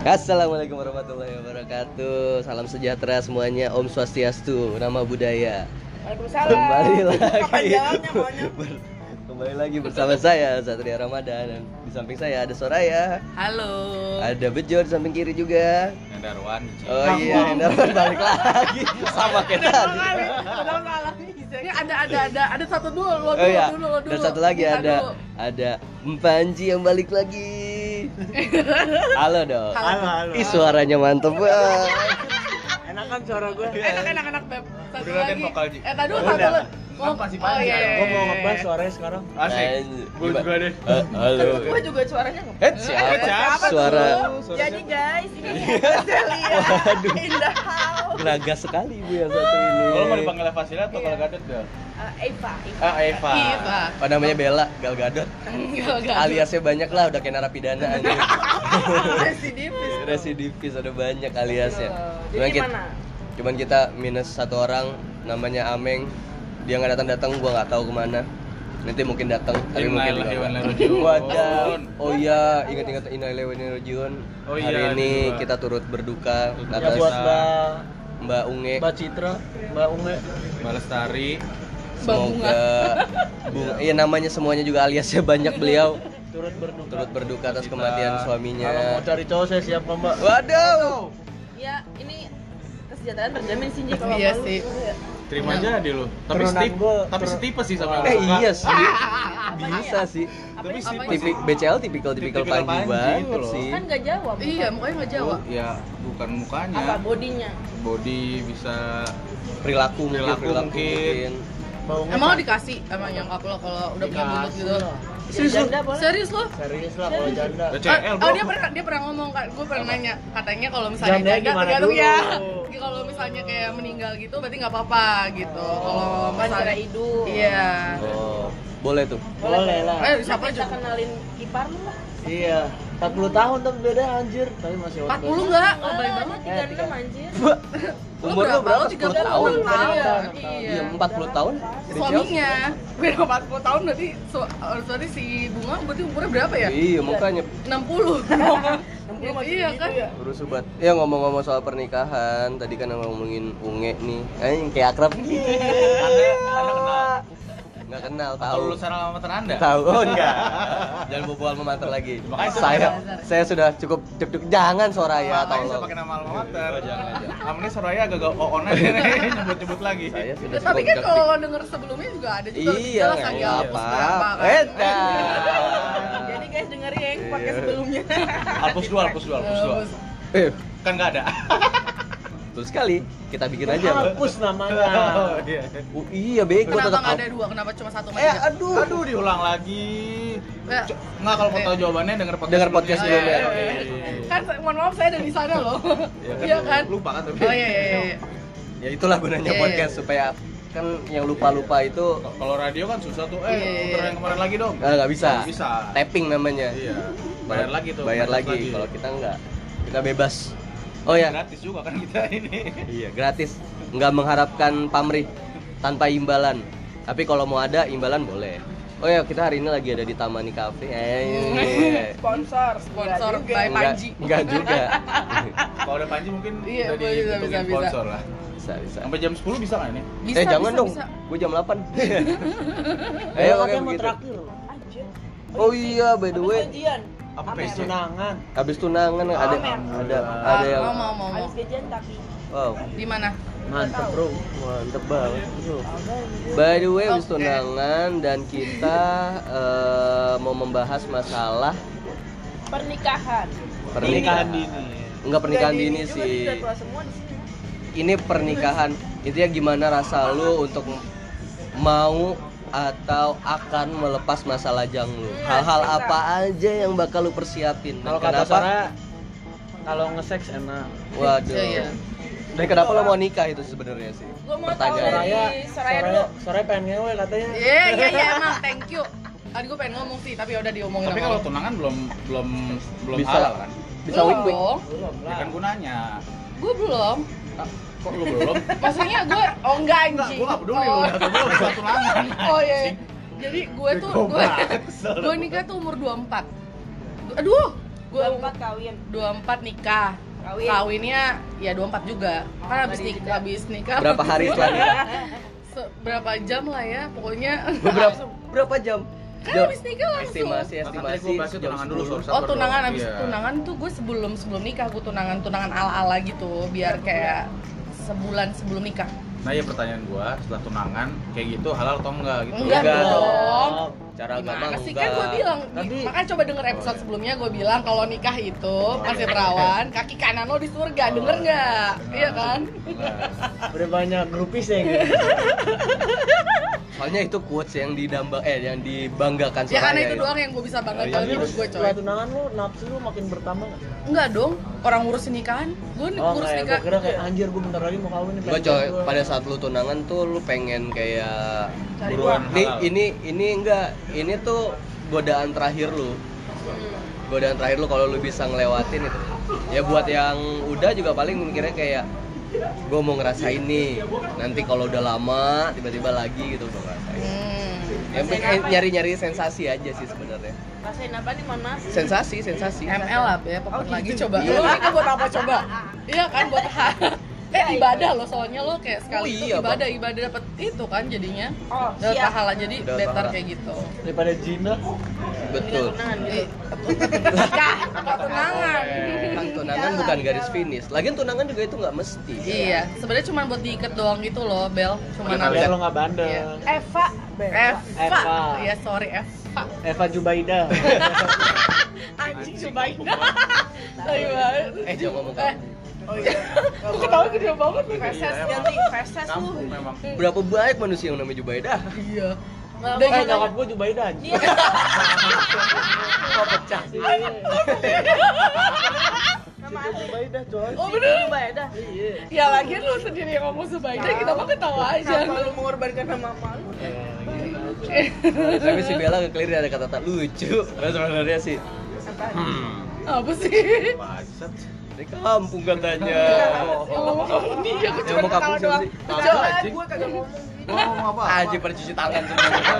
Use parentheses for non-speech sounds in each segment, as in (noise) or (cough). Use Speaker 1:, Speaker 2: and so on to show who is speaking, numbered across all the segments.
Speaker 1: Assalamualaikum warahmatullahi wabarakatuh. Salam sejahtera semuanya. Om Swastiastu, nama budaya.
Speaker 2: Waalaikumsalam.
Speaker 1: Kembali
Speaker 2: Kapan
Speaker 1: lagi.
Speaker 2: jawabnya maunya?
Speaker 1: Ber- Kembali lagi bersama saya Satria Ramadan dan di samping saya ada Soraya,
Speaker 3: Halo.
Speaker 1: ada Bejo di samping kiri juga.
Speaker 4: Hendarwan
Speaker 1: Oh iya, Hendarwan balik lagi sama kayak tadi.
Speaker 2: Udah salah bisa.
Speaker 3: Ini ada ada ada ada satu dulu lo dulu
Speaker 1: Oh iya,
Speaker 3: dulu lo dulu.
Speaker 1: dan satu lagi
Speaker 3: Kita
Speaker 1: ada
Speaker 3: dulu.
Speaker 1: ada Mpanji yang balik lagi. Halo dong.
Speaker 2: Halo, halo.
Speaker 1: Ih suaranya mantep banget.
Speaker 2: Enak kan suara gue?
Speaker 3: Eh, Enak enak enak beb. Satu
Speaker 4: Udah latihan
Speaker 3: lagi.
Speaker 4: vokal, Ji.
Speaker 3: Eh tadi dulu
Speaker 4: Udah.
Speaker 3: satu Oh, lagi.
Speaker 4: Apa sih,
Speaker 3: iya,
Speaker 4: panjang?
Speaker 2: Gue mau ngebahas suaranya sekarang.
Speaker 4: Asik. Gue juga deh.
Speaker 1: Eh, Halo.
Speaker 2: Gue juga suaranya ngebahas.
Speaker 1: Eh, siapa?
Speaker 4: Eh, siapa
Speaker 1: Suara
Speaker 4: tuh? Suara
Speaker 2: Jadi
Speaker 4: siapa?
Speaker 2: guys, ini
Speaker 5: (laughs)
Speaker 2: Celia Indah Hao
Speaker 1: naga sekali ibu yang satu ini.
Speaker 4: Kalau mau dipanggil Fasila atau kalau Gadot ya?
Speaker 2: Eh, Eva. Eva.
Speaker 4: Ah, Eva.
Speaker 3: Eva.
Speaker 1: Oh, namanya Bella Gal Gadot.
Speaker 3: Enggak enggak.
Speaker 1: Aliasnya banyak lah udah kayak narapidana (laughs) anjing.
Speaker 2: Residivis.
Speaker 1: Residivis ada banyak aliasnya.
Speaker 2: Jadi
Speaker 1: Cuman kita,
Speaker 2: gimana?
Speaker 1: cuman kita minus satu orang namanya Ameng. Dia nggak datang datang, gua nggak tahu kemana. Nanti mungkin datang, tapi mungkin
Speaker 4: Innalillahi wa inna
Speaker 1: nggak.
Speaker 4: ilaihi raji'un.
Speaker 1: Wadah. Oh iya, ingat-ingat Innalillahi wa inna ilaihi raji'un.
Speaker 4: Oh iya,
Speaker 1: Hari ini
Speaker 4: ada Iya, dua.
Speaker 1: kita turut berduka
Speaker 4: Turut
Speaker 2: Ya
Speaker 1: atas
Speaker 4: berduka.
Speaker 2: buat Mbak
Speaker 1: Mbak Unge.
Speaker 2: Mbak Citra, Mbak Unge.
Speaker 4: Balas tari.
Speaker 1: Semoga (laughs) bunga. Iya namanya semuanya juga aliasnya banyak beliau
Speaker 2: Turut berduka.
Speaker 1: turut ya. berduka atas
Speaker 4: Kita-
Speaker 1: kematian
Speaker 2: Kalau mau
Speaker 1: suaminya.
Speaker 2: cari cowok saya siap kok Mbak.
Speaker 1: Waduh.
Speaker 5: Ya, ini kesejahteraan terjamin sih Ji, kalau
Speaker 3: Iya
Speaker 5: malu.
Speaker 3: sih.
Speaker 4: Terima aja deh lu. Tapi
Speaker 2: Keronan
Speaker 4: setip,
Speaker 2: gua-
Speaker 4: tapi
Speaker 2: ker-
Speaker 4: setipes sih sama
Speaker 1: Eh
Speaker 4: lu.
Speaker 1: iya sih.
Speaker 4: Ah,
Speaker 1: Bisa sih.
Speaker 4: Tapi
Speaker 3: Apa
Speaker 4: setipes
Speaker 1: Tipi
Speaker 4: sih.
Speaker 1: BCL tipikal tipikal
Speaker 4: iya. Tipikal
Speaker 1: Panji
Speaker 4: Panji itu
Speaker 1: banget
Speaker 4: loh.
Speaker 1: sih.
Speaker 5: Kan nggak jawab.
Speaker 3: Iya, mukanya enggak Jawa.
Speaker 4: Oh, Ya, bukan mukanya.
Speaker 5: Apa bodinya?
Speaker 4: Body bisa
Speaker 1: Perilaku mungkin
Speaker 4: Perilaku
Speaker 1: perilaku mungkin.
Speaker 4: mungkin.
Speaker 2: Mbak Unge.
Speaker 3: Emang lo dikasih emang nyangkap lo kalau udah punya mulut gitu.
Speaker 2: Dikasih lah.
Speaker 3: Serius lo?
Speaker 5: Janda boleh?
Speaker 3: Serius lo?
Speaker 2: Serius lah kalau janda.
Speaker 4: BCL,
Speaker 3: oh,
Speaker 4: bro.
Speaker 3: dia pernah dia pernah ngomong kan, gue pernah nanya katanya kalau misalnya
Speaker 2: Jandanya
Speaker 3: janda
Speaker 2: gimana
Speaker 3: tergantung
Speaker 2: dulu?
Speaker 3: ya. (laughs) Kalau misalnya kayak meninggal gitu berarti nggak apa-apa gitu.
Speaker 5: Bukan
Speaker 3: Kalau
Speaker 5: cara
Speaker 3: misalnya
Speaker 5: Kan hidup.
Speaker 3: Iya.
Speaker 1: Oh, boleh tuh.
Speaker 2: Boleh lah.
Speaker 3: Eh
Speaker 5: Siapa
Speaker 3: siapa
Speaker 5: kita
Speaker 3: juga?
Speaker 5: kenalin kipar lu lah.
Speaker 2: Iya. 40 tahun tapi beda anjir, tapi masih
Speaker 3: 40 enggak? Oh, baik
Speaker 5: Alah,
Speaker 3: banget.
Speaker 5: dia 36 anjir.
Speaker 1: Umur lu berapa? 10
Speaker 3: 30
Speaker 1: tahun.
Speaker 3: tahun.
Speaker 2: Iya.
Speaker 1: Iya,
Speaker 3: Iya.
Speaker 1: 40 tahun.
Speaker 3: Suaminya. (laughs) Gue udah 40 tahun berarti su- berarti si Bunga berarti umurnya berapa ya?
Speaker 1: Iya, makanya (laughs)
Speaker 3: 60. Iya kan?
Speaker 1: Terus sobat, ya ngomong-ngomong soal pernikahan, tadi kan ngomongin unge nih, eh yang kayak akrab gitu.
Speaker 4: (laughs) Anda kenal?
Speaker 1: Nggak kenal,
Speaker 4: Atau
Speaker 1: tahu.
Speaker 4: lulusan alamater Anda?
Speaker 1: Tahu oh, enggak? (laughs) Jangan bobo alma mater lagi.
Speaker 4: Makanya
Speaker 1: saya
Speaker 3: saya-
Speaker 1: saya sudah cukup deg jangan Soraya
Speaker 4: Makanya saya
Speaker 1: tolong.
Speaker 4: pakai nama alamater. Kamu ini Soraya agak-agak on aja (laughs) nih, nyebut-nyebut lagi.
Speaker 1: Saya sudah cukup
Speaker 3: Tapi kan
Speaker 1: deg-deg.
Speaker 3: kalau lo denger sebelumnya juga ada juga lebih
Speaker 1: Iya,
Speaker 3: jelas
Speaker 1: nggak
Speaker 3: lagi
Speaker 1: apa.
Speaker 3: berapa kan. (laughs)
Speaker 1: Eh, dah.
Speaker 5: Jadi guys dengerin yang podcast
Speaker 1: Iya.
Speaker 5: sebelumnya.
Speaker 4: Hapus Ah, dua, hapus dua, hapus dua.
Speaker 3: Terus,
Speaker 1: Eh,
Speaker 4: Kan nggak ada.
Speaker 1: terus sekali kita bikin aja. Pak.
Speaker 2: Hapus namanya.
Speaker 4: (laughs) Oh, iya.
Speaker 1: (laughs) Oh, iya bego
Speaker 3: Kenapa
Speaker 1: tetap.
Speaker 3: nggak ada dua? Kenapa cuma satu
Speaker 1: Eh,
Speaker 3: aja?
Speaker 1: aduh.
Speaker 4: Aduh, diulang lagi.
Speaker 3: Ya.
Speaker 4: Co- Nggak kalau mau tahu jawabannya denger podcast
Speaker 1: Denger podcast Iya
Speaker 3: sebelumnya. Oh, iya,
Speaker 4: Oke.
Speaker 3: Kan saya- mohon maaf saya ada di sana loh. (laughs) Iya kan?
Speaker 4: Lupa kan tapi.
Speaker 3: Oh iya iya iya.
Speaker 1: Ya itulah gunanya
Speaker 3: Iya, iya.
Speaker 1: podcast supaya kan yang lupa-lupa itu
Speaker 4: Kalau radio kan susah tuh.
Speaker 3: Iya, iya,
Speaker 4: Eh, puter
Speaker 3: iya.
Speaker 4: yang kemarin lagi dong.
Speaker 1: eh, nggak bisa.
Speaker 4: Nggak bisa.
Speaker 1: Tapping namanya.
Speaker 4: Iya. Bayar lagi tuh.
Speaker 1: Bayar lagi. Kalau kita nggak, kita bebas. Oh ya,
Speaker 4: gratis juga kan kita ini.
Speaker 1: Iya, gratis. Nggak mengharapkan pamrih tanpa imbalan. Tapi kalau mau ada imbalan boleh. Oh ya, kita hari ini lagi ada di Taman Cafe. Eh,
Speaker 5: Sponsor,
Speaker 3: Sponsor
Speaker 5: Nggak
Speaker 3: by
Speaker 5: juga.
Speaker 1: enggak,
Speaker 3: Panji.
Speaker 1: enggak juga.
Speaker 4: Kalau udah Panji mungkin
Speaker 3: Iya,
Speaker 4: udah
Speaker 3: boleh, bisa,
Speaker 4: dihitungin
Speaker 3: bisa, bisa.
Speaker 4: sponsor lah.
Speaker 1: Bisa, bisa.
Speaker 4: Sampai jam 10 bisa nggak ini?
Speaker 3: Bisa,
Speaker 1: eh, jangan
Speaker 3: bisa,
Speaker 1: dong.
Speaker 3: bisa.
Speaker 1: Gue jam
Speaker 3: (laughs)
Speaker 1: 8. Ayo,
Speaker 2: Ayo
Speaker 1: oke
Speaker 2: katanya mau
Speaker 1: begitu.
Speaker 2: terakhir.
Speaker 5: Anjir.
Speaker 1: Oh iya, by the
Speaker 5: Habis
Speaker 1: way,
Speaker 5: gajian.
Speaker 4: Apa
Speaker 5: Amer.
Speaker 4: PC?
Speaker 2: Tunangan.
Speaker 1: habis tunangan ada
Speaker 5: Amer.
Speaker 1: ada
Speaker 3: Oh, Ah,
Speaker 1: ada yang
Speaker 3: mau mau mau. mau.
Speaker 5: Habis gajian tapi
Speaker 1: wow,
Speaker 3: Di mana?
Speaker 2: Mantep bro.
Speaker 1: mantep banget. By the way, habis
Speaker 3: Oke.
Speaker 1: tunangan dan kita eh, mau membahas masalah
Speaker 5: pernikahan.
Speaker 1: pernikahan.
Speaker 2: dini.
Speaker 1: Enggak pernikahan
Speaker 5: Jadi
Speaker 1: dini
Speaker 5: juga
Speaker 1: sih.
Speaker 5: kita tua semua di sini.
Speaker 1: ini pernikahan intinya gimana rasa lu untuk mau atau akan melepas masa lajang lu
Speaker 3: Iya,
Speaker 5: Hmm,
Speaker 1: hal-hal
Speaker 5: bisa.
Speaker 1: apa aja yang bakal lu persiapin
Speaker 2: Kalau
Speaker 1: dan
Speaker 2: kata
Speaker 1: kenapa
Speaker 2: Sarah, kalau ngeseks enak.
Speaker 1: waduh
Speaker 3: Iya, iya.
Speaker 1: dan kenapa lu mau nikah itu sebenarnya sih
Speaker 5: Gua mau tahu dari-
Speaker 2: Soraya,
Speaker 5: Soraya
Speaker 2: Soraya,
Speaker 5: dulu.
Speaker 2: Soraya pengen ngewe katanya.
Speaker 3: Iya iya iya emang thank you. Tadi gue pengen ngomong sih, tapi ya udah diomongin
Speaker 4: Tapi kalau tunangan belum belum belum
Speaker 1: Bisa.
Speaker 4: halal kan?
Speaker 1: bisa win win
Speaker 2: Belum
Speaker 1: Iya
Speaker 4: Ya
Speaker 2: lah.
Speaker 4: kan gunanya.
Speaker 3: Gue belum.
Speaker 4: Kok lu
Speaker 3: (laughs)
Speaker 4: belum?
Speaker 3: Maksudnya gue oh enggak
Speaker 4: Enggak,
Speaker 3: anjing.
Speaker 4: gua nggak peduli
Speaker 3: Oh.
Speaker 4: (laughs) lu udah atau belum bisa tunangan.
Speaker 3: Oh iya. iya. Jadi gue tuh
Speaker 4: Bego
Speaker 3: gue
Speaker 4: banget, salah.
Speaker 3: gue nikah tuh umur 24. Aduh, Gua-
Speaker 5: 24 kawin
Speaker 3: 24 nikah.
Speaker 5: Kawin.
Speaker 3: Kawinnya ya 24 juga.
Speaker 5: Oh,
Speaker 3: Kan habis
Speaker 5: tadi
Speaker 3: nikah,
Speaker 5: juga.
Speaker 3: habis nikah.
Speaker 1: Berapa
Speaker 3: (laughs)
Speaker 1: hari setelah
Speaker 3: Se- berapa jam lah ya, pokoknya.
Speaker 1: Berapa berapa jam?
Speaker 3: kan
Speaker 1: Jam-
Speaker 3: habis nikah langsung.
Speaker 1: Estimasi
Speaker 4: Nah, kan tadi gua
Speaker 1: estimasi
Speaker 4: bahasnya
Speaker 1: jam
Speaker 4: tunangan dulu,
Speaker 1: 10.
Speaker 4: Sor.
Speaker 3: Oh tunangan
Speaker 4: Sabar dong.
Speaker 3: abis
Speaker 4: Iya.
Speaker 3: tunangan tuh gue sebelum sebelum nikah gue tunangan tunangan ala ala gitu
Speaker 2: Iya.
Speaker 3: biar kayak sebulan sebelum nikah.
Speaker 4: Nah ya pertanyaan gua setelah tunangan kayak gitu halal atau enggak gitu?
Speaker 3: Enggak
Speaker 1: Enggak
Speaker 3: Iya dong.
Speaker 1: Cara agama
Speaker 3: Gimana sih
Speaker 1: enggak.
Speaker 3: kan gue bilang
Speaker 2: Tapi-
Speaker 3: makanya coba denger episode sebelumnya gue bilang kalau nikah itu masih perawan kaki kanan lo di surga
Speaker 4: Oh,
Speaker 3: denger nggak?
Speaker 4: enggak.
Speaker 2: Nah.
Speaker 3: Iya kan?
Speaker 4: Enggak.
Speaker 2: Udah banyak grupis ya gitu.
Speaker 1: Soalnya itu quotes yang didamba eh yang dibanggakan
Speaker 3: Ya
Speaker 1: Soraya
Speaker 3: karena itu doang yang gue bisa banggakan
Speaker 4: Iya,
Speaker 3: dalam
Speaker 2: Tapi lu
Speaker 3: hidup gue coy.
Speaker 2: setelah tunangan lu nafsu lu makin bertambah nggak?
Speaker 3: Enggak dong, orang ngurusin nikahan, gue
Speaker 2: Oh
Speaker 3: ngurus nikah.
Speaker 2: kayak
Speaker 3: Hmm.
Speaker 2: gue kira kayak anjir gue bentar lagi mau kawin nih.
Speaker 1: Enggak coy, pada saat lu tunangan tuh lu pengen kayak
Speaker 4: Cari
Speaker 1: buruan.
Speaker 4: uang.
Speaker 1: Nih
Speaker 4: Nah, Halal.
Speaker 1: ini ini enggak, ini tuh godaan terakhir lu. Godaan terakhir lu kalau lu bisa ngelewatin itu. Ya buat yang udah juga paling mikirnya kayak gue mau ngerasain nih. Nanti kalau udah lama tiba-tiba lagi gitu gue ngerasain.
Speaker 3: Hmm.
Speaker 1: Ya, pengen nyari-nyari sensasi aja sih sebenarnya.
Speaker 5: rasain apa nih mohon maaf
Speaker 1: Sensasi, sensasi.
Speaker 3: ML apa ya, pokoknya
Speaker 5: Oh,
Speaker 3: lagi
Speaker 5: gitu.
Speaker 3: coba.
Speaker 1: Iya.
Speaker 3: Lo nikah buat apa (laughs) coba? Iya kan buat (laughs) Eh ibadah lo soalnya lo kayak
Speaker 1: Oh,
Speaker 3: sekali itu
Speaker 1: iya, Bang.
Speaker 3: ibadah ibadah dapet itu kan jadinya
Speaker 5: oh
Speaker 3: dapat
Speaker 5: siap
Speaker 3: pahala jadi
Speaker 1: Dapat
Speaker 3: better
Speaker 1: pahala.
Speaker 3: kayak gitu.
Speaker 2: daripada Jina.
Speaker 1: Betul.
Speaker 5: tunangan gitu
Speaker 3: Eh, (laughs) Nikah, kok tunangan.
Speaker 1: Kan tunangan bukan garis finish. Lagian tunangan juga itu nggak mesti.
Speaker 3: Iya, sebenarnya cuma buat diikat doang gitu loh, Bel. Cuma
Speaker 1: Kenapa?
Speaker 2: Biar
Speaker 3: nambah
Speaker 2: lo nggak
Speaker 3: Iya.
Speaker 2: bandel.
Speaker 5: Eva
Speaker 3: Eva.
Speaker 2: Eva.
Speaker 3: Iya, sorry Eva.
Speaker 1: Iya.
Speaker 2: Eva
Speaker 1: (laughs)
Speaker 2: Jubaida.
Speaker 3: Anjing cobain. Sorry banget.
Speaker 1: Eh jangan ngomong
Speaker 3: Eh,
Speaker 1: kamu.
Speaker 3: oh iya. Aku ketawa gede banget nih.
Speaker 5: feses
Speaker 4: Iya,
Speaker 5: ganti feses ya, lu
Speaker 4: Kampung memang.
Speaker 1: Berapa banyak manusia yang namanya Jubaidah?
Speaker 3: Iya.
Speaker 5: Udah
Speaker 2: Eh
Speaker 5: gitu.
Speaker 2: nyokap gue Jubaida anjir.
Speaker 5: Iya.
Speaker 1: Kok pecah sih?
Speaker 5: Nama
Speaker 2: Dia
Speaker 5: asli.
Speaker 2: Jubaida coy.
Speaker 3: Oh bener.
Speaker 5: Mbak Eda.
Speaker 2: Iya.
Speaker 3: Ya lagian lu sendiri yang ngomong sebaiknya kita mah ketawa aja.
Speaker 5: Kenapa lu mengorbankan nama malu?
Speaker 1: Tapi si Bella kekeliru ada kata-kata lucu. Nah, sebenarnya sih. Hmm.
Speaker 3: Apa sih?
Speaker 4: Bangsat.
Speaker 1: Di kampung katanya.
Speaker 3: Yang ngomong kamu dia, oh. aku
Speaker 1: Yang
Speaker 3: cuma
Speaker 1: mau kampung
Speaker 3: ketawa
Speaker 1: siapa
Speaker 3: doang.
Speaker 1: sih?
Speaker 4: Kampung
Speaker 5: Jangan,
Speaker 4: anjing.
Speaker 5: gue kagak ngomong.
Speaker 4: Gua ngomong apa?
Speaker 1: Aji percuci tangan
Speaker 4: Iya,
Speaker 1: semuanya.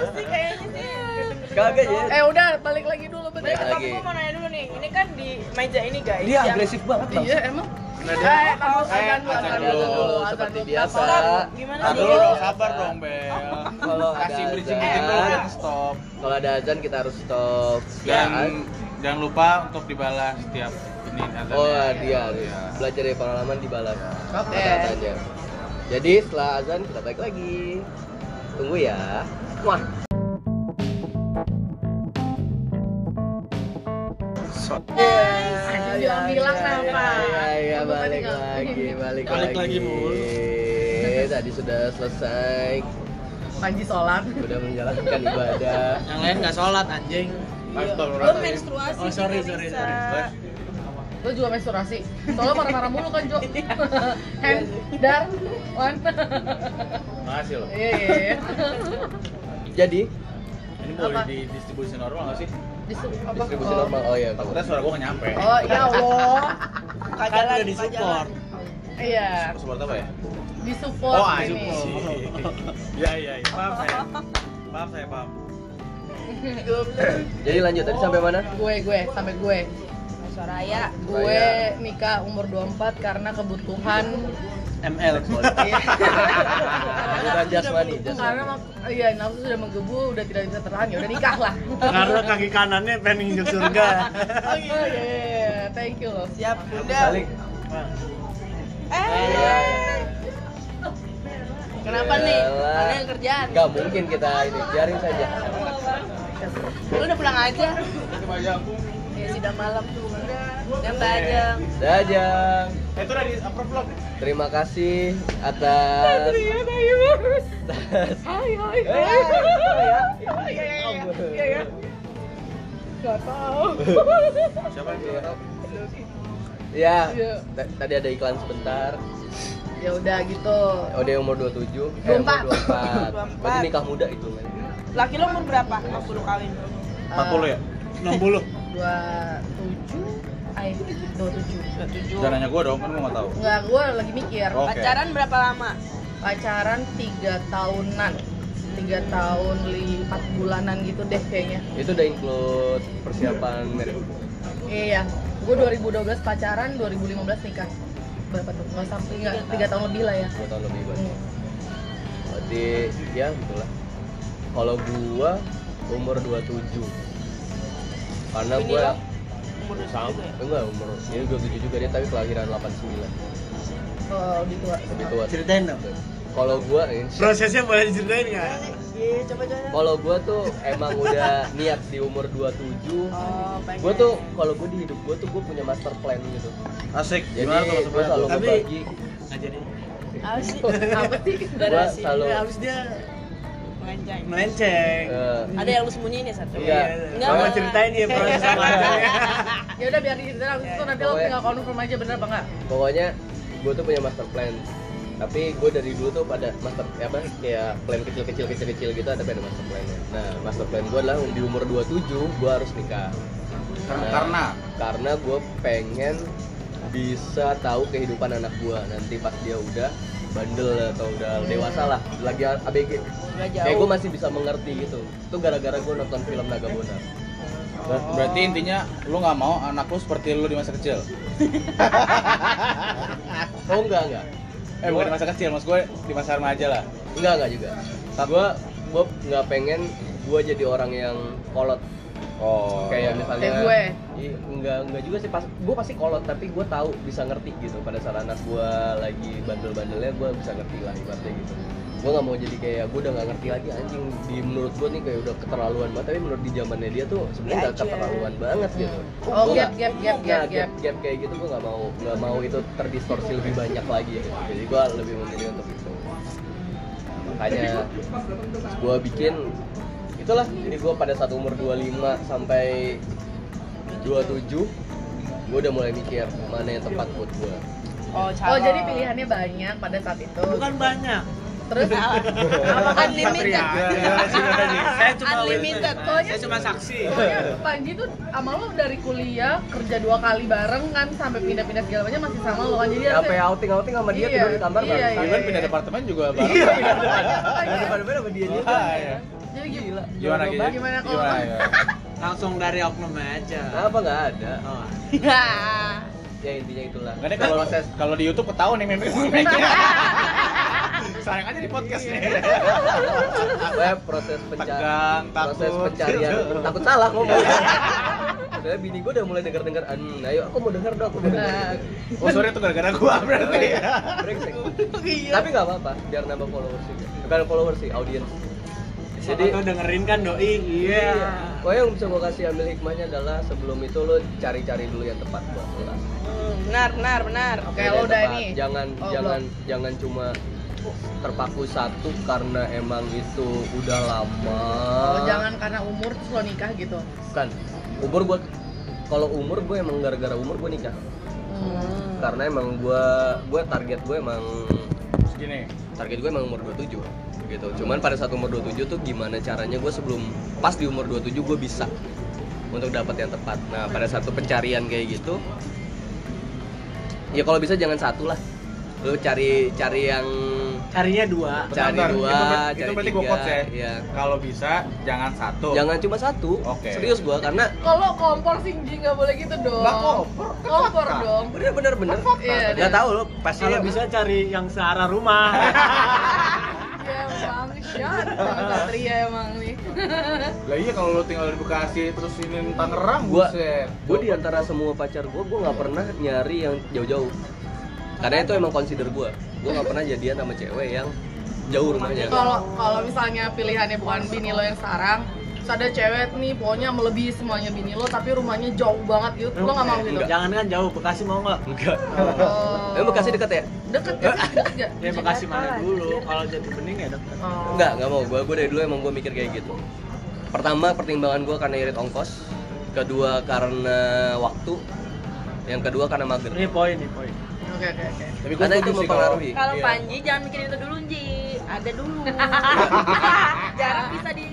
Speaker 5: Lu sih kayaknya sih.
Speaker 1: Kagak ya.
Speaker 3: Eh udah balik lagi dulu bentar.
Speaker 1: Balik lagi.
Speaker 5: Tapi gue mau nanya dulu nih, ini kan di meja ini guys.
Speaker 1: Dia
Speaker 5: yang-
Speaker 1: agresif banget bang.
Speaker 3: Iya emang.
Speaker 4: Nah,
Speaker 3: Eh,
Speaker 4: dia-
Speaker 3: kamu
Speaker 4: Eh,
Speaker 3: azan dulu,
Speaker 4: azan
Speaker 3: azan
Speaker 4: dulu,
Speaker 3: dulu, azan
Speaker 1: seperti
Speaker 3: dulu.
Speaker 1: biasa.
Speaker 5: Gimana
Speaker 4: Nah,
Speaker 5: sih?
Speaker 4: dulu dong, sabar dong, Bel.
Speaker 1: Kalau ada
Speaker 4: Kasih bridging-bridging dulu
Speaker 1: azan,
Speaker 4: yang stop.
Speaker 1: kalau ada azan kita harus stop.
Speaker 4: Dan
Speaker 1: Ya,
Speaker 4: jangan lupa untuk dibalas setiap ini azannya.
Speaker 1: Oh dia harus
Speaker 4: Iya.
Speaker 1: belajar dari pengalaman dibalas
Speaker 3: Oke.
Speaker 1: kata-katanya. Jadi setelah azan kita balik lagi. Tunggu ya. Wah.
Speaker 4: So-
Speaker 3: Anjing, bilang-bilang kenapa?
Speaker 1: Ya,
Speaker 3: Tunggu tadi
Speaker 1: balik
Speaker 3: nggak-
Speaker 1: lagi, balik,
Speaker 4: Balik lagi, Bul.
Speaker 1: (laughs) Tadi sudah selesai,
Speaker 3: Panji sholat.
Speaker 1: sudah menjalankan ibadah.
Speaker 2: Yang lain nggak sholat anjing.
Speaker 5: Lu
Speaker 4: Astagfirullahaladzim.
Speaker 5: menstruasi
Speaker 2: Oh, sorry,
Speaker 5: juga
Speaker 2: sorry,
Speaker 5: bisa.
Speaker 2: sorry.
Speaker 3: Lu juga menstruasi. Soalnya marah-marah mulu kan, Jo.
Speaker 1: Iya.
Speaker 3: Hand, dar, one.
Speaker 4: Makasih loh.
Speaker 3: Iya, iya, iya.
Speaker 1: Jadi
Speaker 4: Ini boleh
Speaker 3: Apa?
Speaker 4: di distribusi normal nggak sih?
Speaker 3: Disu- apa?
Speaker 1: distribusi
Speaker 3: Oh.
Speaker 1: normal. Oh ya, tahu.
Speaker 4: Takutnya suara gua nggak nyampe.
Speaker 3: Oh, ya Allah.
Speaker 2: Kan udah di support.
Speaker 3: Iya.
Speaker 4: Support apa ya?
Speaker 3: Disupport
Speaker 1: Oh,
Speaker 4: ah,
Speaker 3: ini.
Speaker 4: support. Iya, iya, iya. Paham saya. Paham saya, paham.
Speaker 1: Jadi lanjut tadi sampai
Speaker 3: (laughs)
Speaker 1: mana?
Speaker 3: Gue, gue, sampai gue.
Speaker 5: Soraya.
Speaker 3: Gue
Speaker 1: Iya.
Speaker 3: nikah umur 24 karena kebutuhan.
Speaker 2: ML.
Speaker 1: Bukan jasmani,
Speaker 3: karena
Speaker 1: jasmani.
Speaker 3: mak- iya nafsu sudah menggebu, udah tidak bisa tertahan, ya udah nikah lah.
Speaker 1: Oh,
Speaker 2: Karena kaki kanannya pengen injek surga.
Speaker 3: Oh iya, iya, iya. thank you loh.
Speaker 5: Siap, bunda.
Speaker 1: Balik.
Speaker 5: Eh.
Speaker 3: Kenapa nih?
Speaker 1: Yalah.
Speaker 3: Ada yang kerjaan?
Speaker 1: Gak mungkin kita ini, biarin saja.
Speaker 3: Lu udah pulang aja.
Speaker 5: Ya sudah malam tuh. Dan Bajang.
Speaker 1: Dadah.
Speaker 4: Eh, Itu udah di approve belum?
Speaker 1: Terima kasih atas. atas-
Speaker 3: Hai, hai.
Speaker 1: Eh, apa ya?
Speaker 3: Iya, iya, iya. Iya, iya. Gak tau.
Speaker 4: Siapa yang dulu?
Speaker 1: Ya,
Speaker 3: Iya.
Speaker 1: ta- tadi ada iklan sebentar.
Speaker 3: Ya udah gitu.
Speaker 1: Ode umur 27, eh,
Speaker 3: 24.
Speaker 1: umur 24.
Speaker 5: 24.
Speaker 1: Berarti nikah muda itu kan.
Speaker 5: Laki lo umur berapa? 40 kawin.
Speaker 4: 40 ya?
Speaker 2: 60.
Speaker 3: Dua tujuh. Ay, dua tujuh.
Speaker 5: 7.
Speaker 4: Jangan nanya gua dong, kan gua nggak tahu.
Speaker 3: Enggak, gue lagi mikir.
Speaker 4: Oh. Oke.
Speaker 5: Pacaran berapa lama?
Speaker 3: Pacaran tiga tahunan. Tiga tahun li- empat bulanan gitu deh kayaknya.
Speaker 1: Itu udah include persiapan merit.
Speaker 3: Iya, gue 2012 pacaran, 2015 nikah. Berapa tuh? Nggak sampai nggak tiga tahun lebih lah ya.
Speaker 1: dua tahun lebih banyak
Speaker 3: Hmm.
Speaker 1: berarti ya gitulah kalau gua umur 27 karena
Speaker 5: Ini
Speaker 1: gua
Speaker 5: lo umur dua
Speaker 1: sama
Speaker 5: juga ya?
Speaker 1: enggak umur ini 27 juga dia tapi kelahiran 89
Speaker 3: Oh, gitu lah.
Speaker 1: lebih tua
Speaker 2: Ceritain dong.
Speaker 1: kalau gua eh,
Speaker 2: Prosesnya boleh diceritain nggak?
Speaker 5: Iya, coba coba.
Speaker 1: kalau gua tuh emang udah niat di umur 27
Speaker 3: Oh, pengen.
Speaker 1: gua tuh kalau gua di hidup gua tuh gua punya master plan gitu
Speaker 2: Asik.
Speaker 1: jadi
Speaker 2: Gimana kalau
Speaker 1: gua
Speaker 2: sebenarnya?
Speaker 1: selalu
Speaker 2: Tapi
Speaker 1: ngebagi
Speaker 4: Nah,
Speaker 2: nggak jadi.
Speaker 5: Apa sih?
Speaker 3: (laughs) apa sih?
Speaker 1: gua
Speaker 5: Darah sih.
Speaker 1: selalu
Speaker 2: Abis dia
Speaker 5: Mengancam.
Speaker 2: melenceng.
Speaker 1: eh,
Speaker 5: Ada yang lu sembunyiin ya satu.
Speaker 1: Iya.
Speaker 5: Enggak,
Speaker 2: Coba
Speaker 5: enggak.
Speaker 2: ceritain dia proses awalnya.
Speaker 3: Ya udah biar diceritain abis itu nanti lo
Speaker 1: Eh, Pokoknya-
Speaker 3: tinggal konfirm aja bener apa Oh, enggak.
Speaker 1: pokoknya gue tuh punya master plan tapi gue dari dulu tuh pada master eh, apa kayak plan kecil kecil kecil kecil gitu ada pada master plan nah master plan gue adalah di umur 27 gue harus nikah
Speaker 4: Kar- Karena
Speaker 1: karena gue pengen bisa tahu kehidupan anak gue nanti pas dia udah bandel atau udah dewasa lah lagi abg
Speaker 5: Enggak jauh.
Speaker 1: kayak gue masih bisa mengerti gitu itu gara-gara gue nonton film naga bona
Speaker 4: Ber- berarti intinya lu nggak mau anak lu seperti lu di masa kecil.
Speaker 1: oh enggak enggak
Speaker 4: Eh bukan di masa kecil, mas gue di masa remaja lah.
Speaker 1: Enggak enggak juga. Gue gue nggak pengen gue jadi orang yang kolot
Speaker 4: Oh.
Speaker 1: kayak misalnya.
Speaker 3: Kayak gue.
Speaker 1: Iya, enggak enggak juga sih pas gue pasti kolot tapi gue tahu bisa ngerti gitu pada saat anak gue lagi bandel-bandelnya gue bisa ngerti lah ibaratnya gitu. Gue nggak mau jadi kayak gue udah nggak ngerti lagi anjing di menurut gue nih kayak udah keterlaluan banget tapi menurut di zamannya dia tuh sebenarnya nggak
Speaker 5: Iya aja.
Speaker 1: keterlaluan banget gitu.
Speaker 3: Oh,
Speaker 1: Gua
Speaker 3: gap,
Speaker 1: nggak-
Speaker 3: gap, gap,
Speaker 1: Nah,
Speaker 3: gap, gap.
Speaker 1: gap kayak gitu gue nggak mau nggak mau itu terdistorsi lebih banyak lagi gitu. jadi gue lebih memilih untuk itu makanya gue bikin itulah jadi gue pada saat umur 25 sampai 27 gue udah mulai mikir mana yang tepat buat gue
Speaker 5: Oh, calon.
Speaker 3: Oh, jadi pilihannya banyak pada saat itu.
Speaker 2: Bukan banyak.
Speaker 3: Terus (laughs)
Speaker 5: Apa kan limited?
Speaker 2: Iya, Saya cuma
Speaker 5: Unlimited.
Speaker 3: Pokoknya
Speaker 2: Saya cuma saksi.
Speaker 3: Pokoknya Panji tuh sama lo dari kuliah kerja dua kali bareng kan sampai pindah-pindah segala macam masih sama lo kan jadi
Speaker 1: sampai
Speaker 3: harusnya-
Speaker 1: outing outing ya, sama dia
Speaker 3: Iya,
Speaker 1: tidur di kamar
Speaker 3: iya,
Speaker 1: bareng.
Speaker 3: iya.
Speaker 4: Even pindah departemen juga bareng.
Speaker 2: Iya.
Speaker 3: Pokoknya-
Speaker 2: Depan-depan sama dia juga.
Speaker 4: Wah, iya.
Speaker 3: kan? Jadi gila.
Speaker 4: Gimana gitu?
Speaker 3: Gimana kalau-
Speaker 4: ya?
Speaker 2: Langsung dari oknum aja.
Speaker 1: apa nggak
Speaker 3: (laughs)
Speaker 1: ada
Speaker 2: Oh.
Speaker 3: Iya.
Speaker 5: Ya.
Speaker 1: ya intinya itulah
Speaker 4: Nggak deh, kalau
Speaker 1: proses
Speaker 4: kalau di YouTube ketahuan nih
Speaker 1: (laughs)
Speaker 4: meme meme-nya. Sayang aja di podcast nih.
Speaker 1: gue ya, proses pencarian
Speaker 4: Tegang, takut.
Speaker 1: proses pencarian takut salah ngomong Sebenernya bini gue udah mulai denger denger an ayo aku mau denger dong aku mau denger
Speaker 3: Nah.
Speaker 4: Oh sorry itu gara-gara gua
Speaker 1: Oh,
Speaker 4: berarti.
Speaker 1: Brengsek. tapi nggak apa-apa biar nambah followers juga bukan followers sih audiens
Speaker 2: Jadi
Speaker 1: jadi
Speaker 2: tuh dengerin kan doi. Iya.
Speaker 1: Pokoknya yang bisa gue kasih ambil hikmahnya adalah sebelum itu lo cari-cari dulu yang tepat buat lo lah.
Speaker 5: Hmm, Benar, benar, benar.
Speaker 3: Oke,
Speaker 1: Yang
Speaker 3: lo udah
Speaker 1: tepat.
Speaker 3: nih.
Speaker 1: Jangan
Speaker 3: Oh,
Speaker 1: jangan jangan cuma terpaku satu karena emang itu udah lama.
Speaker 3: Oh, jangan karena umur terus lo nikah gitu.
Speaker 1: Bukan. Kan, Umur gue kalau umur gue emang gara-gara umur gue nikah.
Speaker 3: Hmm.
Speaker 1: Karena emang gue gue target gue emang
Speaker 4: Segini.
Speaker 1: target gue emang umur 27 gitu. Cuman pada saat umur 27 tuh gimana caranya gue sebelum pas di umur 27 gue bisa untuk dapat yang tepat. Nah, pada satu pencarian kayak gitu ya kalau bisa jangan satu lah. Lu cari cari yang
Speaker 2: Carinya dua.
Speaker 1: Cari
Speaker 4: Bentar,
Speaker 1: dua,
Speaker 4: itu ber-
Speaker 1: cari
Speaker 4: Itu berarti gua
Speaker 1: tiga,
Speaker 4: quotes ya.
Speaker 1: iya.
Speaker 4: Kalau bisa jangan satu.
Speaker 1: jangan cuma satu.
Speaker 4: Oke.
Speaker 1: Serius gue karena
Speaker 3: Kalau kompor singji nggak boleh gitu dong.
Speaker 4: Lah, kompor kan
Speaker 3: Kompor
Speaker 4: fakta.
Speaker 3: dong.
Speaker 1: bener bener bener
Speaker 3: Iya,
Speaker 1: nggak
Speaker 3: iya.
Speaker 1: tahu lo pasti
Speaker 2: Kalau bisa cari yang searah rumah.
Speaker 3: Ya, paham nih. Jahat sama Satria emang nih.
Speaker 4: Lah iya kalau lu tinggal di Bekasi terus ini Tangerang
Speaker 1: gua
Speaker 4: buset.
Speaker 1: gue di antara semua pacar gue gue nggak pernah nyari yang jauh-jauh karena itu emang consider gue gue nggak pernah jadian sama cewek yang jauh rumahnya
Speaker 3: Kalau kalau misalnya pilihannya bukan bini lo yang sekarang, terus ada cewek nih pokoknya melebihi semuanya bini lo tapi rumahnya jauh banget gitu. Lo nggak mau gitu.
Speaker 2: Jangan kan jauh Bekasi mau nggak?
Speaker 1: enggak
Speaker 3: Oh.
Speaker 1: emang bekasi dekat ya
Speaker 3: Deket ya? Deket ya?
Speaker 2: Ya Bekasi mana dulu? Kalau jadi bening ya dokter.
Speaker 3: Oh.
Speaker 1: enggak enggak mau gue gue dari dulu emang gue mikir kayak gitu pertama pertimbangan gue karena irit ongkos kedua karena waktu yang kedua karena mager
Speaker 2: Ini poin nih poin.
Speaker 3: Oke oke oke.
Speaker 4: Tapi gua
Speaker 1: karena itu
Speaker 4: setuju sih kalau-
Speaker 1: mempengaruhi
Speaker 5: Kalau
Speaker 1: Iya.
Speaker 5: Panji jangan mikirin itu dulu, Nji. Ada (laughs) dulu. Jarak bisa di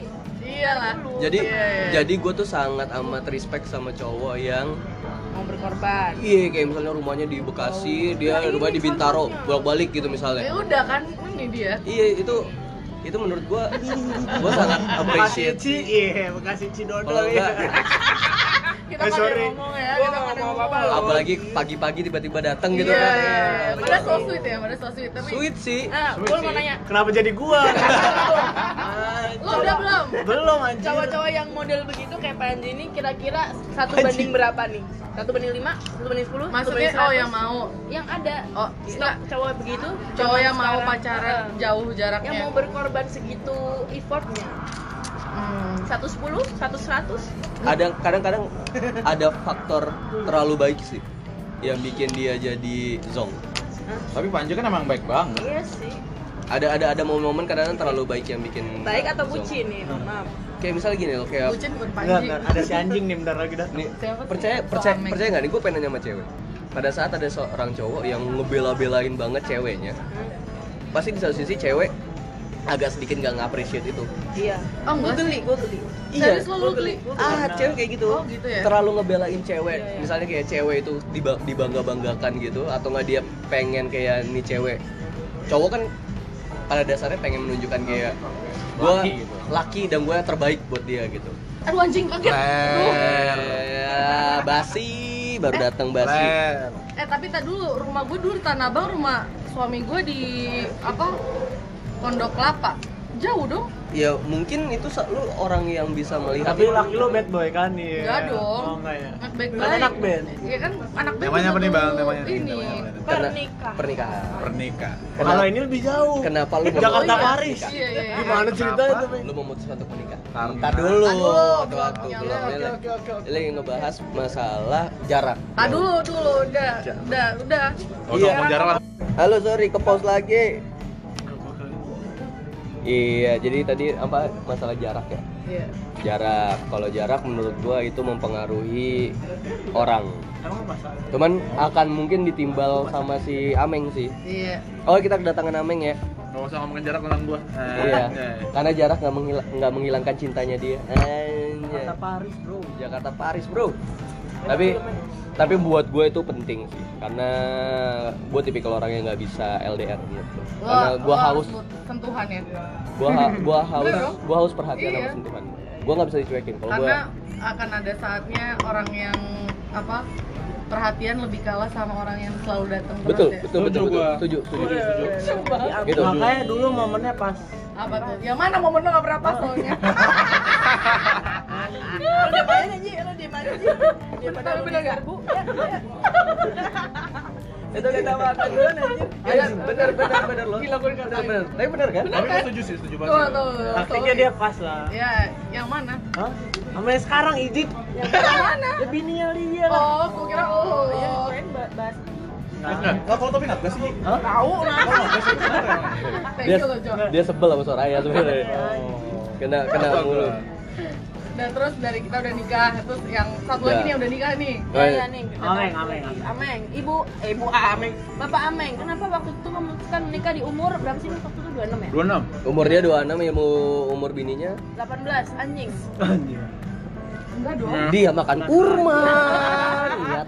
Speaker 3: Iyalah.
Speaker 5: dulu.
Speaker 1: jadi
Speaker 3: Iya, iya.
Speaker 1: jadi gue tuh sangat amat respect sama cowok yang
Speaker 3: Mau berkorban.
Speaker 1: Iya, kayak misalnya rumahnya di Bekasi, dia
Speaker 3: Nah,
Speaker 1: rumah di Bintaro, bolak-balik gitu
Speaker 3: Ya
Speaker 1: misalnya.
Speaker 3: udah kan ini dia.
Speaker 1: Iya, itu itu menurut gua gua sangat
Speaker 2: Bekasi
Speaker 3: Iya,
Speaker 1: appreciate.
Speaker 3: (laughs)
Speaker 2: Ci, iya Bekasi Cidodo
Speaker 1: Kalau enggak
Speaker 2: ya.
Speaker 3: kita
Speaker 4: Eh,
Speaker 3: pada
Speaker 4: sorry.
Speaker 3: ngomong ya,
Speaker 4: Gua
Speaker 3: kita pada
Speaker 4: nggak mau
Speaker 3: ngomong.
Speaker 4: apa-apa loh.
Speaker 1: apalagi pagi-pagi tiba-tiba datang gitu
Speaker 3: Iya,
Speaker 1: kan
Speaker 3: iya, iya. Padahal so
Speaker 1: Betul.
Speaker 3: sweet ya, padahal so sweet. Tapi,
Speaker 1: sweet sih
Speaker 5: Ah,
Speaker 3: Eh,
Speaker 4: Sweet
Speaker 3: gue mau
Speaker 4: sih.
Speaker 3: nanya,
Speaker 2: Kenapa jadi
Speaker 3: (laughs)
Speaker 2: gua?
Speaker 3: lo udah belum?
Speaker 2: Belum anjir.
Speaker 5: Cowok-cowok yang model begitu kayak Panji ini kira-kira satu banding berapa nih? Satu banding lima, satu banding sepuluh, satu
Speaker 3: Maksudnya,
Speaker 5: banding
Speaker 3: oh
Speaker 5: seratus?
Speaker 3: yang mau,
Speaker 5: yang ada
Speaker 3: oh
Speaker 5: stok cowok begitu
Speaker 3: cowok
Speaker 5: zaman
Speaker 3: yang mau
Speaker 5: sekarang.
Speaker 3: pacaran
Speaker 5: Eh,
Speaker 3: jauh jaraknya.
Speaker 5: yang mau berkorban segitu effortnya
Speaker 3: Hmm.
Speaker 5: satu sepuluh satu seratus
Speaker 1: ada kadang-kadang ada faktor terlalu baik sih yang bikin dia jadi zong
Speaker 4: Tapi Panji kan emang baik banget.
Speaker 5: iya sih
Speaker 1: ada ada ada momen-momen kadang-kadang terlalu baik yang bikin
Speaker 5: baik atau
Speaker 1: zong.
Speaker 5: bucin nih mohon maaf
Speaker 1: kayak misalnya gini loh kayak
Speaker 3: Bucin bukan
Speaker 2: Enggak,
Speaker 3: panji.
Speaker 2: enggak. Ada si anjing nih bentar lagi dah.
Speaker 1: nih
Speaker 3: Siapa tuh?
Speaker 1: percaya percaya
Speaker 3: Soal Meg.
Speaker 1: percaya nggak nih gue pengen nanya sama cewek pada saat ada seorang cowok yang ngebela-belain banget ceweknya pasti di satu sisi cewek agak sedikit nggak nge-appreciate itu Iya.
Speaker 5: iya
Speaker 3: Oh,
Speaker 5: gue
Speaker 3: enggak
Speaker 5: geli
Speaker 3: sih.
Speaker 5: gue geli
Speaker 3: Serius lo lu geli?
Speaker 1: ah cewek kayak gitu,
Speaker 3: Oh, gitu ya?
Speaker 1: terlalu ngebelain cewek
Speaker 5: Iya, iya.
Speaker 1: misalnya kayak cewek itu diba- dibangga-banggakan gitu atau nggak dia pengen kayak nih cewek cowok kan pada dasarnya pengen menunjukkan kayak gue
Speaker 4: Laki gitu.
Speaker 1: laki dan gue terbaik buat dia gitu
Speaker 3: Aduh anjing kaget.
Speaker 4: Ler.
Speaker 1: Ya, basi baru datang basi
Speaker 4: Ler.
Speaker 3: Eh tapi tadi dulu rumah gue dulu di Tanah Abang, rumah suami gue di apa? Pondok Kelapa. Jauh dong.
Speaker 1: ya mungkin itu sa- lu orang yang bisa melihat
Speaker 2: Tapi laki lu bad boy kan nih.
Speaker 3: Enggak dong.
Speaker 2: Oh enggak ya.
Speaker 3: Anak baik
Speaker 2: Kan anak band.
Speaker 1: ya?
Speaker 3: Iya kan anak band.
Speaker 4: Temanya apa nih,
Speaker 3: bisa
Speaker 4: Bang?
Speaker 3: tuh
Speaker 4: Temanya
Speaker 3: ini.
Speaker 4: nih, temanya apa nih?
Speaker 1: Karena-
Speaker 5: Pernikahan.
Speaker 1: pernikahan
Speaker 4: Pernikahan.
Speaker 1: Kenapa-
Speaker 2: Kalau ini lebih jauh.
Speaker 1: kenapa lu
Speaker 2: Jakarta
Speaker 1: memutuskan
Speaker 2: Paris.
Speaker 1: menikah?
Speaker 3: Iya iya iya.
Speaker 2: Gimana ceritanya itu, Pe?
Speaker 1: lu memutuskan untuk menikah
Speaker 4: Karena-
Speaker 1: Ntar dulu
Speaker 3: Aduh,
Speaker 1: waktu waktu
Speaker 3: belum
Speaker 1: belum
Speaker 3: nyala.
Speaker 1: Lele. Lele ngebahas masalah jarak
Speaker 3: Ah dulu dulu udah udah udah.
Speaker 4: Oh, iya. ngomong jarak lah.
Speaker 1: halo sorry ke pause lagi iya jadi tadi apa masalah jarak ya
Speaker 3: Iya.
Speaker 1: jarak kalau jarak menurut gua itu mempengaruhi orang
Speaker 2: Emang masalah.
Speaker 1: cuman akan mungkin ditimbal sama si Ameng sih
Speaker 3: Iya.
Speaker 1: oh kita kedatangan Ameng ya
Speaker 4: Gak usah ngomongin jarak tentang gua. Eh,
Speaker 1: (laughs) Iya.
Speaker 4: eh.
Speaker 1: Karena jarak nggak menghil- nggak menghilangkan cintanya dia. Anjay.
Speaker 2: Jakarta Paris, Bro.
Speaker 1: Jakarta Paris bro. Tapi tapi buat gue itu penting sih karena gue tipikal orang yang nggak bisa LDR gitu.
Speaker 3: Lo-
Speaker 1: Karena gue
Speaker 3: lo
Speaker 1: haus,
Speaker 3: butuh sentuhan ya.
Speaker 1: gue (laughs) ha- gue haus,
Speaker 3: Bener dong.
Speaker 1: gue haus perhatian
Speaker 3: Iya.
Speaker 1: sama sentuhan. Gue nggak bisa dicuekin. Kalau gue
Speaker 3: Karena akan ada saatnya orang yang apa? perhatian lebih kalah sama orang yang selalu datang terus
Speaker 1: betul
Speaker 3: ya.
Speaker 1: betul betul
Speaker 4: Setuju
Speaker 1: betul
Speaker 4: gua.
Speaker 1: setuju setuju setuju. Gitu.
Speaker 2: Makanya dulu momennya pas.
Speaker 3: apa tuh? Yang mana momen lo gak berapa
Speaker 2: (laughs)
Speaker 3: soalnya?
Speaker 5: Lu diem aja Ji, lu diem aja Ji Diem aja,
Speaker 3: Bener,
Speaker 5: lu
Speaker 3: bener gak?
Speaker 5: diserbu. Ya, ya.
Speaker 1: Itu kita makan duluan anjir. Bener bener bener bener loh.
Speaker 3: Gila, gue nggak
Speaker 1: bener bener. Tapi bener kan?
Speaker 4: Tapi gue setuju sih, setuju
Speaker 3: Tuh,
Speaker 4: banget.
Speaker 3: tuh,
Speaker 4: sih.
Speaker 3: tuh.
Speaker 2: Taktiknya dia pas lah.
Speaker 3: Ya, yang mana?
Speaker 2: Hah? Sama yang sekarang Ijit.
Speaker 3: Yang mana?
Speaker 2: Ya bininya dia lah.
Speaker 3: Oh, gue kira oh.
Speaker 5: Iya, kirain bah- bahas
Speaker 4: Enggak, Lah, kalau tapi enggak sih? Ji?
Speaker 2: Hah?
Speaker 3: Tahu lah.
Speaker 4: Kalau nggak sih, bener ya?
Speaker 3: Thank
Speaker 1: Dia
Speaker 3: you loh, Jo.
Speaker 1: dia sebel sama Soraya sebenarnya. Kena kena
Speaker 4: Apa
Speaker 1: mulu.
Speaker 4: gua?
Speaker 3: Dan terus dari kita udah nikah, terus yang satu
Speaker 2: Iya.
Speaker 3: lagi
Speaker 1: Ya.
Speaker 3: nih yang udah nikah nih.
Speaker 5: Ya, ya, nih.
Speaker 2: Ameng, ameng, ameng.
Speaker 5: Ameng, ibu, eh, ibu Ameng, bapak Ameng, kenapa waktu itu memutuskan menikah di umur berapa sih Mas? waktu itu 26 ya?
Speaker 4: 26.
Speaker 1: Umur dia 26 ilmu ya, umur bininya
Speaker 5: 18, anjing.
Speaker 2: Anjir.
Speaker 3: Enggak dong.
Speaker 4: Nah.
Speaker 1: dia makan kurma. Lihat.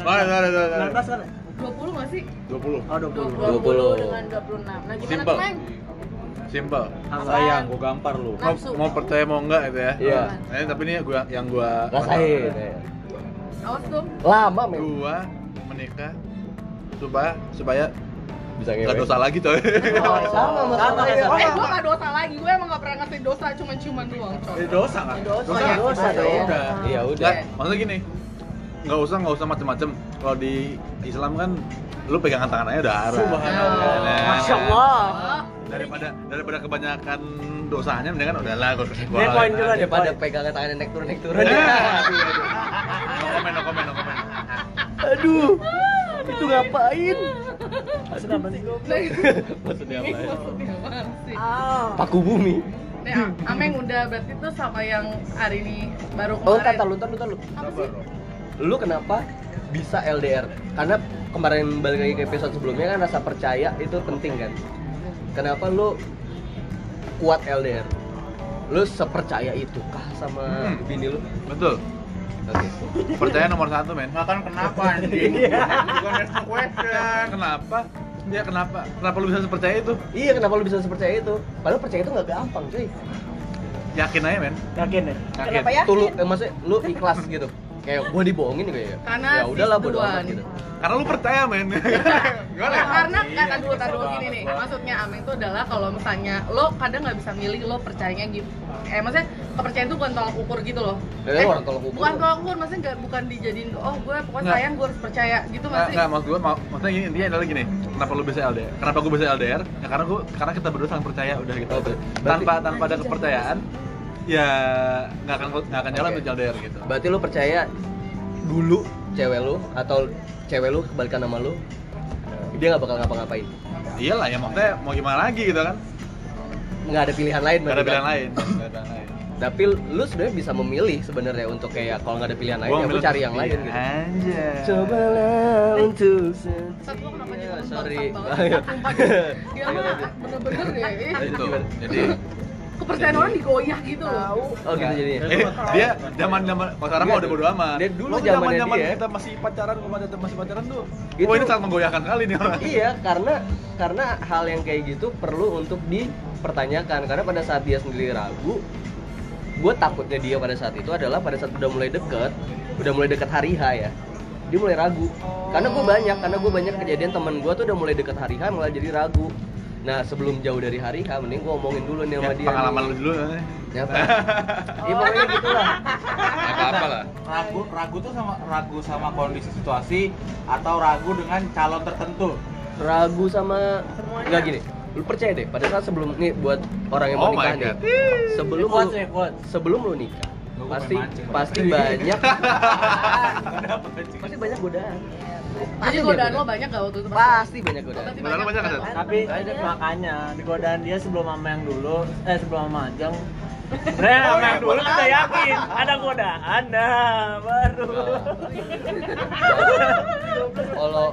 Speaker 4: Wah, wah, wah, wah, wah.
Speaker 2: 19 kan?
Speaker 3: 20 gak sih?
Speaker 4: 20.
Speaker 2: Oh,
Speaker 1: 20.
Speaker 2: 20.
Speaker 5: dengan 26. Nah, gimana
Speaker 4: Simple.
Speaker 5: tuh, Meng?
Speaker 4: Simple.
Speaker 2: Apaan?
Speaker 4: Sayang, gua gampar lu. Mau,
Speaker 5: Nafsu.
Speaker 4: mau percaya mau enggak itu ya?
Speaker 1: Iya.
Speaker 4: Eh, tapi ini gua yang gua
Speaker 1: Rasain. ya.
Speaker 3: Awas tuh.
Speaker 1: Lama men.
Speaker 4: Gua menikah supaya supaya
Speaker 1: Bisa
Speaker 4: enggak dosa lagi coy.
Speaker 2: Oh,
Speaker 1: Sama sama
Speaker 2: Sama,
Speaker 1: Soraya.
Speaker 2: sama.
Speaker 3: Eh, gue gak dosa lagi. Gue emang gak pernah ngasih dosa, cuma ciuman doang. coy.
Speaker 4: Eh, dosa enggak?
Speaker 1: Oh,
Speaker 2: Dosa, dosa, dosa.
Speaker 4: Udah.
Speaker 1: Iya udah.
Speaker 4: Nggak, maksudnya gini, nggak usah nggak usah macem-macem. Kalau di Islam kan lu pegangan tangan aja udah arah.
Speaker 2: Subhanallah.
Speaker 4: Ya, nah.
Speaker 2: Masya Allah.
Speaker 4: Daripada daripada kebanyakan dosanya mendingan udahlah gua gua.
Speaker 2: Ini poin juga deh.
Speaker 1: Daripada pegangan tangan naik turun naik turun.
Speaker 4: Eh, aduh, aduh. No comment, no comment, no comment.
Speaker 1: Aduh. Itu ngapain?
Speaker 2: Sudah berarti
Speaker 3: Nah,
Speaker 1: Maksudnya
Speaker 3: ini
Speaker 1: apa? ya?
Speaker 3: maksudnya apa sih?
Speaker 1: Paku bumi.
Speaker 3: Nih, Ameng udah berarti tuh sama yang hari ini baru
Speaker 1: Oh, ntar, ntar,
Speaker 3: kemarin.
Speaker 1: lu, ntar, lu, ntar, lu.
Speaker 3: Apa sih?
Speaker 1: Lu kenapa bisa LDR? Karena kemarin balik lagi ke episode sebelumnya kan rasa percaya itu penting kan. Kenapa lu kuat LDR? Lu sepercaya itu kah sama
Speaker 4: Hmm.
Speaker 1: bini lu?
Speaker 4: Betul.
Speaker 1: Oke.
Speaker 4: Percaya nomor satu men. Makan kenapa anjing? Bukan next question. Kenapa? Ya kenapa? Kenapa lu bisa sepercaya itu?
Speaker 1: Iya, kenapa lu bisa sepercaya itu? Padahal percaya itu nggak gampang, cuy.
Speaker 4: yakin aja men
Speaker 2: Yakin ya?
Speaker 4: yakin
Speaker 5: Kenapa ya?
Speaker 1: Tuh lu, eh, maksudnya lu ikhlas gitu. Kayak gua dibohongin kayak. ya
Speaker 3: Karena
Speaker 1: udahlah
Speaker 3: sis
Speaker 1: bodo amat
Speaker 3: duluan.
Speaker 1: gitu.
Speaker 4: karena lu percaya men gimana ya?
Speaker 3: Nah, (laughs) karena kata dulu tadi dulu gini nih, maksudnya Ameng itu adalah kalau misalnya lo kadang nggak bisa milih lo percayanya gitu. Eh maksudnya kepercayaan itu bukan tolak ukur gitu loh.
Speaker 1: Ya,
Speaker 3: eh,
Speaker 1: orang tolak ukur.
Speaker 3: Bukan tolak ukur, maksudnya nggak bukan dijadiin oh gue pokoknya
Speaker 4: Nggak.
Speaker 3: sayang gue harus percaya gitu
Speaker 4: Nggak,
Speaker 3: masih.
Speaker 4: nggak, maksud gue, mak- maksudnya gini, intinya adalah gini Kenapa lu bisa LDR? Kenapa gue bisa LDR? Ya karena gue, karena kita berdua saling percaya, udah gitu
Speaker 1: Oh, ber- berarti-
Speaker 4: Tanpa, tanpa ada kepercayaan Ya, nggak akan, nggak akan jalan
Speaker 1: Oke.
Speaker 4: untuk LDR gitu
Speaker 1: Berarti lu percaya dulu cewek lu atau cewek lu kebalikan sama lu dia nggak bakal ngapa-ngapain
Speaker 4: Iyalah ya, maksudnya mau gimana lagi gitu kan
Speaker 1: nggak ada pilihan lain
Speaker 4: Gak ada
Speaker 1: berarti kan?
Speaker 4: pilihan lain Nggak ada pilihan lain
Speaker 1: tapi lu sebenarnya bisa memilih sebenarnya untuk kayak kalau nggak ada pilihan lain
Speaker 4: Gua
Speaker 1: ya lu
Speaker 4: ambil- Eh.
Speaker 1: cari yang lain gitu
Speaker 4: Anjay
Speaker 2: Cobalah untuk
Speaker 3: Sat gue kenapa jadi
Speaker 1: Iya,
Speaker 3: orang
Speaker 1: sorry.
Speaker 3: bangsat banget? Sumpah, gitu.
Speaker 4: (laughs)
Speaker 3: Dia mah bener-bener deh.
Speaker 4: Nah, Itu, jadi
Speaker 3: Kepercayaan orang digoyah gitu loh.
Speaker 1: oh gitu jadinya
Speaker 4: Eh, dia zaman zaman kalau sekarang mah udah bodo amat.
Speaker 1: Dia dulu
Speaker 4: Lu tuh
Speaker 1: zamannya
Speaker 4: zaman-zaman
Speaker 1: dia.
Speaker 4: kita masih pacaran, kalau masih masih pacaran tuh.
Speaker 1: Itu-
Speaker 4: Wah, ini sangat menggoyahkan kali nih orang.
Speaker 1: Iya, karena karena hal yang kayak gitu perlu untuk dipertanyakan karena pada saat dia sendiri ragu, gue takutnya dia pada saat itu adalah pada saat udah mulai deket, udah mulai deket hari H ya, dia mulai ragu. Karena gue banyak, karena gue banyak kejadian temen gue tuh udah mulai deket hari H malah jadi ragu. Nah sebelum jauh dari hari H, mending gue omongin dulu nih
Speaker 4: Ya,
Speaker 1: sama dia.
Speaker 4: pengalaman lu dulu. ya.
Speaker 1: Ya, apa? Iya pokoknya gitulah.
Speaker 4: Nggak apa-apa lah.
Speaker 6: ragu ragu tuh sama ragu sama kondisi situasi atau ragu dengan calon tertentu
Speaker 1: Ragu sama nggak gini. Lu percaya deh, pada saat sebelum nih buat orang yang mau
Speaker 4: Oh my
Speaker 1: nikah nih,
Speaker 4: God.
Speaker 1: sebelum
Speaker 2: Kuat
Speaker 1: lu-
Speaker 3: ya,
Speaker 2: sih, kuat
Speaker 1: sebelum lu nikah
Speaker 6: Gua
Speaker 1: pasti
Speaker 6: pengen mancing.
Speaker 1: pasti banyak
Speaker 6: Pasti
Speaker 1: pasti banyak godaan
Speaker 3: Jadi godaan lo banyak gak waktu itu? pas?
Speaker 1: pasti banyak godaan
Speaker 3: Pasti
Speaker 1: (laughs)
Speaker 4: Godaan lo banyak nggak, Sat?
Speaker 2: Tapi makanya di godaan dia sebelum sama yang dulu, eh sebelum sama Ajeng Sebenernya sama yang dulu kita yakin ada godaan, nah baru
Speaker 1: Oh, kalau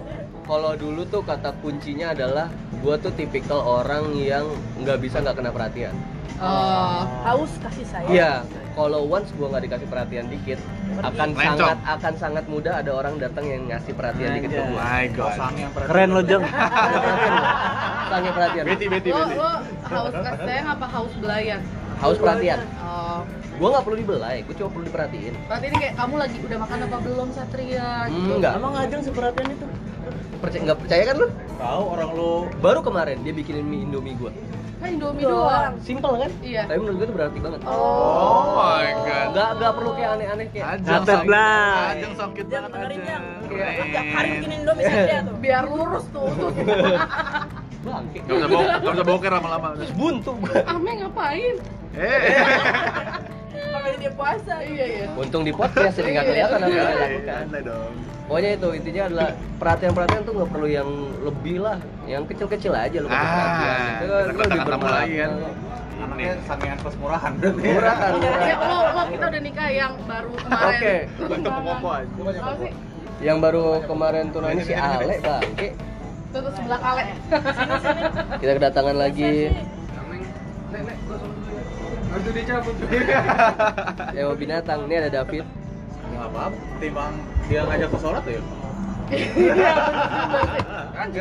Speaker 1: kalau dulu tuh kata kuncinya adalah gua tuh tipikal orang yang nggak bisa nggak kena perhatian
Speaker 3: Oh.
Speaker 5: Haus kasih sayang.
Speaker 1: Iya, kalau once gua nggak dikasih perhatian dikit akan
Speaker 4: Lencong.
Speaker 1: sangat akan sangat mudah ada orang datang yang ngasih perhatian dikit ke
Speaker 2: Anjay.
Speaker 1: gua.
Speaker 4: My god.
Speaker 6: sang yang pernah
Speaker 2: Keren lo Jeng
Speaker 1: Sangat perhatian.
Speaker 4: Beti beti
Speaker 1: iya.
Speaker 5: Oh,
Speaker 3: Lo,
Speaker 4: beti.
Speaker 3: lo haus kasih sayang apa haus belayan?
Speaker 1: Haus perhatian.
Speaker 3: Oh.
Speaker 1: Gua nggak perlu dibelai, gua cuma perlu diperhatiin.
Speaker 3: Berarti ini kayak kamu lagi udah makan apa belum Satria? gitu.
Speaker 1: Hmm, Enggak.
Speaker 2: Emang Ajeng seperhatian itu?
Speaker 1: Percaya nggak percaya kan lu?
Speaker 6: tahu orang lu
Speaker 1: Baru kemarin dia bikinin mie Indomie gua.
Speaker 3: Kan Indomie doang.
Speaker 1: Simple kan?
Speaker 3: Iya.
Speaker 1: Tapi menurut gue itu berarti banget.
Speaker 4: Oh my god.
Speaker 1: Enggak enggak perlu kayak aneh-aneh kayak.
Speaker 4: Ajeng
Speaker 2: Ngatet
Speaker 4: sakit.
Speaker 2: lah.
Speaker 4: Ajeng sakit
Speaker 5: Jangan
Speaker 4: banget.
Speaker 5: dengerin
Speaker 4: Ajeng.
Speaker 5: yang
Speaker 1: Iya,
Speaker 4: Keren.
Speaker 5: tiap hari bikin Indomie saja
Speaker 1: (laughs)
Speaker 5: tuh.
Speaker 3: Biar lurus tuh. usus.
Speaker 1: Bangke.
Speaker 4: Gak usah boker, gak usah boker lama-lama.
Speaker 1: Buntu. (laughs)
Speaker 3: Ame ngapain?
Speaker 4: Eh.
Speaker 5: Kalau dia puasa.
Speaker 3: Iya iya.
Speaker 1: Untung di podcast
Speaker 2: Iya,
Speaker 1: jadi nggak kelihatan apa yang dilakukan.
Speaker 4: Santai dong.
Speaker 1: Pokoknya itu intinya adalah perhatian-perhatian tuh nggak perlu yang lebih lah, yang kecil-kecil aja lu kasih
Speaker 4: Ah,
Speaker 1: perhatian. Itu kan
Speaker 4: kita
Speaker 1: lu lebih
Speaker 4: kedatangan tamu
Speaker 1: bermanfaat.
Speaker 4: lagi kan. Ini.
Speaker 6: anaknya sangean plus murahan
Speaker 1: Murah kan. murah.
Speaker 3: Ya lo, lo kita udah nikah yang baru kemarin.
Speaker 1: Oke.
Speaker 4: Untuk pokok aja.
Speaker 3: Apa sih?
Speaker 1: Yang baru kemarin tunangan si Ale bangke.
Speaker 3: Tutup sebelah kale.
Speaker 1: Kita kedatangan lagi
Speaker 4: Harus (laughs) dicabut.
Speaker 1: Dewa Binatang. Ini ada David.
Speaker 6: nggak apa apa timbang dia ngajak ke sholat ya
Speaker 3: (laughs) Iya, bener sih.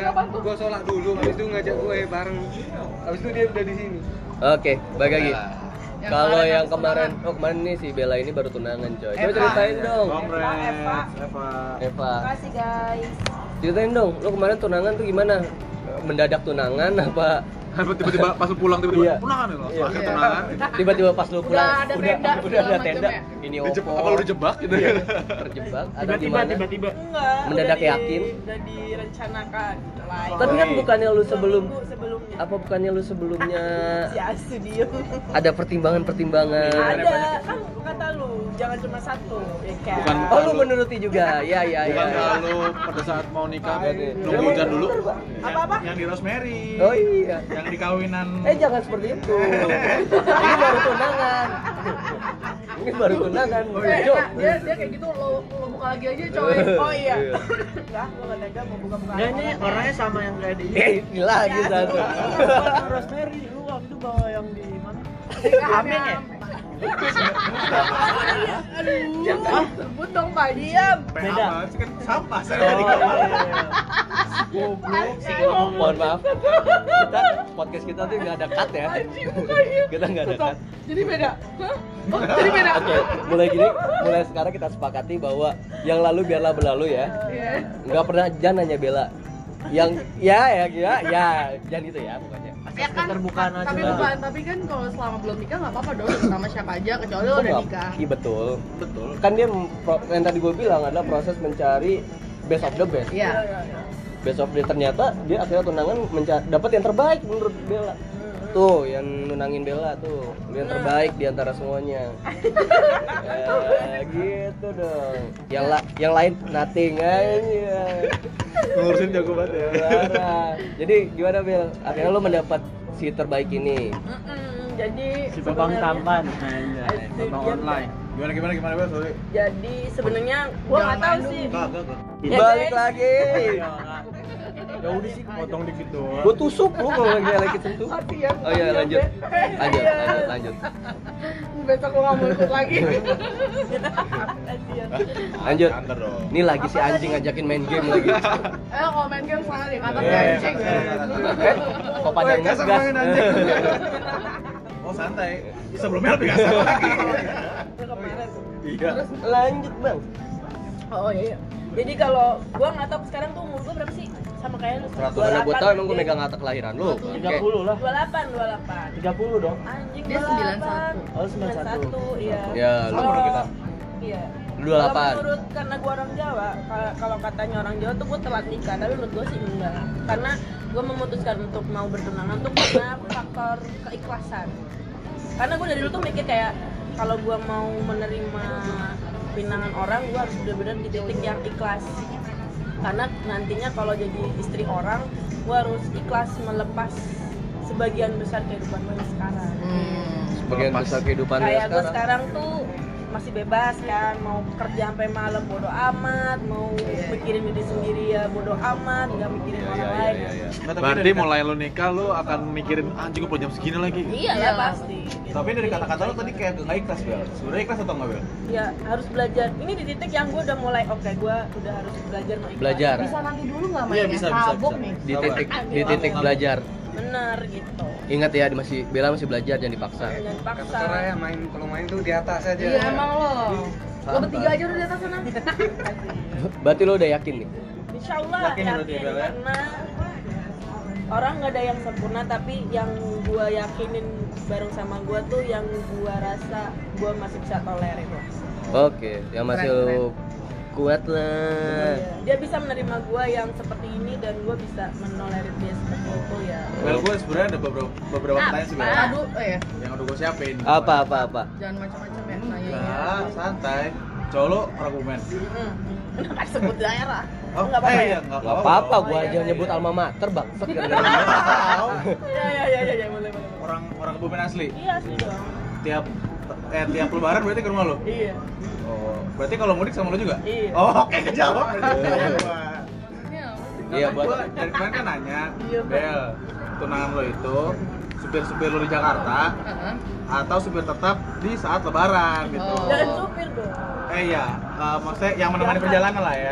Speaker 7: Enggak, gue sholat dulu, habis itu ngajak gue
Speaker 4: ya
Speaker 7: bareng Habis itu dia udah di sini
Speaker 1: Oke, balik lagi.
Speaker 3: Yang
Speaker 1: Kalau
Speaker 3: kemarin
Speaker 1: yang
Speaker 3: habis
Speaker 1: kemarin,
Speaker 3: tunangan.
Speaker 1: oh kemarin nih si Bella ini baru tunangan coy. Coba
Speaker 3: Eva.
Speaker 1: ceritain dong.
Speaker 4: Kongres.
Speaker 5: Eva.
Speaker 4: Eva.
Speaker 1: Eva,
Speaker 5: Makasih guys.
Speaker 1: ceritain dong. Lu kemarin tunangan tuh gimana? Mendadak tunangan apa?
Speaker 4: Apa tiba-tiba pas lu pulang
Speaker 1: Iya.
Speaker 4: tiba-tiba tunangan ya lo?
Speaker 1: Iya.
Speaker 4: Akhir
Speaker 3: Iya.
Speaker 4: tunangan.
Speaker 1: Tiba-tiba pas lu
Speaker 3: Udah
Speaker 1: pulang
Speaker 3: ada tenda,
Speaker 1: (laughs) udah ada
Speaker 3: segala
Speaker 1: tenda.
Speaker 3: macem
Speaker 1: Ini
Speaker 4: Dijebak
Speaker 1: opo
Speaker 4: apa lu dijebak gitu.
Speaker 1: terjebak atau
Speaker 2: Tiba-tiba,
Speaker 1: gimana?
Speaker 2: tiba-tiba
Speaker 5: Enggak.
Speaker 1: Mendadak
Speaker 5: udah di-
Speaker 1: yakin?
Speaker 5: Udah direncanakan. Lain.
Speaker 1: Tapi kan bukannya lu
Speaker 5: Dua
Speaker 1: sebelum
Speaker 5: minggu sebelumnya.
Speaker 1: apa bukannya lu sebelumnya
Speaker 5: Si Asu diem.
Speaker 1: ada pertimbangan-pertimbangan?
Speaker 5: Ada kan kata lu jangan cuma satu, ya kan?
Speaker 4: Bukan-
Speaker 1: Oh lu menuruti juga. Ya ya ya.
Speaker 4: Bukan kalau pada saat mau nikah
Speaker 1: Iya.
Speaker 4: Iya. nunggu hujan dulu.
Speaker 5: Apa-apa?
Speaker 6: yang di Rosemary
Speaker 1: Oh iya.
Speaker 6: yang di kawinan
Speaker 1: Eh jangan seperti itu. Ini baru tunangan. Ini baru tunangan.
Speaker 3: Eh,
Speaker 1: Oh, iya, Jo.
Speaker 3: nah, dia dia kayak gitu lo lo buka lagi aja
Speaker 1: (laughs)
Speaker 3: coy.
Speaker 5: Oh iya. Enggak, gua enggak tega mau buka-buka.
Speaker 2: Enggak ini orangnya sama yang kayak di
Speaker 1: Eh, ini lagi
Speaker 2: Iya,
Speaker 1: satu.
Speaker 2: Rosemary, lu waktu itu bawa yang di mana?
Speaker 3: Amin ya. Jangan sebut dong Pak Diam.
Speaker 2: Beda.
Speaker 6: Sampah saya
Speaker 2: Oh, iya, iya.
Speaker 6: Goblok.
Speaker 1: mohon maaf kita podcast kita tuh nggak ada cut ya kita nggak ada cut
Speaker 3: Jadi beda. Hah? Oh, jadi beda.
Speaker 1: oke mulai gini mulai sekarang kita sepakati bahwa yang lalu biarlah berlalu ya
Speaker 3: Iya.
Speaker 1: nggak pernah jangan nanya bela yang ya ya ya ya jangan gitu ya pokoknya
Speaker 5: Ya kan?
Speaker 2: keterbukaan aja
Speaker 3: Tapi
Speaker 2: lah.
Speaker 3: bukan, tapi kan kalau selama belum nikah nggak apa-apa dong sama siapa aja kecuali lo
Speaker 1: Oh,
Speaker 3: udah
Speaker 1: nggak-
Speaker 3: nikah.
Speaker 1: iya betul betul kan dia mempro- yang tadi gue bilang adalah proses mencari best of the best
Speaker 3: Iya.
Speaker 1: best of the ternyata dia akhirnya tunangan menca- dapat yang terbaik menurut Bella tuh yang nunangin Bella tuh yang terbaik di antara semuanya ya, gitu dong yang la- yang lain nothing eh, aja
Speaker 4: Ngurusin jago banget ya.
Speaker 1: Parah. jadi gimana Bel akhirnya lo mendapat si terbaik ini
Speaker 5: Mm-mm, Jadi
Speaker 2: si babang
Speaker 5: sebenarnya-
Speaker 2: tampan aja
Speaker 4: Tentang online. Gimana gimana gimana Bel? Sorry.
Speaker 5: Jadi sebenarnya gua
Speaker 3: Jangan
Speaker 5: nggak tahu
Speaker 3: main
Speaker 5: sih.
Speaker 4: Enggak, enggak, enggak.
Speaker 5: Ya,
Speaker 1: balik
Speaker 5: guys.
Speaker 1: lagi
Speaker 2: ya udah sih potong dikit doang
Speaker 1: gue tusuk lu kalau lagi lagi sentuh
Speaker 3: ya,
Speaker 1: oh iya lanjut lanjut lanjut lanjut
Speaker 3: Iya. Besok lo nggak mau ikut
Speaker 1: (laughs)
Speaker 3: lagi.
Speaker 1: lanjut
Speaker 4: Antar Ya, dong.
Speaker 1: ini lagi si anjing ngajakin main game lagi
Speaker 3: Eh, kalau main game salah deh, kata
Speaker 4: Iya,
Speaker 3: yeah, ya, anjing.
Speaker 4: iya, iya, iya.
Speaker 1: eh kok pada
Speaker 4: Woi, kasar
Speaker 1: ngegas
Speaker 4: banget, (laughs) anjing. Oh santai. Sebelumnya lebih kasar lagi. (laughs) Iya.
Speaker 1: lanjut bang
Speaker 5: Oh iya. Jadi kalau gua nggak tahu sekarang tuh umur gua berapa sih? Sama kayak lu.
Speaker 1: mana gue tau emang gue megang akta kelahiran lu
Speaker 2: tiga puluh lah
Speaker 5: 28, 28.
Speaker 2: tiga puluh dong
Speaker 5: Anjing
Speaker 3: Dia
Speaker 5: 98.
Speaker 3: 91.
Speaker 2: Oh,
Speaker 5: 91,
Speaker 2: 91.
Speaker 5: iya.
Speaker 1: Ya, lu
Speaker 5: Kalau-
Speaker 1: umur kita.
Speaker 5: Iya.
Speaker 1: 28.
Speaker 5: Kalau menurut karena gua orang Jawa, kalau- kalau katanya orang Jawa tuh gua telat nikah, tapi menurut gua sih enggak. Karena gua memutuskan untuk mau bertunangan tuh karena faktor keikhlasan. Karena gua dari dulu tuh mikir kayak kalau gua mau menerima pinangan orang, gua harus benar-benar di titik yang ikhlas. Karena nantinya kalau jadi istri orang, gua harus ikhlas melepas sebagian besar kehidupan gue sekarang
Speaker 3: Hmm.
Speaker 1: sebagian besar kehidupan lu
Speaker 5: kayak
Speaker 1: ya
Speaker 5: gue
Speaker 1: sekarang
Speaker 5: sekarang tuh masih bebas kan mau kerja sampai malam bodo amat mau mikirin diri sendiri ya bodo amat nggak mikirin
Speaker 1: Iya,
Speaker 5: orang
Speaker 1: iya,
Speaker 5: lain
Speaker 1: iya, iya.
Speaker 4: Berarti mulai lu nikah lu akan mikirin "Ah, anjing gua punya jam segini lagi.
Speaker 5: iya lah
Speaker 3: Iyalah.
Speaker 5: pasti gitu.
Speaker 6: Tapi dari kata-kata lu tadi kayak nggak ikhlas Bel. Sebenarnya ikhlas atau nggak Bel?
Speaker 5: ya harus belajar ini di titik yang gue udah mulai oke gue udah harus belajar mau ikhlas.
Speaker 1: Belajar.
Speaker 3: Bisa nanti dulu nggak mainnya?
Speaker 6: Iya, bisa, bisa,
Speaker 3: Sabuk
Speaker 6: bisa.
Speaker 3: nih.
Speaker 1: di titik di titik belajar
Speaker 5: bener gitu
Speaker 1: ingat ya masih Bella masih belajar jangan dipaksa
Speaker 5: jangan
Speaker 7: Kata
Speaker 5: paksa
Speaker 7: Sarah ya main kalau main tuh di atas aja.
Speaker 3: Iya emang lo. Lo bertiga aja udah di atas (laughs) sana.
Speaker 1: berarti lo udah yakin nih
Speaker 5: Insya Allah
Speaker 6: Yakin ya berarti ya, Bel, ya?
Speaker 5: karena orang nggak ada yang sempurna tapi yang gue yakinin bareng sama gue tuh yang gue rasa gue masih bisa tolerir lah
Speaker 1: oke yang masih
Speaker 3: Keren,
Speaker 1: lo kuat lah
Speaker 5: dia bisa menerima gua yang seperti ini dan gua bisa menolerir dia seperti itu ya
Speaker 6: Bel gue sebenarnya ada beberapa beberapa pertanyaan sih Bel.
Speaker 3: Aduh, eh ya,
Speaker 6: Yang udah gue siapin.
Speaker 1: apa apa apa
Speaker 3: jangan macam-macam ya nanya.
Speaker 6: Enggak, santai. Cowok lu argumen.
Speaker 5: Hmm. kenapa sebut daerah
Speaker 6: Oh,
Speaker 5: Nggak apa-apa
Speaker 6: eh,
Speaker 5: ya?
Speaker 6: iya, nggak
Speaker 1: Gak apa-apa, gua
Speaker 5: Oh, iya,
Speaker 1: aja
Speaker 5: iya,
Speaker 1: nyebut
Speaker 5: iya.
Speaker 1: alma mater bangsat gak ada
Speaker 5: ya ya ya ya, ya boleh boleh boleh.
Speaker 6: Orang orang Kebumen asli.
Speaker 5: iya sih dong
Speaker 6: Tiap eh tiap lebaran berarti ke rumah lu.
Speaker 5: iya
Speaker 6: Oh, berarti kalau mudik sama lu juga?
Speaker 5: Iya.
Speaker 6: Oh, oke kejawab.
Speaker 3: Iya.
Speaker 1: Iya,
Speaker 6: Iya,
Speaker 1: buat-
Speaker 6: buat dari kemarin kan nanya,
Speaker 5: Iya, buat-
Speaker 6: Bel, tunangan lo itu supir-supir lo di Jakarta
Speaker 3: Heeh.
Speaker 6: atau supir tetap di saat lebaran gitu.
Speaker 3: Oh.
Speaker 5: jangan supir dong
Speaker 6: Eh iya, eh, maksudnya yang menemani
Speaker 5: Jangan.
Speaker 6: perjalanan lah ya.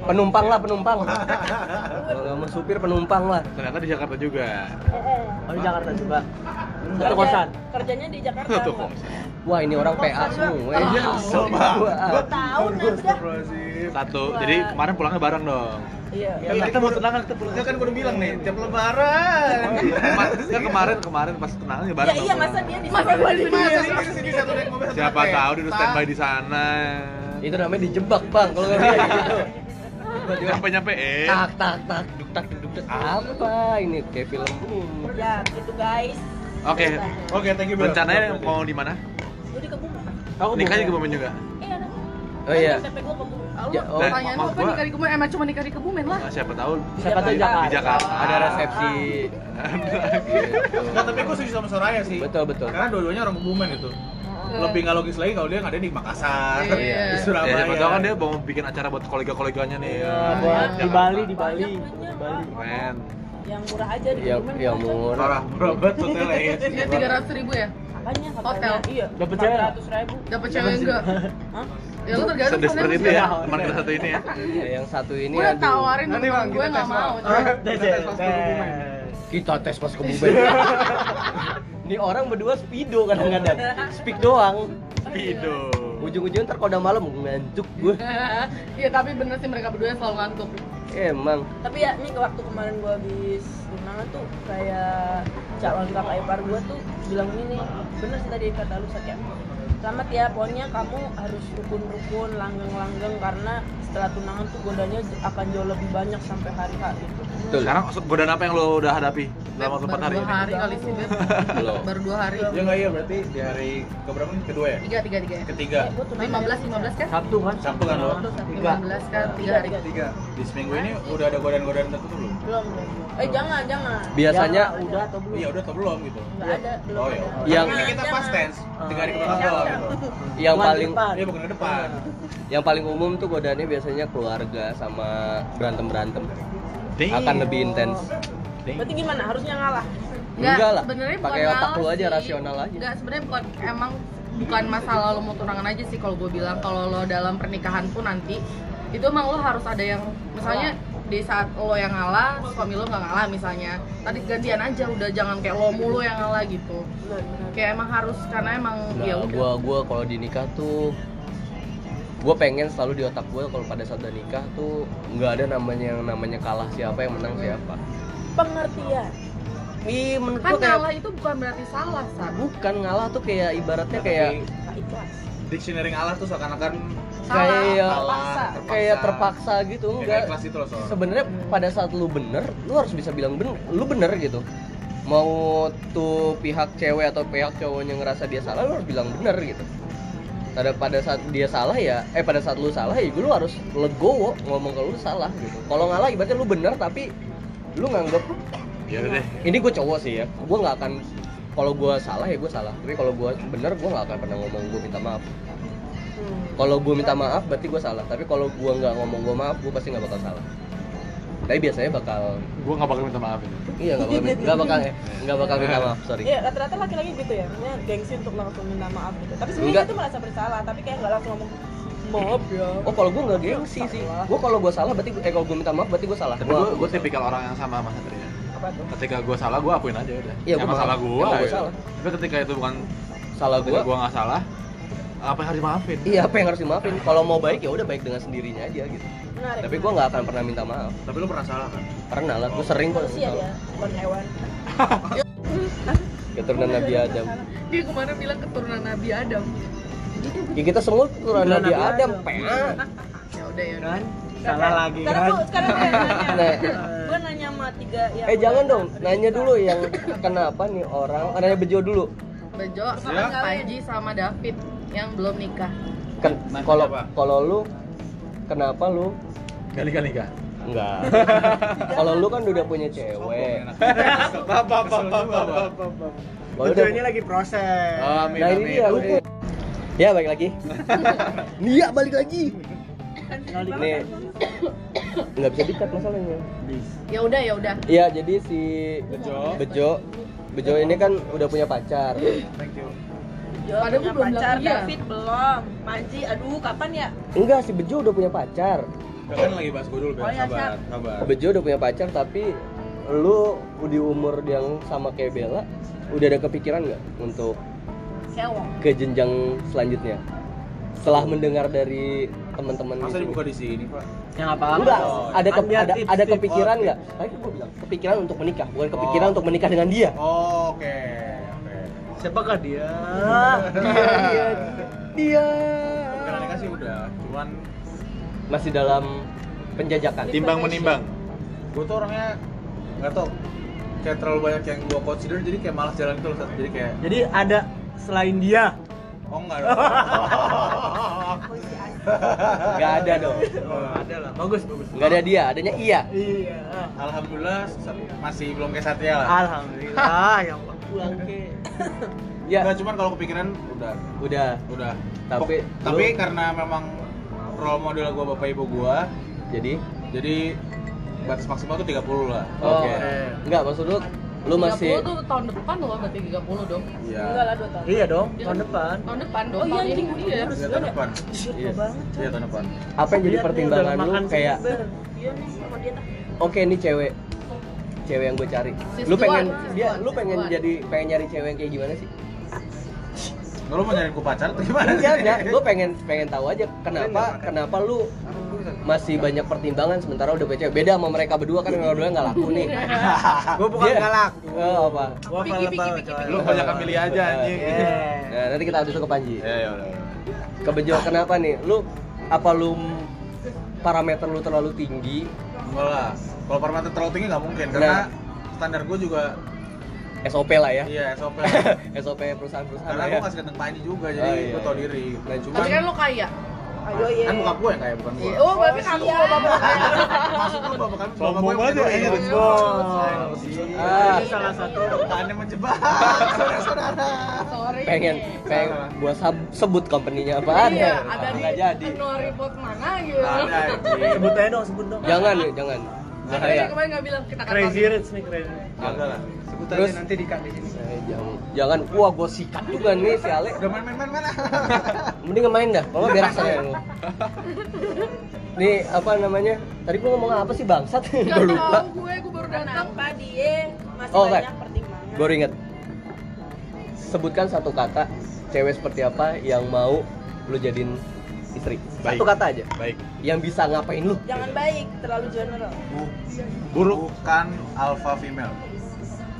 Speaker 1: Penumpang lah, penumpang Kalau gak mau supir, penumpang lah
Speaker 4: Ternyata di Jakarta juga.
Speaker 5: Eh, eh.
Speaker 2: oh di Jakarta juga
Speaker 5: Kerja-
Speaker 2: satu kosan
Speaker 5: kerjanya di Jakarta
Speaker 4: Satu
Speaker 5: Mbak.
Speaker 4: kosan.
Speaker 1: Wah ini orang PA semua ya
Speaker 6: Iya, kesel banget.
Speaker 1: Wah.
Speaker 5: tahu nah sudah
Speaker 4: Satu. Jadi kemarin pulangnya bareng dong.
Speaker 5: iya
Speaker 6: Kan
Speaker 2: kita mau tunangan kita
Speaker 6: Itu
Speaker 2: pulang
Speaker 6: kan gue udah bilang nih, tiap lebaran.
Speaker 4: Kemar- kan kemarin kemarin pas tunangan ya
Speaker 5: ya
Speaker 4: bareng.
Speaker 5: iya
Speaker 4: dong
Speaker 5: masa dia
Speaker 4: pulang.
Speaker 5: di
Speaker 3: Masa gua di
Speaker 5: sendiri?
Speaker 6: Masa sendiri sendiri satu naik mobil, satu
Speaker 4: Siapa
Speaker 6: naik
Speaker 4: tahu dia
Speaker 6: kereta.
Speaker 4: udah standby di sana.
Speaker 1: Itu namanya dijebak bang, kalau gak kayak gitu
Speaker 4: Nyampe-nyampe eh.
Speaker 1: Tak tak tak, duk tak duk tak Apa ini, kayak film
Speaker 5: ya gitu guys
Speaker 4: Oke.
Speaker 6: Oke, thank you. Bel.
Speaker 4: Rencananya mau di mana?
Speaker 5: jadi ke Bumi
Speaker 2: aku
Speaker 4: Nikahnya di Kebumen juga.
Speaker 5: iya ada
Speaker 1: Oh iya,
Speaker 5: Kan STP gua ke Bumi
Speaker 3: Lo
Speaker 1: Ja- oh.
Speaker 3: pertanyaan lo apa
Speaker 4: Maaf, gua-
Speaker 3: nikah di Kebumen? Emang cuma nikah di Kebumen lah.
Speaker 4: Nah, siapa tahu
Speaker 2: siapa tahu
Speaker 4: di
Speaker 2: Jakarta
Speaker 4: di Jakarta.
Speaker 1: ada resepsi
Speaker 6: Nggak, tapi gue setuju sama Soraya sih.
Speaker 1: Betul betul
Speaker 6: Karena dua-duanya orang gitu. Kebumen itu. Lebih nggak logis lagi kalau dia nggak ada di Makassar,
Speaker 3: Iya.
Speaker 6: di
Speaker 4: Ya,
Speaker 6: Surabaya.
Speaker 4: siapa tahu kan dia mau bikin acara buat kolega-koleganya nih.
Speaker 2: Iya,
Speaker 4: Di
Speaker 2: buat di
Speaker 4: Jakarta.
Speaker 2: Bali di Bali di Bali
Speaker 4: Keren.
Speaker 5: yang murah aja di
Speaker 1: Yang,
Speaker 5: Kebumen.
Speaker 1: yang Iya, murah
Speaker 6: Parah, bro, betul ya.
Speaker 3: Dia tiga ratus ribu ya?
Speaker 5: Makanya
Speaker 3: Hotel.
Speaker 5: katanya iya.
Speaker 2: Dapet cewek nggak?
Speaker 5: ribu.
Speaker 3: Dapet cewek enggak?
Speaker 5: Hah?
Speaker 3: Ya lu tergantung
Speaker 4: Sedih seperti
Speaker 3: sebenarnya
Speaker 4: itu ya,
Speaker 2: Iya.
Speaker 4: teman kita satu ini ya.
Speaker 1: Ya, yang satu ini
Speaker 3: Gue udah
Speaker 1: aduh.
Speaker 3: tawarin
Speaker 7: Nanti,
Speaker 3: temen
Speaker 7: Bang,
Speaker 3: gue
Speaker 7: kita
Speaker 3: nggak
Speaker 7: tes, Bang.
Speaker 3: mau.
Speaker 6: Ah,
Speaker 2: Hah?
Speaker 3: coy.
Speaker 2: Tes,
Speaker 7: Tes, tes,
Speaker 2: tes.
Speaker 1: kita tes pas
Speaker 2: (laughs)
Speaker 1: ke Bubeng. Ini orang berdua speedo kan,
Speaker 2: Iya.
Speaker 1: kadang-kadang. Speak doang.
Speaker 4: Pido.
Speaker 1: Ujung-ujungnya ntar kalau udah malam ngantuk gue.
Speaker 3: (laughs) Iya tapi bener sih mereka berdua selalu ngantuk.
Speaker 1: Emang
Speaker 5: Tapi ya ini ke waktu kemarin gua habis tunangan tuh kayak calon kakak ipar gua tuh bilang gini, bener sih tadi kata lu Sat, ya Selamat ya, pokoknya kamu harus rukun-rukun, langgeng-langgeng karena setelah tunangan tuh godanya akan jauh lebih banyak sampai hari H gitu.
Speaker 1: betul.
Speaker 4: Sekarang godaan apa yang lo udah hadapi dalam
Speaker 3: Baru
Speaker 4: waktu 4 hari
Speaker 3: dua
Speaker 4: ini?
Speaker 3: hari kali sih Beb.
Speaker 1: Belum.
Speaker 3: Baru dua hari.
Speaker 6: Ya enggak iya berarti di hari keberapa nih? Kedua ya?
Speaker 3: Tiga tiga tiga. ya?
Speaker 6: Ketiga.
Speaker 5: Eh, gua tunangan
Speaker 3: 15 15 kan?
Speaker 2: Sabtu kan?
Speaker 6: Sabtu kan lo?
Speaker 5: Tiga.
Speaker 3: 15 kan tiga hari.
Speaker 7: Tiga.
Speaker 6: Di seminggu ini udah ada godaan-godaan tertentu belum?
Speaker 5: Belum, belum. belum. Eh jangan, jangan.
Speaker 1: Biasanya
Speaker 2: Ya,
Speaker 5: Jangan, udah atau belum?
Speaker 6: Iya udah atau belum gitu?
Speaker 5: Enggak ada, belum.
Speaker 6: Oh
Speaker 5: ada.
Speaker 6: ya.
Speaker 1: Yang-
Speaker 6: ini kita
Speaker 5: Jangan,
Speaker 6: past tense, tiga hari kebelakang
Speaker 5: Jangan.
Speaker 6: doang gitu.
Speaker 1: yang
Speaker 2: Bulan
Speaker 1: paling
Speaker 2: depan.
Speaker 6: Iya bukan ke depan.
Speaker 1: yang paling umum tuh godaannya biasanya keluarga sama berantem-berantem.
Speaker 4: Ding.
Speaker 1: Akan lebih intens.
Speaker 5: Berarti gimana? Harusnya ngalah.
Speaker 1: Enggak, lah.
Speaker 3: sebenarnya bukan
Speaker 1: Pakai otak
Speaker 3: ngalah
Speaker 1: lu aja
Speaker 3: sih.
Speaker 1: rasional aja.
Speaker 3: Enggak, sebenarnya bukan emang bukan masalah lo mau tunangan aja sih kalau gue bilang kalau lo dalam pernikahan pun nanti itu emang lo harus ada yang misalnya di saat lo yang ngalah suami lo nggak ngalah misalnya tadi gantian aja udah jangan kayak lo mulu yang ngalah gitu
Speaker 5: Benar, benar.
Speaker 3: kayak emang harus karena emang ya
Speaker 1: Nah,
Speaker 3: udah
Speaker 1: gua gua kalau di nikah tuh gua pengen selalu di otak gua kalau pada saat udah nikah tuh nggak ada namanya yang namanya kalah siapa yang
Speaker 3: Iya.
Speaker 1: menang siapa.
Speaker 5: Pengertian.
Speaker 1: Ih, menurut
Speaker 3: kan
Speaker 1: gua kayak
Speaker 3: ngalah itu bukan berarti salah san
Speaker 1: bukan ngalah tuh kayak ibaratnya kayak
Speaker 6: Tapi
Speaker 5: Gak ikhlas.
Speaker 6: dictionary ngalah tuh seakan-akan
Speaker 3: Salah,
Speaker 1: kayak
Speaker 6: terpaksa.
Speaker 1: kayak terpaksa gitu
Speaker 6: Kayak
Speaker 1: enggak
Speaker 6: kelas itu loh soalnya.
Speaker 1: sebenarnya pada saat lu bener lu harus bisa bilang bener lu bener gitu mau tuh pihak cewek atau pihak cowoknya ngerasa dia salah lu harus bilang bener gitu pada pada saat dia salah ya eh pada saat lu salah ya lu harus legowo ngomong kalau lu salah gitu kalau ngalah ibaratnya lu bener tapi lu nganggep
Speaker 4: Ya udah deh.
Speaker 1: ini gue cowok sih ya gue nggak akan kalau gue salah ya gue salah tapi kalau gue bener gue nggak akan pernah ngomong gue minta maaf
Speaker 5: Hmm.
Speaker 1: kalau gue minta maaf berarti gue salah tapi kalau gue nggak ngomong gue maaf gue pasti nggak bakal salah tapi biasanya bakal
Speaker 4: Gue gak bakal minta maaf ini.
Speaker 1: iya nggak bakal nggak bakal nggak bakal minta maaf sorry
Speaker 5: Iya, rata-rata laki-laki gitu ya. Maksudnya gengsi untuk langsung minta maaf gitu. Tapi sebenarnya
Speaker 1: Enggak.
Speaker 5: itu merasa bersalah, tapi kayak nggak langsung ngomong maaf ya.
Speaker 1: oh kalau gue nggak gengsi sih gue kalau gue salah berarti eh kalau gue minta maaf berarti gue salah
Speaker 4: Tapi
Speaker 1: Gua-
Speaker 4: gue gue tipikal orang yang sama sama Satria.
Speaker 5: Apa tuh?
Speaker 4: Ketika gue salah, gue akuin aja udah.
Speaker 1: Iya, gua
Speaker 4: Emang
Speaker 1: maaf.
Speaker 4: salah gue.
Speaker 1: Emang gua
Speaker 4: ya.
Speaker 1: salah.
Speaker 4: Tapi ketika itu bukan
Speaker 1: salah
Speaker 4: ketika
Speaker 1: gue
Speaker 4: gue nggak salah, apa yang harus dimaafin?
Speaker 1: iya apa yang harus dimaafin kalau mau baik ya udah baik dengan sendirinya aja gitu
Speaker 5: Menarik.
Speaker 1: tapi gue nggak akan pernah minta maaf
Speaker 6: Tapi lu pernah salah kan?
Speaker 1: pernah lah gue sering kok
Speaker 5: manusia dia, bukan hewan.
Speaker 1: keturunan Nabi Adam
Speaker 3: dia kemarin bilang keturunan Nabi Adam
Speaker 1: ya kita semua keturunan
Speaker 2: Keturunan
Speaker 1: Nabi
Speaker 2: Nabi
Speaker 1: Adam
Speaker 2: Adam.
Speaker 1: pengen
Speaker 3: ya udah ya udah
Speaker 2: Kan? Salah lagi
Speaker 5: Sekarang
Speaker 2: kan?
Speaker 5: gua sekarang gue
Speaker 1: (laughs)
Speaker 5: nanya.
Speaker 1: Nah.
Speaker 5: Gua nanya sama tiga yang
Speaker 1: eh jangan
Speaker 5: udah Kan
Speaker 1: dong nanya
Speaker 5: berita.
Speaker 1: dulu yang kenapa nih orang nanya bejo dulu
Speaker 3: Bejo
Speaker 6: Ya.
Speaker 3: Panji sama David yang belum nikah
Speaker 1: Ken,
Speaker 6: Nah,
Speaker 1: kalau
Speaker 6: kenapa?
Speaker 1: kalau lu kenapa lu
Speaker 4: Kali kali kah?
Speaker 1: enggak (laughs) kalau lu kan udah punya cewek
Speaker 6: Apa apa apa apa.
Speaker 1: kalau lu Oh, udah
Speaker 2: Betulnya lagi proses.
Speaker 6: Oh,
Speaker 1: nah ini dia lu tuh- ya balik lagi (laughs) Nia balik lagi nih
Speaker 5: kan?
Speaker 1: Ya, nggak bisa dikat masalahnya
Speaker 3: ya udah ya udah
Speaker 1: Iya jadi si
Speaker 3: Bejo.
Speaker 1: Bejo Bejo ini kan udah punya pacar
Speaker 5: Yo, punya
Speaker 3: Padahal gua belum
Speaker 5: pacar,
Speaker 3: bilang iya.
Speaker 5: David belum. Panji, aduh kapan ya?
Speaker 1: enggak si Bejo udah punya pacar
Speaker 6: Kan lagi bahas gue dulu, Ben.
Speaker 5: Oh, iya,
Speaker 6: Sabar,
Speaker 5: siap.
Speaker 6: sabar.
Speaker 1: Bejo udah punya pacar tapi lu di umur yang sama kayak Bella udah ada kepikiran nggak untuk
Speaker 5: Sewong.
Speaker 1: ke jenjang selanjutnya setelah mendengar dari teman-teman
Speaker 6: Masa
Speaker 1: di sini.
Speaker 6: dibuka di Oh, iya. sini, Pak?
Speaker 2: Yang apa?
Speaker 1: enggak ada ke-
Speaker 2: Biar
Speaker 1: ada,
Speaker 2: tips,
Speaker 1: ada
Speaker 2: tips.
Speaker 1: kepikiran
Speaker 6: Oh,
Speaker 1: nggak tadi kan gua bilang kepikiran untuk menikah bukan kepikiran
Speaker 6: Oh.
Speaker 1: untuk menikah dengan dia
Speaker 6: Oke, oke.
Speaker 2: Siapakah dia?
Speaker 1: Ah, dia
Speaker 6: Bukan nikah sih udah, cuman
Speaker 1: masih dalam penjajakan
Speaker 4: Timbang menimbang.
Speaker 6: gue tuh orangnya nggak tau kayak terlalu banyak yang gue consider jadi kayak malas jalan itu loh Sat. jadi kayak
Speaker 2: Jadi ada selain dia.
Speaker 6: oh enggak (laughs) dong
Speaker 1: nggak ada dong
Speaker 2: Oh, ada lah. Bagus, bagus.
Speaker 1: nggak ada dia adanya iya
Speaker 2: Iya.
Speaker 6: alhamdulillah Sat- masih belum kayak Satria lah
Speaker 1: Ah,
Speaker 2: Alhamdulillah ya Allah.
Speaker 1: pulang ke
Speaker 6: ya.
Speaker 1: ya
Speaker 6: cuman kalau kepikiran udah
Speaker 1: udah
Speaker 6: udah
Speaker 1: Tapi-
Speaker 6: Pok- tapi karena memang role model gue bapak ibu gue
Speaker 1: jadi
Speaker 6: jadi batas maksimal tuh 30 lah
Speaker 1: Oh,
Speaker 2: Oke.
Speaker 1: nggak maksud lu Lu masih
Speaker 3: 30 tuh tahun depan loh berarti 30 dong.
Speaker 5: Enggak lah 2 tahun.
Speaker 2: Iya dong, tahun depan.
Speaker 3: Tahun depan dong.
Speaker 5: Oh iya
Speaker 3: tahun
Speaker 5: anjing,
Speaker 3: ini.
Speaker 5: iya.
Speaker 3: Iya.
Speaker 5: harus
Speaker 4: Iya,
Speaker 5: gua
Speaker 4: tahun
Speaker 5: ada-
Speaker 4: depan.
Speaker 5: Anjir,
Speaker 1: Iya.
Speaker 5: gua banget.
Speaker 4: Iya, tahun depan.
Speaker 1: apa yang jadi
Speaker 2: Lihat nih,
Speaker 1: pertimbangan
Speaker 2: udah
Speaker 1: lu
Speaker 2: makan
Speaker 1: kayak
Speaker 2: seber.
Speaker 5: Iya nih sama dia tak.
Speaker 1: oke ini cewek cewek yang gue cari.
Speaker 3: Sis
Speaker 1: Lu pengen
Speaker 3: tuan,
Speaker 1: dia
Speaker 3: sis tuan,
Speaker 1: lu
Speaker 3: sis
Speaker 1: pengen
Speaker 3: tuan.
Speaker 1: jadi pengen nyari cewek yang kayak
Speaker 4: (laughs)
Speaker 1: gimana sih?
Speaker 4: Lu mau nyari ku pacar atau gimana?
Speaker 1: Enggak, enggak.
Speaker 4: (laughs)
Speaker 1: Gue Iya, pengen pengen tahu aja
Speaker 4: Iya,
Speaker 1: kenapa kenapa lu masih banyak pertimbangan sementara udah punya cewek. Beda sama mereka berdua kan mereka berdua nggak laku
Speaker 3: (laughs)
Speaker 1: nih.
Speaker 8: Gue bukan
Speaker 4: Iya.
Speaker 1: Dia-
Speaker 8: galak.
Speaker 1: Eh, apa?
Speaker 2: Gua
Speaker 3: Piki,
Speaker 2: kalau Iya.
Speaker 3: piki,
Speaker 2: tahu
Speaker 3: piki,
Speaker 2: coy.
Speaker 9: Lu banyak milih aja anjing.
Speaker 1: Nah, nanti kita adu ke Panji.
Speaker 4: Ya, ya udah.
Speaker 1: Kebejo kenapa nih? Lu apa lu m- parameter lu terlalu tinggi?
Speaker 4: Enggak lah. Kalau parameter terlalu tinggi nggak mungkin karena
Speaker 1: Nah.
Speaker 4: standar gue juga
Speaker 1: SOP lah (laughs) ya.
Speaker 4: iya SOP.
Speaker 1: SOP perusahaan-perusahaan
Speaker 4: karena
Speaker 1: lah
Speaker 4: gue
Speaker 1: ya.
Speaker 4: ngasih keteng Pak Andi juga
Speaker 1: Oh,
Speaker 4: jadi
Speaker 1: iya,
Speaker 4: gue tau
Speaker 1: iya.
Speaker 4: diri. gitu.
Speaker 1: Nah,
Speaker 3: Tapi kan
Speaker 1: cuman
Speaker 3: lu kaya.
Speaker 5: Ayo
Speaker 1: iya.
Speaker 5: ye.
Speaker 4: kan bukan gue yang kayak bukan gue.
Speaker 3: Oh, berarti kamu mau bapak.
Speaker 4: Maksud lu bapak kamu bapak
Speaker 9: Sombong
Speaker 4: gue
Speaker 2: ya,
Speaker 9: aja,
Speaker 4: yang
Speaker 9: iya,
Speaker 4: punya duit.
Speaker 9: sombong.
Speaker 1: Ah.
Speaker 2: Ini Iya, salah satu
Speaker 4: Pertanyaannya menjebak, saudara-saudara.
Speaker 3: Sorry.
Speaker 1: pengen pengen
Speaker 4: Salah.
Speaker 1: gua sab- sebut company-nya apaan
Speaker 3: Iya,
Speaker 1: ya?
Speaker 3: ada di
Speaker 1: Nggak jadi.
Speaker 3: annual report mana gitu.
Speaker 4: Nah, ada, anjing.
Speaker 2: sebut aja dong, sebut dong.
Speaker 1: Jangan ya, jangan.
Speaker 3: Makanya
Speaker 1: Bahaya.
Speaker 3: kemarin nggak bilang kita
Speaker 2: Crazy Rich nih, Crazy Rich.
Speaker 4: Agak lah.
Speaker 8: Sebut
Speaker 1: Terus-
Speaker 8: aja nanti di cut di sini.
Speaker 1: Eh, jangan. Jangan, wah gua sikat juga nih si Ale.
Speaker 4: Udah main-main mana?
Speaker 1: Mending main dah, kalau nggak berak saya
Speaker 3: (laughs)
Speaker 1: lu. Nih, apa namanya? Tadi gua ngomong apa sih bangsat? (laughs)
Speaker 3: Gak
Speaker 1: Gua lupa.
Speaker 3: tau gue, gue baru datang.
Speaker 5: Kenapa dia masih
Speaker 1: Oh,
Speaker 5: banyak
Speaker 1: Kak.
Speaker 5: pertimbangan?
Speaker 1: Gue inget Sebutkan satu kata Cewek seperti apa yang mau lu jadiin istri Satu
Speaker 9: Baik.
Speaker 1: kata aja
Speaker 9: Baik.
Speaker 1: Yang bisa ngapain lu
Speaker 5: Jangan baik, terlalu general.
Speaker 9: Buruk.
Speaker 4: Bukan alpha female.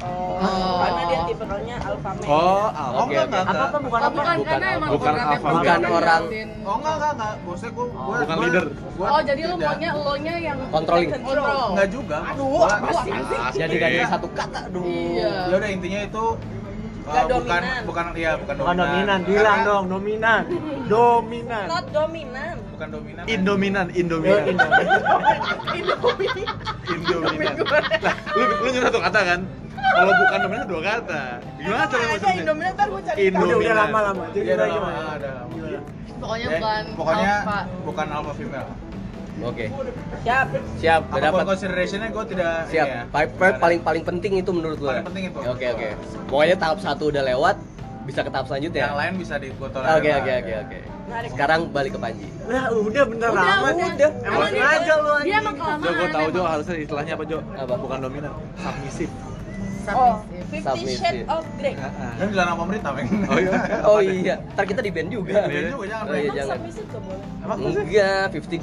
Speaker 5: Oh,
Speaker 3: Oh.
Speaker 5: karena dia tipikalnya alpha male.
Speaker 9: Oh, ah,
Speaker 1: Oke,
Speaker 9: oh
Speaker 1: oke.
Speaker 9: enggak enggak.
Speaker 2: Apa
Speaker 9: enggak.
Speaker 2: apa bukan
Speaker 3: Oh,
Speaker 2: apa?
Speaker 3: bukan, karena
Speaker 1: Bukan
Speaker 3: emang
Speaker 9: alpha. Bukan
Speaker 3: programnya
Speaker 9: alpha.
Speaker 1: Bukan
Speaker 3: programnya
Speaker 1: orang.
Speaker 3: ngeliatin.
Speaker 4: Oh enggak enggak enggak, bosnya gue gue
Speaker 9: Bukan leader.
Speaker 3: Oh, jadi lu maunya lo nya yang
Speaker 1: Controlling
Speaker 3: kontrol.
Speaker 4: Enggak juga.
Speaker 5: Aduh,
Speaker 4: Gua-
Speaker 5: apa sih?
Speaker 1: Jadi
Speaker 3: kan
Speaker 1: gak ada satu kata dong
Speaker 3: Iya.
Speaker 4: Ya udah intinya itu uh,
Speaker 5: Nggak
Speaker 4: bukan
Speaker 5: dominan.
Speaker 4: bukan iya bukan dominan.
Speaker 2: Bukan dominan, bilang
Speaker 4: Karena
Speaker 2: dong, dominan. Dominan.
Speaker 5: Not dominan.
Speaker 9: (laughs)
Speaker 4: Bukan dominan.
Speaker 9: Indominan, Indominan.
Speaker 2: Yo, Indominan.
Speaker 9: Indominan. Lah, Nah, lu lu nyuruh satu kata kan? Kalau bukan dominan dua kata. Gimana cara
Speaker 5: Ada
Speaker 9: maksudnya?
Speaker 5: Indominan ntar gue cari.
Speaker 2: Udah, udah
Speaker 9: Indominan.
Speaker 2: lama-lama. Jadi
Speaker 4: Iya, udah
Speaker 2: gimana,
Speaker 4: lama,
Speaker 2: gimana?
Speaker 4: ada.
Speaker 2: Gimana?
Speaker 3: Pokoknya
Speaker 4: Eh,
Speaker 3: bukan
Speaker 4: pokoknya
Speaker 3: alpha.
Speaker 4: bukan alpha female.
Speaker 1: Oke
Speaker 5: Siap.
Speaker 1: Siap, udah
Speaker 4: Apa
Speaker 1: dapet
Speaker 4: considerationnya gue tidak
Speaker 1: Siap,
Speaker 4: ini ya,
Speaker 1: Pa-
Speaker 4: tidak
Speaker 1: pa-
Speaker 4: ada.
Speaker 1: paling paling penting itu menurut lu
Speaker 4: Paling
Speaker 1: ya?
Speaker 4: penting itu.
Speaker 1: Oke oke Pokoknya tahap satu udah lewat Bisa ke tahap selanjutnya
Speaker 4: yang lain bisa dikotor
Speaker 1: ya. Oke oke oke oke
Speaker 5: Menarik.
Speaker 1: Sekarang balik ke Panji
Speaker 2: Nah, udah bentar
Speaker 3: Udah,
Speaker 2: lama nih
Speaker 3: udah.
Speaker 2: udah.
Speaker 3: Emang
Speaker 2: Emang
Speaker 3: dia-
Speaker 2: sengaja lu
Speaker 3: Dia
Speaker 2: anjing.
Speaker 3: emang
Speaker 9: Jo,
Speaker 3: kelamaan.
Speaker 9: gue tahu Jo
Speaker 3: emang.
Speaker 9: harusnya istilahnya apa Jo?
Speaker 1: Apa?
Speaker 9: Bukan dominan, submisif.
Speaker 5: Oh,
Speaker 3: Submissive.
Speaker 5: Fifty
Speaker 1: Submissive.
Speaker 5: Shades of Grey.
Speaker 4: Kan dilarang pemerintah, Bang.
Speaker 9: Oh
Speaker 4: (laughs)
Speaker 9: iya.
Speaker 1: Oh iya, ntar kita di band juga
Speaker 4: Iya, juga, jangan.
Speaker 1: Oh iya
Speaker 5: Emang
Speaker 1: jangan
Speaker 5: submissive gak boleh?
Speaker 4: Emang apa sih?
Speaker 1: Enggak, 50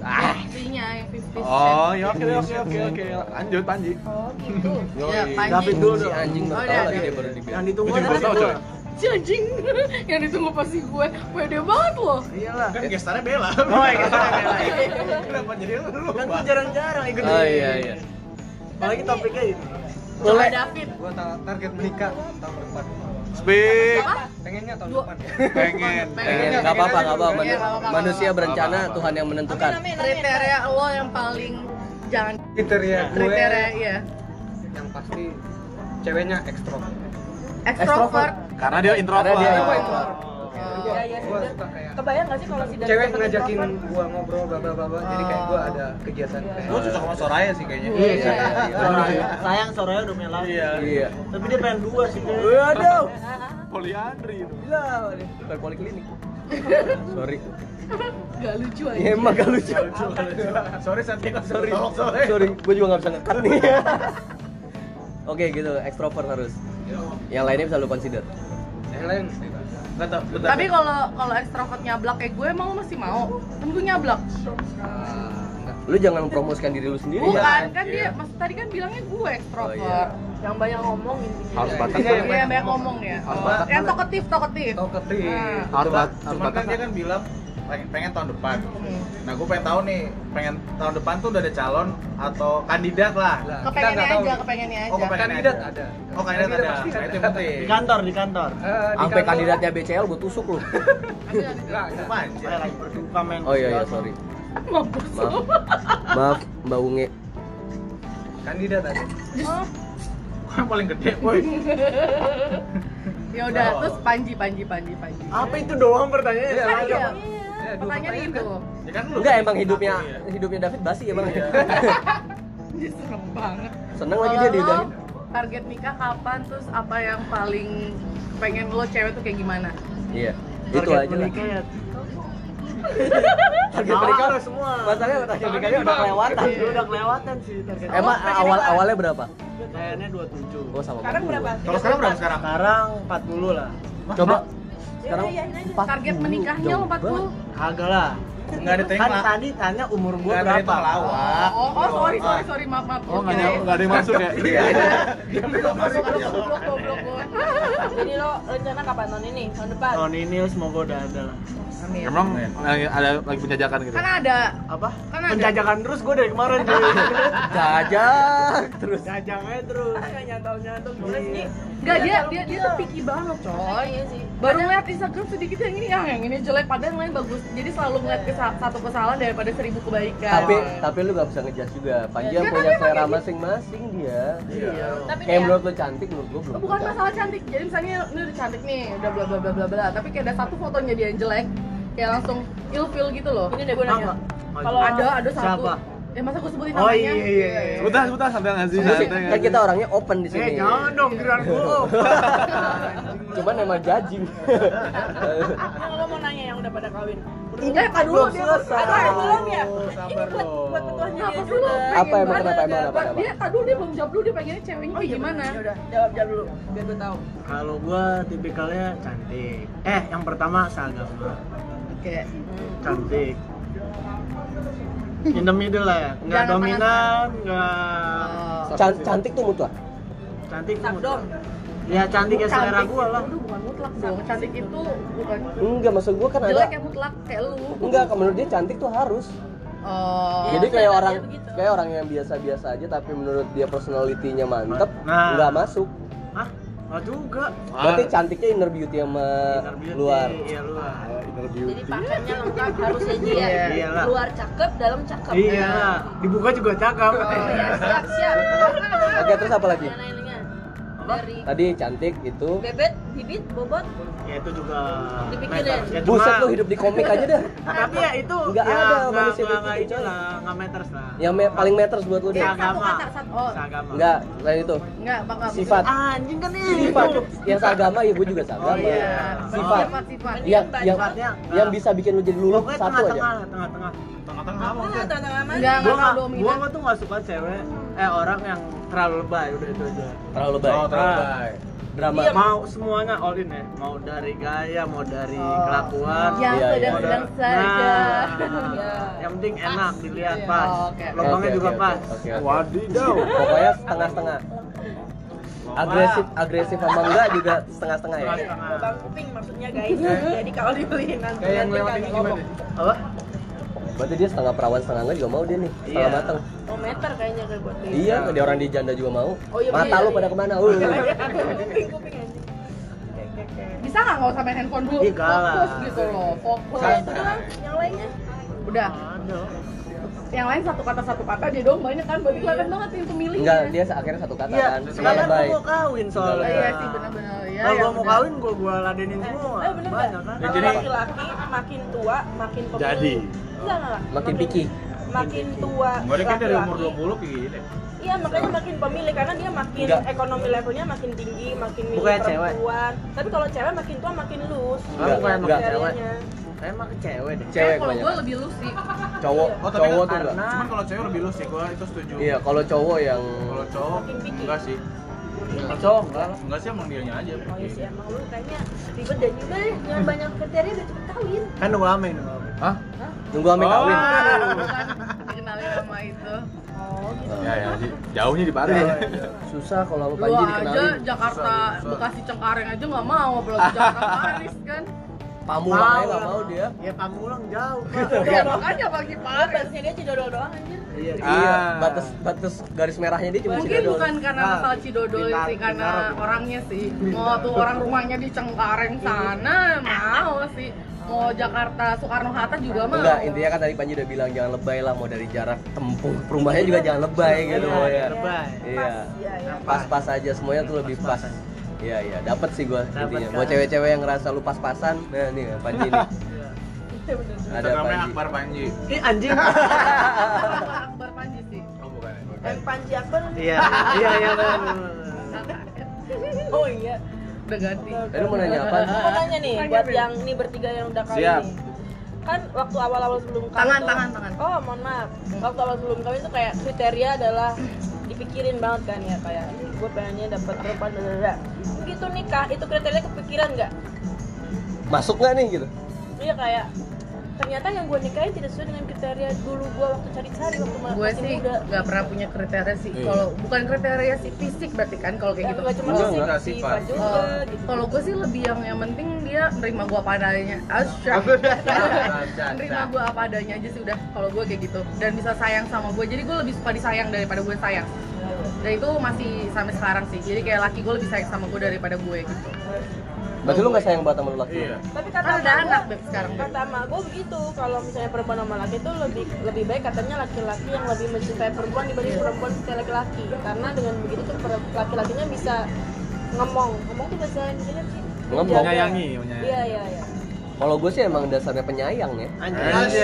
Speaker 1: Ah,
Speaker 3: Fifty-nya yang fifty
Speaker 9: Oh, ya oke oke oke oke. Lanjut Panji.
Speaker 5: Oh gitu.
Speaker 3: Ya,
Speaker 4: Yoi.
Speaker 3: Panji.
Speaker 2: David dulu
Speaker 1: si
Speaker 2: dong.
Speaker 1: anjing
Speaker 3: Oh,
Speaker 1: baru
Speaker 3: iya,
Speaker 1: tahu lagi
Speaker 3: iya.
Speaker 1: dia baru di band.
Speaker 2: Yang ditunggu
Speaker 9: Tujuh puluh
Speaker 2: adalah
Speaker 9: tahun,
Speaker 2: itu.
Speaker 9: coy.
Speaker 3: Si anjing (laughs) yang ditunggu pasti gue. Pede banget loh.
Speaker 2: Iyalah.
Speaker 4: Kan gestarnya Bella.
Speaker 2: Oh, iya, gestarnya Bella, iya.
Speaker 4: Kenapa jadi lu lu?
Speaker 2: Kan gua jarang-jarang ikut.
Speaker 1: Oh iya iya.
Speaker 2: Apalagi topiknya ini.
Speaker 3: Coba David.
Speaker 8: Gue target menikah tahun depan.
Speaker 9: Speak.
Speaker 3: Apa?
Speaker 8: Pengennya tahun
Speaker 3: Dua.
Speaker 8: depan ya.
Speaker 9: Pengen.
Speaker 1: Eh,
Speaker 3: Pengen.
Speaker 1: nggak apa-apa, nggak apa-apa.
Speaker 3: Iya, nggak apa-apa.
Speaker 1: Manusia berencana,
Speaker 9: Nggak apa-apa.
Speaker 1: Tuhan yang menentukan.
Speaker 5: Amin, Oh. amin, amin.
Speaker 3: Kriteria lo yang paling jangan
Speaker 8: Kriteria gue
Speaker 3: kriteria iya.
Speaker 8: yang pasti ceweknya ekstrovert.
Speaker 3: Extrovert.
Speaker 9: Karena dia introvert.
Speaker 1: Karena dia
Speaker 8: Gue
Speaker 1: introvert.
Speaker 8: introvert.
Speaker 3: Oh.
Speaker 5: Iya, iya,
Speaker 8: Gua
Speaker 5: sudah.
Speaker 8: suka kayak-
Speaker 5: Kebayang gak sih kalau si David
Speaker 8: Cewek
Speaker 5: dapat
Speaker 8: ngajakin
Speaker 5: introvert?
Speaker 8: gua ngobrol bla bla bla bla. Jadi kayak gua ada kegiatan kayak
Speaker 4: Gue cocok sama Soraya sih kayaknya.
Speaker 3: Iya, iya.
Speaker 2: Soraya. Sayang Soraya udah melang.
Speaker 1: Iya.
Speaker 2: Tapi dia pengen dua sih. Waduh.
Speaker 9: Poliandri itu.
Speaker 8: Gila, Pak.
Speaker 1: Bukan poliklinik. (laughs) Sorry.
Speaker 3: Gak lucu
Speaker 5: eh.
Speaker 9: Iya.
Speaker 3: aja.
Speaker 1: Ya emang gak lucu.
Speaker 4: Sorry, Santi.
Speaker 1: Sorry.
Speaker 4: Sorry. Tolong, sorry.
Speaker 1: Sorry, gue juga nggak bisa ngekat nih. Oke gitu, ekstrovert harus. Yang lainnya bisa lu consider.
Speaker 8: yang lain
Speaker 4: Nggak tahu, bentar.
Speaker 3: Tapi kalau kalau ekstrovert nyablak kayak gue emang lo masih mau? Kan gue nyablak.
Speaker 1: Lu jangan mempromosikan diri lu sendiri. ya.
Speaker 3: Bukan, kan dia mas tadi kan bilangnya gue ekstrovert.
Speaker 1: Iya, Oh, iya.
Speaker 3: Yang banyak ngomong intinya.
Speaker 9: Harus
Speaker 8: Iya,
Speaker 9: batas.
Speaker 8: iya,
Speaker 3: Iya, yang banyak ngomong ya.
Speaker 8: Harus
Speaker 3: Oh,
Speaker 8: batas.
Speaker 3: Yang toketif, toketif.
Speaker 8: tau ketik
Speaker 3: Ah.
Speaker 9: Harus bat- harus
Speaker 4: Cuman kan
Speaker 9: batasan.
Speaker 4: dia kan bilang pengen, pengen tahun depan.
Speaker 3: Hmm.
Speaker 4: Nah, gue pengen tahu nih, pengen tahun depan tuh udah ada calon atau kandidat lah.
Speaker 8: Lah, kita
Speaker 3: Kepengennya
Speaker 8: nggak tahu. Eh,
Speaker 3: aja, kepengennya
Speaker 4: Oh,
Speaker 3: aja.
Speaker 4: kepengen.
Speaker 8: kandidat
Speaker 4: aja.
Speaker 8: ada
Speaker 4: Oh, kandidat ada.
Speaker 8: pasti Kan-
Speaker 4: Nah, itu yang penting.
Speaker 2: Di kantor, di kantor.
Speaker 8: Eh, di
Speaker 1: Sampai
Speaker 8: kantor.
Speaker 1: kandidatnya BCL gue tusuk lu.
Speaker 8: Nggak, nggak.
Speaker 4: Apa aja?
Speaker 2: Saya lagi berduka men.
Speaker 1: Oh iya, iya sorry.
Speaker 3: Mampus
Speaker 1: Maaf.
Speaker 3: lo.
Speaker 1: Maaf, Mbak Unge.
Speaker 8: kandidat ada
Speaker 3: Oh,
Speaker 4: Gue yang paling gede, boy.
Speaker 3: Ya
Speaker 4: Oh.
Speaker 3: udah, terus Panji, Panji, Panji, Panji.
Speaker 2: Apa itu doang pertanyaannya?
Speaker 8: Iya,
Speaker 3: Kan
Speaker 8: lanjut.
Speaker 3: iya.
Speaker 8: Iya, dua
Speaker 3: Pertanyaan
Speaker 8: pertanyaan
Speaker 3: itu.
Speaker 4: Ya kan lu.
Speaker 1: Enggak emang hidupnya
Speaker 4: Iya.
Speaker 1: (laughs) hidupnya David basi emang.
Speaker 3: Dia serem banget.
Speaker 1: Seneng lagi dia
Speaker 3: Kalau
Speaker 1: diudahin.
Speaker 3: lo, target nikah kapan terus apa yang paling pengen lo cewek tuh kayak gimana
Speaker 1: Iya. Itu aja lah.
Speaker 2: menikah ya
Speaker 1: Target mereka
Speaker 2: Awal semua
Speaker 1: Masalahnya target menikahnya udah kelewatan.
Speaker 2: Itu udah kelewatan sih target
Speaker 1: Emang awal Oh, awalnya berapa?
Speaker 2: kayaknya 27
Speaker 1: Gua sama
Speaker 5: Sekarang
Speaker 1: kamu.
Speaker 5: berapa?
Speaker 6: Kalau sekarang berapa sekarang?
Speaker 2: kan sekarang 40 lah
Speaker 1: Coba
Speaker 5: Sekarang
Speaker 1: sekarang
Speaker 5: ya,
Speaker 3: target
Speaker 1: 40,
Speaker 3: menikahnya lo
Speaker 1: jauh
Speaker 3: 40
Speaker 2: kagak lah
Speaker 6: Enggak ada
Speaker 2: kan
Speaker 6: tengah.
Speaker 2: tadi tanya umur
Speaker 6: Enggak
Speaker 2: gua
Speaker 6: ada
Speaker 2: berapa
Speaker 6: tengah lawak.
Speaker 3: Oh, oh sorry sorry sorry maaf maaf.
Speaker 4: Oh, nggak ada,
Speaker 3: Oke.
Speaker 4: nggak ada yang masuk ya?
Speaker 1: (laughs)
Speaker 3: Goblok, goblok, goblok, goblok, goblok.
Speaker 5: Jadi lo rencana kapan tahun ini? Tahun depan?
Speaker 2: tahun ini semoga udah ada lah
Speaker 3: Amin.
Speaker 4: Emang lagi- ada lagi penjajakan gitu.
Speaker 3: Kan ada
Speaker 2: apa
Speaker 3: Kan ada.
Speaker 2: penjajakan terus gua dari kemarin cuy
Speaker 1: Jajak terus.
Speaker 2: jajang aja terus Iya.
Speaker 5: Kayak nyantol nyantol boleh sih.
Speaker 3: Enggak
Speaker 4: Iya.
Speaker 3: dia dia dia tuh picky banget, coy.
Speaker 5: Iya sih.
Speaker 3: Baru ngeliat Instagram sedikit yang ini ah yang ini jelek padahal yang lain bagus. Jadi selalu
Speaker 5: Iya.
Speaker 3: ngeliat kesa- satu kesalahan daripada seribu kebaikan.
Speaker 1: Tapi tapi lu gak bisa ngejas juga. Panji
Speaker 3: Ya,
Speaker 1: yang
Speaker 3: tapi
Speaker 1: punya
Speaker 3: emang
Speaker 1: selera
Speaker 3: kayak gitu.
Speaker 1: masing-masing dia.
Speaker 2: Iya.
Speaker 5: Tapi
Speaker 1: Kayak
Speaker 5: nih ya,
Speaker 1: menurut lu cantik, menurut gua belum.
Speaker 3: Oh, bukan
Speaker 1: tentu cantik.
Speaker 3: masalah cantik. Jadi misalnya ini udah cantik nih, udah bla bla bla bla bla. Tapi kayak ada satu fotonya dia yang jelek, kayak langsung ilfil gitu loh.
Speaker 5: ini deh gue nanya.
Speaker 2: Apa?
Speaker 5: Kalau
Speaker 3: Ada ada satu.
Speaker 2: Siapa?
Speaker 3: Ya masa gue sebutin
Speaker 2: oh
Speaker 3: namanya?
Speaker 2: iya iya iya.
Speaker 4: Sebentar, sebentar, santai nggak sih?
Speaker 1: Ini sih,
Speaker 4: Santai nggak
Speaker 1: Kan
Speaker 4: sih?
Speaker 1: kita orangnya open di
Speaker 2: eh
Speaker 1: sini.
Speaker 2: jangan dong giliran
Speaker 3: (laughs)
Speaker 2: gua
Speaker 1: Cuman emang judging.
Speaker 5: Yang lo Ah, mau nanya yang udah pada kawin.
Speaker 3: Enggak, tak dulu
Speaker 1: Belum
Speaker 3: dia
Speaker 1: selesai.
Speaker 5: Ada yang belum ya?
Speaker 6: Sabar
Speaker 5: Ini buat
Speaker 6: dong.
Speaker 5: buat ketuanya
Speaker 3: Kenapa
Speaker 5: dia
Speaker 3: dulu?
Speaker 5: juga.
Speaker 3: Pengen
Speaker 1: Apa emang,
Speaker 3: banget.
Speaker 1: kenapa emang, kenapa, kenapa?
Speaker 3: Dia tak dulu dia belum jawab dulu dia pengennya ceweknya kayak gimana?
Speaker 5: Ya udah, jawab jawab dulu biar gue tahu.
Speaker 2: kalau gua tipikalnya cantik eh yang pertama seagama
Speaker 3: Oke.
Speaker 2: cantik in the middle lah ya nggak
Speaker 3: Jangan
Speaker 2: dominan nggak
Speaker 1: Can- cantik tuh mutlak.
Speaker 2: cantik tuh.
Speaker 5: Sabdom.
Speaker 2: ya cantik ya selera gua lah
Speaker 3: Aduh, bukan mutlak dong. Cantik itu bukan
Speaker 1: Enggak, maksud gua kan ada
Speaker 3: jelek yang mutlak kayak lu.
Speaker 1: Enggak, kalau menurut dia cantik tuh harus.
Speaker 3: Oh.
Speaker 1: Jadi
Speaker 5: Iya,
Speaker 1: kayak
Speaker 5: saya
Speaker 1: orang
Speaker 5: begitu.
Speaker 1: kayak orang yang biasa-biasa aja tapi menurut dia personalitinya mantep,
Speaker 2: Nah.
Speaker 1: nggak masuk.
Speaker 2: Hah? nggak juga
Speaker 1: Berarti cantiknya inner beauty sama
Speaker 2: Inner beauty,
Speaker 1: luar.
Speaker 2: iya luar
Speaker 5: Jadi pakainya lengkap harusnya dia.
Speaker 3: Iya.
Speaker 2: Iyalah.
Speaker 5: Luar cakep, dalam cakep.
Speaker 2: iya dibuka juga cakep
Speaker 5: Iya, Siap siap.
Speaker 1: Oke, terus apa lagi?
Speaker 5: Lain-lainnya. Dari
Speaker 1: Tadi cantik itu.
Speaker 5: bebet, bibit, bobot,
Speaker 2: ya itu juga
Speaker 5: Dipikirin.
Speaker 2: matter. ya, cuma-
Speaker 1: Buset lu hidup di komik aja dah.
Speaker 2: tapi ya itu
Speaker 1: Nggak
Speaker 2: ya,
Speaker 1: ada
Speaker 2: nggak-
Speaker 1: manusia
Speaker 2: nggak- nggak
Speaker 1: pikir,
Speaker 2: itu
Speaker 1: coy.
Speaker 2: lah nggak matters lah
Speaker 1: Yang me- paling matters buat lu deh.
Speaker 3: Iya. Satu kata, satu- oh.
Speaker 2: Seagama.
Speaker 1: Enggak, lain itu.
Speaker 3: Enggak, Pak, enggak.
Speaker 1: Sifat.
Speaker 2: anjing kan ini
Speaker 1: Sifat. Yang seagama ya gue juga
Speaker 2: Oh,
Speaker 1: seagama.
Speaker 2: iya.
Speaker 1: Sifat. Iya,
Speaker 3: Sifat, sifat.
Speaker 1: Yang yang
Speaker 2: Sifatnya, eh,
Speaker 1: yang bisa bikin lu jadi lulu
Speaker 2: pokoknya
Speaker 1: satu
Speaker 2: tengah-tengah
Speaker 1: aja.
Speaker 2: lah, tengah-tengah
Speaker 6: Tengah-tengah
Speaker 4: Ah,
Speaker 6: apa?
Speaker 5: apa
Speaker 6: maksudnya?
Speaker 5: tanda mana?
Speaker 3: Enggak,
Speaker 2: gua
Speaker 3: enggak
Speaker 2: nggak gua
Speaker 3: dominan.
Speaker 2: gua tuh nggak suka cewek eh orang yang terlalu lebay udah itu aja
Speaker 1: Terlalu
Speaker 6: Oh,
Speaker 1: baik.
Speaker 6: terlalu
Speaker 2: Ah.
Speaker 6: baik.
Speaker 1: Drama.
Speaker 2: mau semuanya all in ya mau dari gaya mau dari kelakuan
Speaker 3: Yang
Speaker 1: Iya, iya.
Speaker 3: sedang-sedang Ya, saja.
Speaker 2: Nah, yang penting enak dilihat pas.
Speaker 3: Oh, oke.
Speaker 2: Lubangnya
Speaker 1: Oke,
Speaker 2: juga
Speaker 1: oke,
Speaker 2: pas.
Speaker 1: oke, oke.
Speaker 4: Wadidaw.
Speaker 1: Pokoknya setengah-setengah. Agresif agresif sama enggak juga setengah-setengah ya.
Speaker 5: Lubang kuping maksudnya guys. Jadi kalau dibeliin nanti
Speaker 7: Kayak yang
Speaker 5: nanti
Speaker 7: lewat ini
Speaker 5: kagak
Speaker 7: gimana?
Speaker 5: ngomong.
Speaker 2: Apa?
Speaker 1: Berarti dia setengah perawan setengah enggak juga mau dia nih, setengah
Speaker 2: Iya.
Speaker 1: matang.
Speaker 5: Oh meter kayaknya kayak buat dia.
Speaker 1: Iya, dia orang di janda juga mau.
Speaker 5: Oh, iya,
Speaker 1: Mata
Speaker 5: iya,
Speaker 1: lu
Speaker 5: iya.
Speaker 1: pada kemana? Uh.
Speaker 5: Kuping kuping anjing.
Speaker 3: Bisa enggak enggak usah main handphone dulu?
Speaker 2: Ih, galak.
Speaker 3: Fokus gitu loh, fokus.
Speaker 5: Kalau itu doang, yang lainnya
Speaker 3: Udah. Yang lain satu kata satu kata dia dong banyak kan berarti kelihatan banget nih pemilihnya.
Speaker 1: Enggak, dia akhirnya satu kata
Speaker 2: Iya,
Speaker 1: kan.
Speaker 2: nggak
Speaker 1: Semuanya
Speaker 2: kan gua
Speaker 1: baik.
Speaker 2: mau kawin soalnya.
Speaker 3: Iya sih benar-benar. Iya.
Speaker 2: Kalau
Speaker 3: ya
Speaker 2: gua mau
Speaker 3: benar.
Speaker 2: kawin gua gua ladenin semua.
Speaker 5: Eh bener
Speaker 2: Banyak kan?
Speaker 5: nggak? Kalau laki-laki makin tua makin pemilih.
Speaker 4: Jadi.
Speaker 5: Enggak enggak. enggak.
Speaker 1: Makin picky.
Speaker 5: Makin tua
Speaker 6: Gue kan dari umur 20
Speaker 5: laki-laki.
Speaker 6: kayak gini.
Speaker 5: Iya makanya makin pemilih karena dia makin
Speaker 1: Enggak.
Speaker 5: ekonomi levelnya makin tinggi, makin milih
Speaker 2: Bukannya cewek.
Speaker 5: perempuan. Tapi kalau cewek makin tua makin loose.
Speaker 1: Enggak,
Speaker 2: bukan emang
Speaker 1: enggak.
Speaker 2: cewek.
Speaker 5: Kriterianya.
Speaker 2: Emang ke cewek deh.
Speaker 1: Cewek
Speaker 3: Kalau
Speaker 1: banyak.
Speaker 3: gua lebih lu
Speaker 1: (laughs)
Speaker 3: sih. Iya,
Speaker 1: Cowok,
Speaker 6: Oh, tapi
Speaker 1: cowok
Speaker 6: kan
Speaker 1: tuh enggak.
Speaker 6: Cuman kalau cewek lebih lu sih, gue itu setuju.
Speaker 1: Iya, kalau cowok yang
Speaker 6: Kalau cowok
Speaker 5: Makin picky.
Speaker 6: enggak sih.
Speaker 2: Cowok enggak lah.
Speaker 6: Enggak sih emang dianya aja.
Speaker 5: Oh iya sih emang lu kayaknya ribet dan juga deh,
Speaker 1: (laughs)
Speaker 5: jangan banyak kriteria biar cepet kawin.
Speaker 2: Kan nunggu amin nunggu amin.
Speaker 4: Hah?
Speaker 1: nunggu ame kawin.
Speaker 3: Bukan kan? dikenalin sama itu.
Speaker 5: Oh gitu.
Speaker 1: Nah.
Speaker 4: Ya, ya, di- jauhnya di Bali.
Speaker 1: Susah kalau sama
Speaker 3: Lu
Speaker 1: Panji
Speaker 3: aja
Speaker 1: dikenalin.
Speaker 3: Jakarta
Speaker 6: Susah, susah.
Speaker 3: Bekasi Cengkareng aja nggak mau belum Jakarta
Speaker 1: (laughs)
Speaker 3: Paris kan.
Speaker 1: Pamulang aja enggak mau dia.
Speaker 2: Ya pamulang jauh, Pak.
Speaker 3: Ya makanya bagi Paris.
Speaker 5: Batasnya dia cedodol doang anjir.
Speaker 2: Iya.
Speaker 1: Iya,
Speaker 4: Ah.
Speaker 1: batas batas garis merahnya dia cuma
Speaker 3: Mungkin
Speaker 1: segitu doang.
Speaker 3: bukan karena
Speaker 2: Nah,
Speaker 3: masalah Cidodol
Speaker 2: Bintaro,
Speaker 3: sih, karena
Speaker 2: Bintaro.
Speaker 3: orangnya sih. Mau tuh orang rumahnya di Cengkareng sana, mau sih. Mau Jakarta Soekarno Hatta juga mau.
Speaker 1: Enggak, intinya kan tadi Panji udah bilang jangan lebay lah mau dari jarak tempuh rumahnya juga jangan lebay gitu mau ya.
Speaker 2: Lebay.
Speaker 1: Iya.
Speaker 5: Iya iya.
Speaker 1: Pas-pas aja semuanya tuh lebih pas. Iya iya, dapat sih gua
Speaker 2: Dapet
Speaker 1: intinya.
Speaker 2: kan?
Speaker 1: Buat cewek-cewek yang ngerasa lu pas-pasan, nah nih Panji nih. Ada
Speaker 6: Instagramnya
Speaker 1: Panji.
Speaker 6: Akbar Panji.
Speaker 2: Ih anjing.
Speaker 3: Akbar Akbar Panji sih.
Speaker 6: Oh, bukan. ya?
Speaker 5: Dan Panji Akbar
Speaker 2: Iya, iya, iya. bener, bener, bener.
Speaker 5: oh iya
Speaker 3: udah ganti
Speaker 1: Tadi Eh, mau nanya apa?
Speaker 5: mau nanya nih buat yang ini bertiga yang udah kawin
Speaker 4: Siap.
Speaker 5: nih. kan waktu awal-awal sebelum kawin
Speaker 3: Tangan,
Speaker 5: tuh-
Speaker 3: tangan, tangan.
Speaker 5: oh mohon maaf waktu awal sebelum kawin tuh kayak kriteria adalah dipikirin banget kan ya kayak gue pengennya dapat perempuan dadada begitu nikah itu kriteria kepikiran nggak
Speaker 1: Masuk nggak nih gitu?
Speaker 5: iya kayak ternyata yang gue nikahin tidak sesuai dengan kriteria dulu gue waktu cari-cari waktu ma-
Speaker 3: gue
Speaker 5: masih
Speaker 3: sih
Speaker 5: muda
Speaker 3: nggak pernah punya kriteria sih
Speaker 4: Iya.
Speaker 3: kalau bukan kriteria sih fisik berarti kan kalau kayak gitu
Speaker 5: Ya, nggak cuma
Speaker 4: Enggak,
Speaker 5: fisik,
Speaker 4: enggak,
Speaker 5: sifat
Speaker 4: sifat.
Speaker 5: juga
Speaker 3: Oh,
Speaker 5: gitu
Speaker 3: kalau gue sih lebih yang yang penting dia nerima gue apa adanya Asya
Speaker 4: (laughs)
Speaker 3: nerima gue apa adanya aja sih udah kalau gue kayak gitu dan bisa sayang sama gue jadi gue lebih suka disayang daripada gue sayang dan itu masih sampai sekarang sih jadi kayak laki gue lebih sayang sama gue daripada gue gitu
Speaker 1: Berarti lu nggak sayang banget sama lu laki?
Speaker 4: Iya.
Speaker 5: tapi
Speaker 3: kan
Speaker 5: kata
Speaker 3: ada
Speaker 5: emak
Speaker 3: anak
Speaker 5: gua-
Speaker 3: Beb, sekarang Beb.
Speaker 5: kata emak gue begitu kalau misalnya perempuan sama laki itu lebih lebih baik katanya laki-laki yang lebih mencintai perempuan dibanding
Speaker 3: Iya.
Speaker 5: perempuan mencintai laki-laki karena dengan begitu tuh per- laki-lakinya bisa ngomong ngomong tuh bahasa Indonesia sih
Speaker 1: Ngomong.
Speaker 5: Menjaga.
Speaker 4: Menyayangi, menyayangi.
Speaker 5: iya iya iya
Speaker 1: Kalau gue sih emang dasarnya penyayang ya.
Speaker 4: Anjay. Saya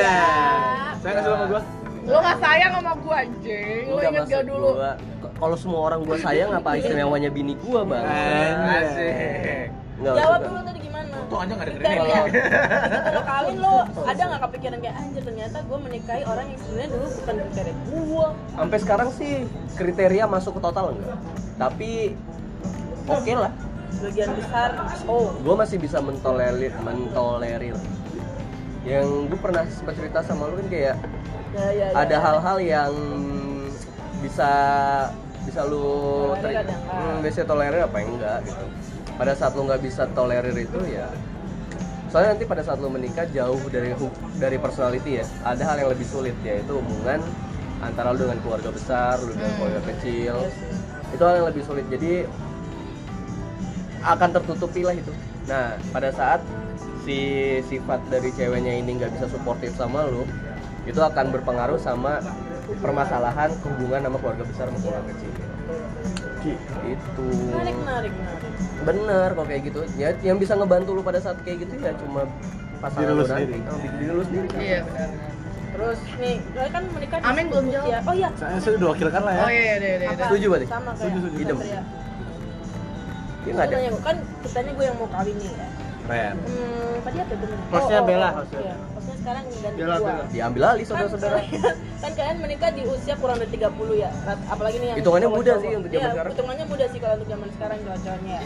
Speaker 4: nggak suka sama gua.
Speaker 3: lo nggak sayang sama gue anjing lo
Speaker 1: Nggak
Speaker 3: inget gak
Speaker 1: maksud
Speaker 3: dulu
Speaker 1: gua, k- Kalau semua orang gue sayang apa istimewanya bini gue bang?
Speaker 4: Eh, Asik.
Speaker 1: Nggak
Speaker 5: jawab
Speaker 1: maksud
Speaker 5: dulu
Speaker 1: gua.
Speaker 5: tadi gimana
Speaker 6: Untung aja nggak dengerin.
Speaker 5: kriteria kalau kawin lo ada nggak kepikiran kayak anjir ternyata gue menikahi orang yang sebenarnya dulu bukan kriteria gue
Speaker 1: Sampai sekarang sih kriteria masuk ke total enggak. Tapi oke lah.
Speaker 5: bagian besar oh
Speaker 1: gue masih bisa mentolerir mentolerir yang gue pernah sempat cerita sama lu kan kayak
Speaker 5: ya, ya, ya.
Speaker 1: ada hal-hal yang bisa bisa lu
Speaker 5: Tolerir
Speaker 1: teri-
Speaker 5: kadang.
Speaker 1: hmm, bisa tolerir apa yang enggak gitu pada saat lu nggak bisa tolerir itu ya soalnya nanti pada saat lu menikah jauh dari hu- dari personality ya ada hal yang lebih sulit yaitu hubungan antara lu dengan keluarga besar lu dengan
Speaker 3: Hmm.
Speaker 1: keluarga kecil itu hal yang lebih sulit jadi akan tertutupi lah itu nah pada saat si sifat dari ceweknya ini nggak bisa suportif sama lu itu akan berpengaruh sama permasalahan hubungan sama keluarga besar sama keluarga kecil itu
Speaker 5: menarik menarik menarik
Speaker 1: bener kalau kayak gitu ya yang bisa ngebantu lu pada saat kayak gitu ya cuma pasangan
Speaker 4: Diri lu
Speaker 1: lu nanti.
Speaker 4: sendiri.
Speaker 1: Oh, diri lu sendiri
Speaker 3: iya benar
Speaker 5: Terus nih, kalian kan menikah di
Speaker 3: Amin, belum
Speaker 5: usia-
Speaker 3: jawab.
Speaker 5: Oh iya.
Speaker 4: Saya sudah diwakilkan lah ya.
Speaker 3: oh iya iya iya, iya,
Speaker 5: Apa?
Speaker 3: iya.
Speaker 1: Setuju berarti?
Speaker 5: Sama kayak
Speaker 4: Setuju, setuju.
Speaker 1: Idem.
Speaker 5: Satria.
Speaker 1: ya nggak ada
Speaker 5: Terus
Speaker 3: Iya.
Speaker 5: Tanya gue kan ceritanya gue yang mau kawin nih ya.
Speaker 4: Keren.
Speaker 5: Hmm, tadi apa itu?
Speaker 2: Hostnya Bella,
Speaker 5: hostnya.
Speaker 2: hostnya.
Speaker 5: oh, Iya, Hostnya sekarang ganti
Speaker 7: Bella,
Speaker 5: gua.
Speaker 7: Bella.
Speaker 1: diambil alih
Speaker 5: Kan,
Speaker 1: saudara-saudara
Speaker 5: kan kalian menikah di usia kurang dari 30 ya. Rat- Apalagi nih yang
Speaker 1: Hitungannya muda
Speaker 5: cowok-cowok.
Speaker 1: sih untuk zaman
Speaker 5: Iya,
Speaker 1: sekarang.
Speaker 5: Hitungannya muda sih kalau untuk zaman sekarang
Speaker 1: (laughs)
Speaker 5: cowok-cowoknya.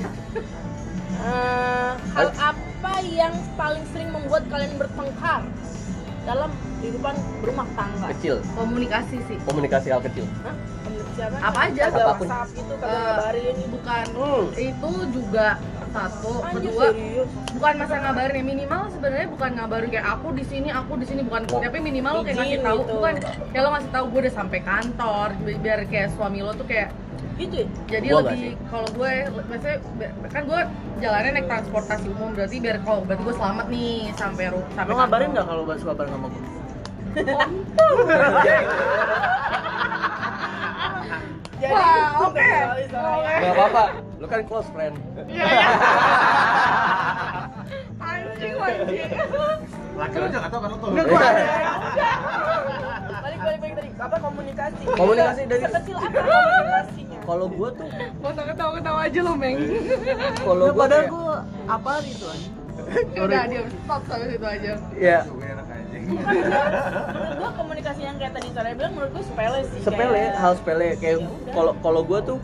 Speaker 5: Eh, hal apa yang paling sering membuat kalian bertengkar dalam kehidupan berumah tangga?
Speaker 1: kecil
Speaker 3: komunikasi sih
Speaker 1: komunikasi hal kecil
Speaker 5: Hah? Siapa?
Speaker 3: apa aja
Speaker 5: Ada
Speaker 1: Apapun.
Speaker 5: WhatsApp gitu, kagak
Speaker 3: Eh,
Speaker 5: ngabarin gitu.
Speaker 3: bukan
Speaker 1: Hmm.
Speaker 3: itu juga satu
Speaker 5: Anjir,
Speaker 3: kedua
Speaker 5: serius.
Speaker 3: bukan masa ngabarin ya minimal sebenarnya bukan ngabarin kayak aku di sini aku di sini bukan tapi minimal lo kayak ngasih
Speaker 5: Izin
Speaker 3: tahu
Speaker 5: gitu.
Speaker 3: bukan kayak lo ngasih tahu gue udah sampai kantor bi- biar kayak suami lo tuh kayak
Speaker 5: Gitu ya?
Speaker 3: jadi
Speaker 1: Gua nggak
Speaker 3: lebih kalau gue le- maksudnya be- kan gue jalannya naik transportasi umum berarti biar kalau berarti gue selamat nih sampai ru- sampai
Speaker 2: Lo ngabarin nggak kalau gak suka bareng sama gue?
Speaker 5: Jadi
Speaker 3: Wah,
Speaker 5: itu
Speaker 3: oke.
Speaker 5: kali soalnya.
Speaker 1: nggak apa-apa lu kan close friend
Speaker 3: iya iya anjing anjing
Speaker 6: Laki lu jangan tahu kan lu tuh. Iya.
Speaker 5: Balik balik balik tadi. Apa komunikasi? Iya,
Speaker 1: Komunikasi dari-
Speaker 5: sekecil apa komunikasinya?
Speaker 1: kalau gue tuh
Speaker 3: mau ketawa ketawa aja lo meng
Speaker 1: kalau gue
Speaker 2: Ya, Padahal
Speaker 1: kayak-
Speaker 2: gue apa itu aja?
Speaker 3: (laughs) udah diam stop sampai situ aja
Speaker 1: ya
Speaker 6: Tuh, enak aja.
Speaker 5: Menurut gua komunikasi yang kayak tadi Sarah bilang menurut gua sepele sih.
Speaker 1: sepele
Speaker 5: kayak-
Speaker 1: hal sepele kayak kalau kalau gue tuh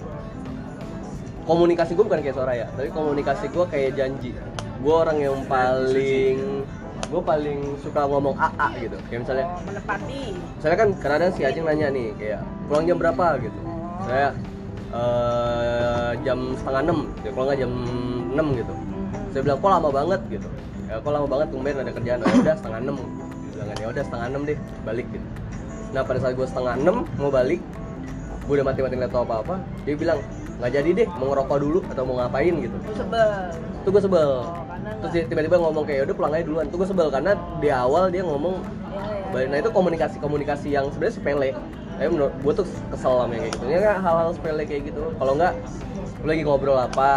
Speaker 1: komunikasi gue bukan kayak Soraya tapi komunikasi gue kayak janji gue orang yang paling gue paling suka ngomong AA gitu kayak misalnya
Speaker 5: Oh, menepati.
Speaker 1: misalnya kan kadang si Ajeng nanya nih kayak pulang jam berapa gitu saya eh, jam setengah enam ya kalau nggak jam enam gitu saya bilang kok lama banget gitu ya kok lama banget tumben ada kerjaan oh, udah setengah enam Dia bilang kan ya udah setengah enam deh balik gitu nah pada saat gue setengah enam mau balik gue udah mati-matiin laptop apa apa dia bilang nggak jadi deh mau ngerokok dulu atau mau ngapain gitu
Speaker 5: Gua sebel.
Speaker 1: tuh gue sebel
Speaker 5: karena
Speaker 1: terus dia tiba-tiba ngomong kayak "Ya udah pulang aja duluan tuh gue sebel karena di awal dia ngomong
Speaker 5: Ya, ya.
Speaker 1: balik nah itu komunikasi komunikasi yang sebenarnya sepele tapi menurut gue tuh kesel sama yang kayak gitu ya nggak hal-hal sepele kayak gitu kalau nggak lu lagi ngobrol apa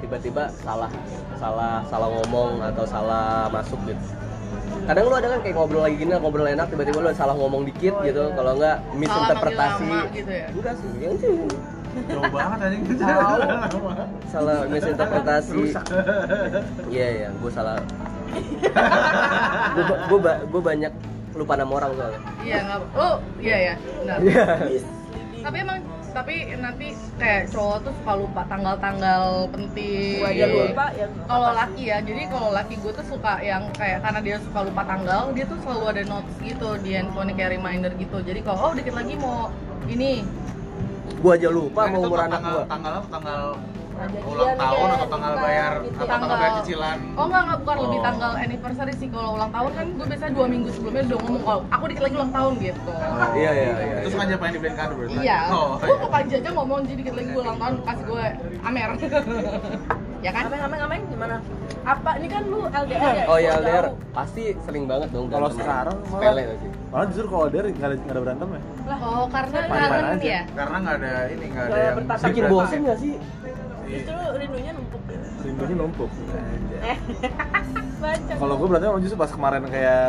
Speaker 1: tiba-tiba salah salah salah ngomong atau salah masuk gitu kadang lu ada kan kayak ngobrol lagi gini ngobrol enak Oh, iya. tiba-tiba lu salah ngomong dikit gitu kalau nggak misinterpretasi
Speaker 3: manggil nama gitu ya?
Speaker 1: enggak sih yang itu
Speaker 6: Jauh banget anjing.
Speaker 2: Tahu.
Speaker 1: salah misinterpretasi
Speaker 6: Rusak.
Speaker 1: iya iya gue salah gue gue banyak lupa nama orang soalnya
Speaker 3: Iya nggak. Oh iya ya. Benar.
Speaker 1: Iya.
Speaker 3: Tapi emang tapi nanti kayak cowok tuh suka lupa tanggal-tanggal penting.
Speaker 5: Gua aja lupa ya.
Speaker 3: Kalau laki ya, jadi kalau laki gue tuh suka yang kayak karena dia suka lupa tanggal, dia tuh selalu ada notes gitu di handphone kayak reminder gitu. Jadi kalau oh dikit lagi mau ini,
Speaker 1: gue aja lupa
Speaker 6: Nah,
Speaker 1: mau
Speaker 6: itu
Speaker 1: umur
Speaker 6: tanggal-
Speaker 1: anak gue
Speaker 6: Tanggal apa? Tanggal
Speaker 5: Gajian
Speaker 6: ulang tahun
Speaker 5: kayak
Speaker 6: atau tanggal
Speaker 5: kita
Speaker 6: bayar
Speaker 5: gitu.
Speaker 6: atau tanggal bayar cicilan?
Speaker 3: Oh enggak, enggak bukan lebih
Speaker 6: Oh.
Speaker 3: tanggal anniversary sih kalau ulang tahun kan gue biasanya dua minggu sebelumnya udah ngomong kalau aku dikit lagi ulang tahun gitu.
Speaker 1: iya iya iya
Speaker 6: Itu
Speaker 1: iya.
Speaker 6: sengaja pengen dibeliin kado berarti?
Speaker 3: Iya,
Speaker 6: Oh,
Speaker 3: gue ke Panji aja ngomong jadi dikit lagi gue ulang tahun kasih gue
Speaker 5: (laughs)
Speaker 3: amer. ya kan?
Speaker 5: Ameng ameng ameng gimana? Apa ini kan lu LDR ya?
Speaker 1: oh ya
Speaker 5: Jauh.
Speaker 1: LDR pasti sering banget dong
Speaker 8: Kalau
Speaker 1: berantem.
Speaker 8: sekarang malah-
Speaker 1: sepele sih
Speaker 8: Malah justru kalau dari nggak ada nggak ada berantem ya.
Speaker 3: Oh karena
Speaker 8: Fine-fine
Speaker 3: kangen
Speaker 8: aja.
Speaker 3: ya.
Speaker 6: Karena nggak ada ini, nggak ada
Speaker 5: Nggak
Speaker 6: yang Iya.
Speaker 5: bertatap
Speaker 6: bisa
Speaker 1: bikin
Speaker 6: diberatain.
Speaker 1: bosen gak sih
Speaker 5: Justru rindunya numpuk.
Speaker 8: Rindunya numpuk.
Speaker 5: Baca.
Speaker 8: Kalau gue berantem emang justru pas kemarin kayak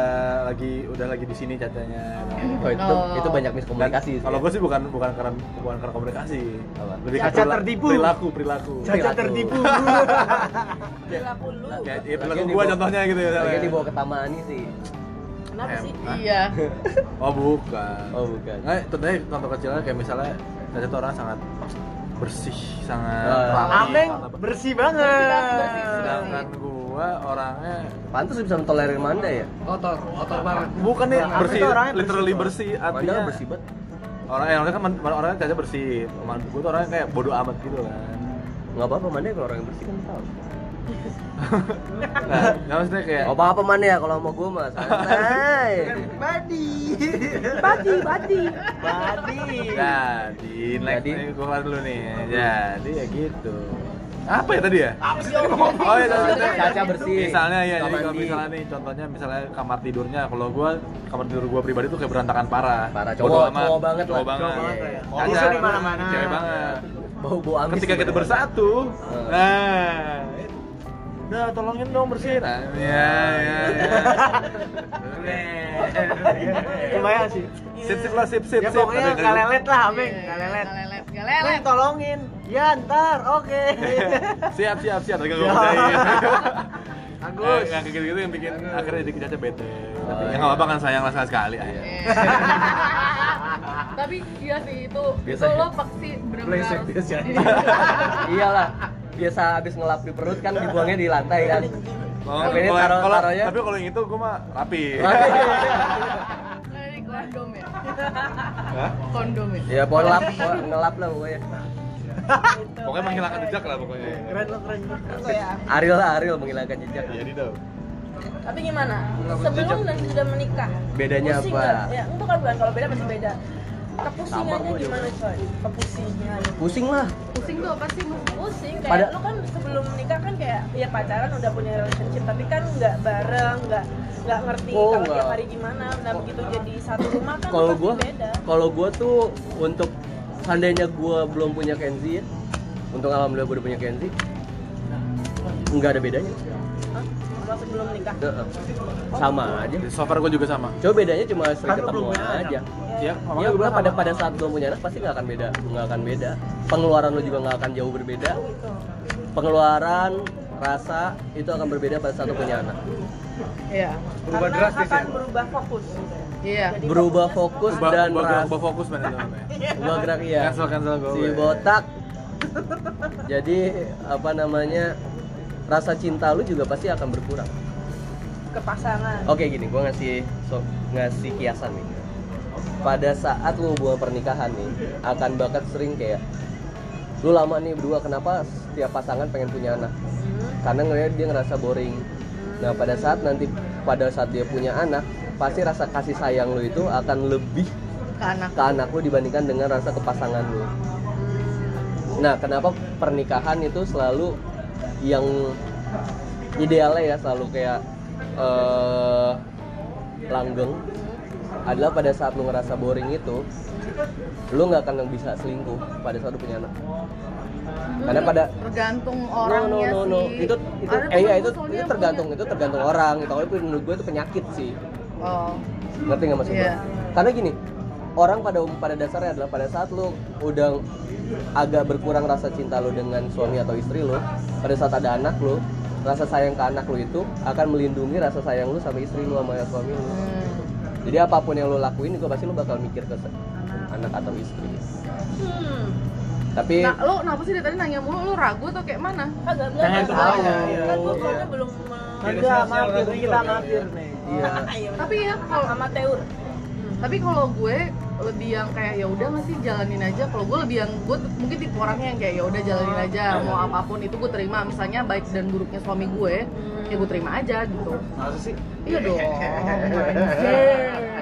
Speaker 8: lagi udah lagi di sini catanya.
Speaker 1: oh, itu,
Speaker 3: Oh.
Speaker 1: itu banyak miskomunikasi sih. ya.
Speaker 8: Kalau gue sih bukan bukan karena bukan karena komunikasi.
Speaker 1: Apa?
Speaker 8: Lebih
Speaker 7: Cacat
Speaker 8: perila-
Speaker 7: tertipu.
Speaker 8: Perilaku perilaku.
Speaker 1: Cacat tertipu.
Speaker 5: perilaku lu.
Speaker 8: Kayak ya, perilaku
Speaker 1: Lagian
Speaker 8: gue
Speaker 1: dibawa-
Speaker 8: contohnya gitu ya.
Speaker 1: Lagi dibawa ke Tamani sih.
Speaker 5: Kenapa sih?
Speaker 3: Iya.
Speaker 8: Oh bukan.
Speaker 1: Oh, bukan.
Speaker 8: Nggak, contohnya contoh kecilnya kayak misalnya Cacat tuh orang sangat bersih,
Speaker 6: Oh,
Speaker 8: sangat
Speaker 6: iya.
Speaker 1: Ah.
Speaker 8: rapi,
Speaker 7: Ameng
Speaker 8: sangat apa.
Speaker 7: bersih
Speaker 3: Bersih
Speaker 7: banget.
Speaker 3: banget, bersih, bersih.
Speaker 8: Sedangkan gue orangnya
Speaker 1: Pantas bisa mentolerir Manda ya.
Speaker 7: Kotor, kotor banget.
Speaker 8: bukan nih
Speaker 7: Ameng
Speaker 8: bersih,
Speaker 7: tuh orangnya bersih
Speaker 8: literally
Speaker 7: kok.
Speaker 8: bersih
Speaker 1: Manda
Speaker 8: artinya
Speaker 1: kan bersih banget.
Speaker 8: orang yang orangnya kan man- man- orangnya caca bersih gue tuh orangnya kayak bodoh amat gitu kan
Speaker 1: Enggak apa-apa Manda kalau orang yang bersih kan tahu.
Speaker 8: nah nggak maksudnya kayak
Speaker 1: Nggak apa-apa Manda ya kalau sama gue mas. Santai.
Speaker 8: jadi like
Speaker 1: Jadi.
Speaker 8: gue kelar dulu "Nah, nih jadi ya gitu apa ya tadi ya (laughs) oh iya maksudnya-
Speaker 1: Caca bersih.
Speaker 8: misalnya ya
Speaker 1: Suka
Speaker 8: jadi kalau
Speaker 1: mandi.
Speaker 8: misalnya nih contohnya misalnya kamar tidurnya kalau gue kamar tidur gue pribadi tuh kayak berantakan parah
Speaker 1: Parah,
Speaker 8: Bodo
Speaker 1: cowok-
Speaker 8: amat,
Speaker 1: cowok banget
Speaker 8: cowok
Speaker 1: lah.
Speaker 8: banget,
Speaker 1: Cowok banget ya.
Speaker 2: Oh,
Speaker 8: Caca,
Speaker 7: Musuh di mana-mana.
Speaker 8: cewek banget
Speaker 1: Bau-bau amis.
Speaker 8: ketika
Speaker 1: sih
Speaker 8: kita
Speaker 1: beneran.
Speaker 8: bersatu
Speaker 1: Eh.
Speaker 8: nah udah tolongin dong bersihin Ah, ya ya ya
Speaker 7: Lumayan sih.
Speaker 8: sip sip lah sip sip
Speaker 7: Ya
Speaker 8: sip
Speaker 7: pokoknya
Speaker 8: Tapi-
Speaker 7: nggak lelet lah, Ameng.
Speaker 3: Iya,
Speaker 7: Nggak lelet.
Speaker 3: nggak lelet, nggak
Speaker 7: Ameng
Speaker 2: Iya.
Speaker 3: lelet.
Speaker 7: tolongin. Ya ntar, oke.
Speaker 8: Iya. siap siap siap tapi
Speaker 7: Ya.
Speaker 8: gak
Speaker 7: Agus.
Speaker 8: nggak kayak gitu yang bikin akhirnya dikit aja bete
Speaker 1: Oh,
Speaker 8: tapi ya
Speaker 1: iya.
Speaker 8: nggak apa-apa kan sayang lah sekali sekali aja
Speaker 3: Iya. Tapi iya sih itu
Speaker 1: Biasa
Speaker 3: itu
Speaker 1: ya?
Speaker 3: lo pasti benar-benar
Speaker 6: Pleset
Speaker 3: harus Iya.
Speaker 6: biasa.
Speaker 3: diri-
Speaker 1: Iyalah. Biasa habis ngelap di perut kan dibuangnya di lantai kan.
Speaker 8: Kalau-
Speaker 1: Tapi ini
Speaker 8: kalau-
Speaker 1: taro-
Speaker 8: kalau-
Speaker 1: taronya-
Speaker 8: tapi kalau yang itu gue mah rapi
Speaker 3: Dari kondom ya. Kondom ya.
Speaker 1: Ya pokoknya ngelap, pokoknya ngelap lah pokoknya.
Speaker 8: Ah!
Speaker 5: Gitu.
Speaker 8: pokoknya menghilangkan jejak lah pokoknya
Speaker 7: Keren lo, keren lo.
Speaker 5: Apa
Speaker 2: Iya,
Speaker 5: ya?
Speaker 1: Ariel lah Ariel menghilangkan jejak.
Speaker 6: Iya,
Speaker 8: jadi dong
Speaker 5: Tapi gimana? Sebelum dan sudah menikah.
Speaker 1: Bedanya
Speaker 5: pusing
Speaker 1: apa?
Speaker 5: nggak? Ya, itu kan bukan kalau beda masih beda. Kepusingannya
Speaker 1: Sama kok,
Speaker 5: gimana coy? Kepusingan.
Speaker 1: Pusing lah.
Speaker 3: Pusing tuh apa sih mas?
Speaker 5: Pusing kayak
Speaker 1: Pada-
Speaker 5: lu kan sebelum menikah kan kayak ya pacaran udah punya relationship tapi kan nggak bareng, nggak nggak ngerti
Speaker 1: Oh,
Speaker 5: kalau tiap
Speaker 1: nggak.
Speaker 5: hari gimana. Nah, begitu jadi satu rumah kan
Speaker 1: kalau
Speaker 5: pasti
Speaker 1: gua
Speaker 5: beda.
Speaker 1: kalau gua tuh untuk seandainya gua belum punya Kenzi ya untuk alhamdulillah gua udah punya Kenzi nggak ada bedanya
Speaker 5: Hah? Sama sebelum nikah.
Speaker 1: Heeh. sama aja
Speaker 8: so far gue juga sama
Speaker 1: coba bedanya cuma sering ketemu aja
Speaker 8: ya
Speaker 1: ya udah pada pada saat belum punya anak pasti nggak akan beda nggak akan beda pengeluaran lo juga nggak akan jauh berbeda pengeluaran rasa itu akan berbeda pada saat lo punya anak
Speaker 3: Iya.
Speaker 7: Berubah
Speaker 5: Karena
Speaker 7: drastis
Speaker 5: akan
Speaker 7: ya.
Speaker 5: berubah fokus.
Speaker 3: Iya.
Speaker 5: Jadi
Speaker 1: berubah
Speaker 5: fokusnya
Speaker 1: fokus
Speaker 8: Ubah-
Speaker 1: dan
Speaker 8: ubah gerak,
Speaker 1: rasa
Speaker 8: ubah fokus men itu namanya.
Speaker 1: gua gerak iya
Speaker 8: Cancel, cancel gue.
Speaker 1: si botak jadi apa namanya rasa cinta lu juga pasti akan berkurang
Speaker 5: ke pasangan.
Speaker 1: oke gini gua ngasih so, ngasih kiasan nih pada saat lu hubungan pernikahan nih akan bakat sering kayak lu lama nih berdua kenapa setiap pasangan pengen punya anak karena ngeliat dia ngerasa boring nah pada saat nanti pada saat dia punya anak pasti rasa kasih sayang lu itu akan lebih
Speaker 3: Ke anak.
Speaker 1: ke anak lu dibandingkan dengan rasa kepasangan lu. Nah, kenapa pernikahan itu selalu yang idealnya ya selalu kayak eh langgeng adalah pada saat lu ngerasa boring itu lu nggak akan bisa selingkuh pada saat lu punya anak. Karena pada-
Speaker 3: tergantung orangnya
Speaker 1: no, no, no, no.
Speaker 3: sih. kan
Speaker 1: itu itu
Speaker 3: Ada
Speaker 1: eh
Speaker 3: temen
Speaker 1: ya
Speaker 3: gue
Speaker 1: itu,
Speaker 3: soalnya
Speaker 1: itu
Speaker 3: yang
Speaker 1: tergantung
Speaker 3: punya-
Speaker 1: itu tergantung orang. Itu kalau menurut gue itu penyakit sih
Speaker 3: Oh.
Speaker 1: ngerti nggak maksud gue?
Speaker 3: Iya.
Speaker 1: Karena gini, orang pada um, pada dasarnya adalah pada saat lu udah agak berkurang rasa cinta lu dengan suami atau istri lu, pada saat ada anak lu, rasa sayang ke anak lu itu akan melindungi rasa sayang lu sama istri lu sama suami lu. Jadi apapun yang lu lakuin juga pasti lu bakal mikir ke se- anak atau istri. Tapi
Speaker 3: Hmm. Nah, lo kenapa sih dari tadi nanya mulu? Lo ragu atau kayak mana?
Speaker 1: Hmm.
Speaker 5: Kagak enggak.
Speaker 2: Jangan
Speaker 5: tahu.
Speaker 1: iya.
Speaker 2: tahu.
Speaker 5: Kan gua soalnya belum me- (laughs)
Speaker 2: Enggak, mampir nih kita mampir nih.
Speaker 1: iya,
Speaker 5: Ayo.
Speaker 3: Tapi ya kalau
Speaker 5: amatir.
Speaker 3: tapi kalau gue lebih yang kayak ya udah nggak sih jalanin aja kalau gue lebih yang gue t- mungkin tipe orangnya yang kayak ya udah
Speaker 1: Ah.
Speaker 3: jalanin aja mau apapun itu gue terima misalnya baik dan buruknya suami gue ya gue terima aja
Speaker 1: (laughs)
Speaker 3: gitu
Speaker 6: Masa sih?
Speaker 3: iya dong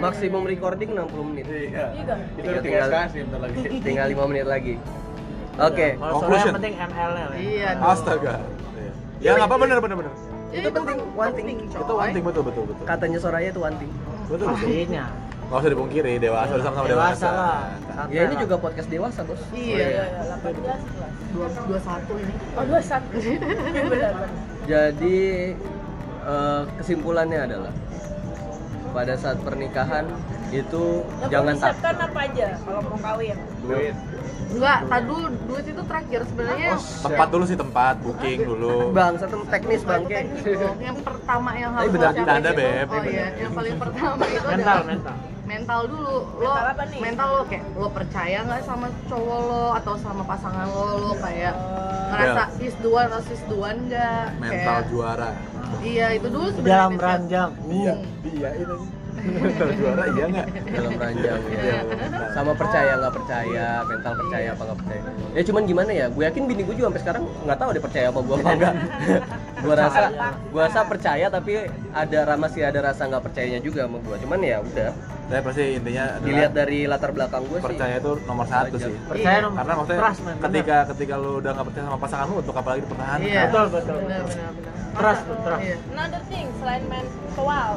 Speaker 1: maksimum recording 60 menit.
Speaker 6: Iya.
Speaker 5: Iya, Gang.
Speaker 6: Itu udah tiga SKS sih bentar lagi.
Speaker 1: Tinggal 5 menit lagi. Oke.
Speaker 2: Kalau sore
Speaker 8: Conclusion.
Speaker 2: yang penting ML nya lah.
Speaker 3: iya dong
Speaker 8: Astaga. Ya nggak apa bener bener bener.
Speaker 3: Ya,
Speaker 1: Itu penting,
Speaker 3: kan
Speaker 1: one thing.
Speaker 3: penting,
Speaker 8: Itu
Speaker 3: coy.
Speaker 8: penting betul betul betul.
Speaker 1: Katanya Soraya itu one thing.
Speaker 8: Betul betul.
Speaker 2: Pastinya.
Speaker 8: Nggak usah dipungkiri dewasa udah sama-sama dewasa.
Speaker 2: Dewasa lah.
Speaker 1: Ya ini juga podcast dewasa, Bos. Oh,
Speaker 3: iya
Speaker 5: Iya, 18 kelas.
Speaker 3: dua dua satu ini
Speaker 5: Oh,
Speaker 3: (laughs)
Speaker 5: 21. Iya, benar.
Speaker 1: Jadi eh, kesimpulannya adalah pada saat pernikahan itu
Speaker 5: Nah,
Speaker 1: jangan takut.
Speaker 5: persiapkan apa aja kalau mau kawin?
Speaker 6: Duit.
Speaker 3: enggak tadu duit itu terakhir sebenarnya
Speaker 1: Oh,
Speaker 3: yang-
Speaker 8: Tempat dulu sih tempat, booking dulu.
Speaker 1: Bang, satu teknis bangke.
Speaker 3: teknis dong. Oh, yang pertama yang
Speaker 8: Tapi
Speaker 3: harus lo
Speaker 8: benar,
Speaker 3: siapin
Speaker 8: bercanda,
Speaker 3: itu-
Speaker 8: Beb.
Speaker 3: oh iya yang paling pertama itu
Speaker 2: Mental,
Speaker 3: adalah
Speaker 2: mental.
Speaker 3: mental dulu lo
Speaker 5: Mental apa nih?
Speaker 3: mental lo kayak lo percaya nggak sama cowok lo atau sama pasangan lo lo kayak ngerasa sis duan atau sis duan nggak
Speaker 8: Mental
Speaker 3: kayak
Speaker 8: juara.
Speaker 3: iya itu dulu sebenarnya
Speaker 2: Dalam
Speaker 3: Beb.
Speaker 2: ranjang.
Speaker 8: Iya, iya itu. Mental juara iya nggak?
Speaker 1: dalam ranjang
Speaker 8: Iya.
Speaker 1: ya. Sama percaya nggak percaya, mental percaya apa nggak percaya. Ya cuman gimana ya? Gue yakin bini gue juga sampai sekarang nggak tahu dia percaya apa gue apa enggak. gue rasa gue rasa percaya tapi ada ra- masih ada rasa nggak percayanya juga sama gue. Cuman ya udah
Speaker 8: Tapi pasti intinya adalah
Speaker 1: dilihat dari latar belakang gue sih.
Speaker 8: percaya itu nomor satu sih.
Speaker 2: Percaya dong.
Speaker 8: Karena maksudnya
Speaker 2: Trust, man, bener.
Speaker 8: ketika ketika lu udah nggak percaya sama pasangan lu untuk apalagi dipertahankan.
Speaker 3: iya
Speaker 2: Betul, betul.
Speaker 3: benar benar benar
Speaker 2: Trust, trust.
Speaker 3: Iya.
Speaker 5: Another thing selain mental,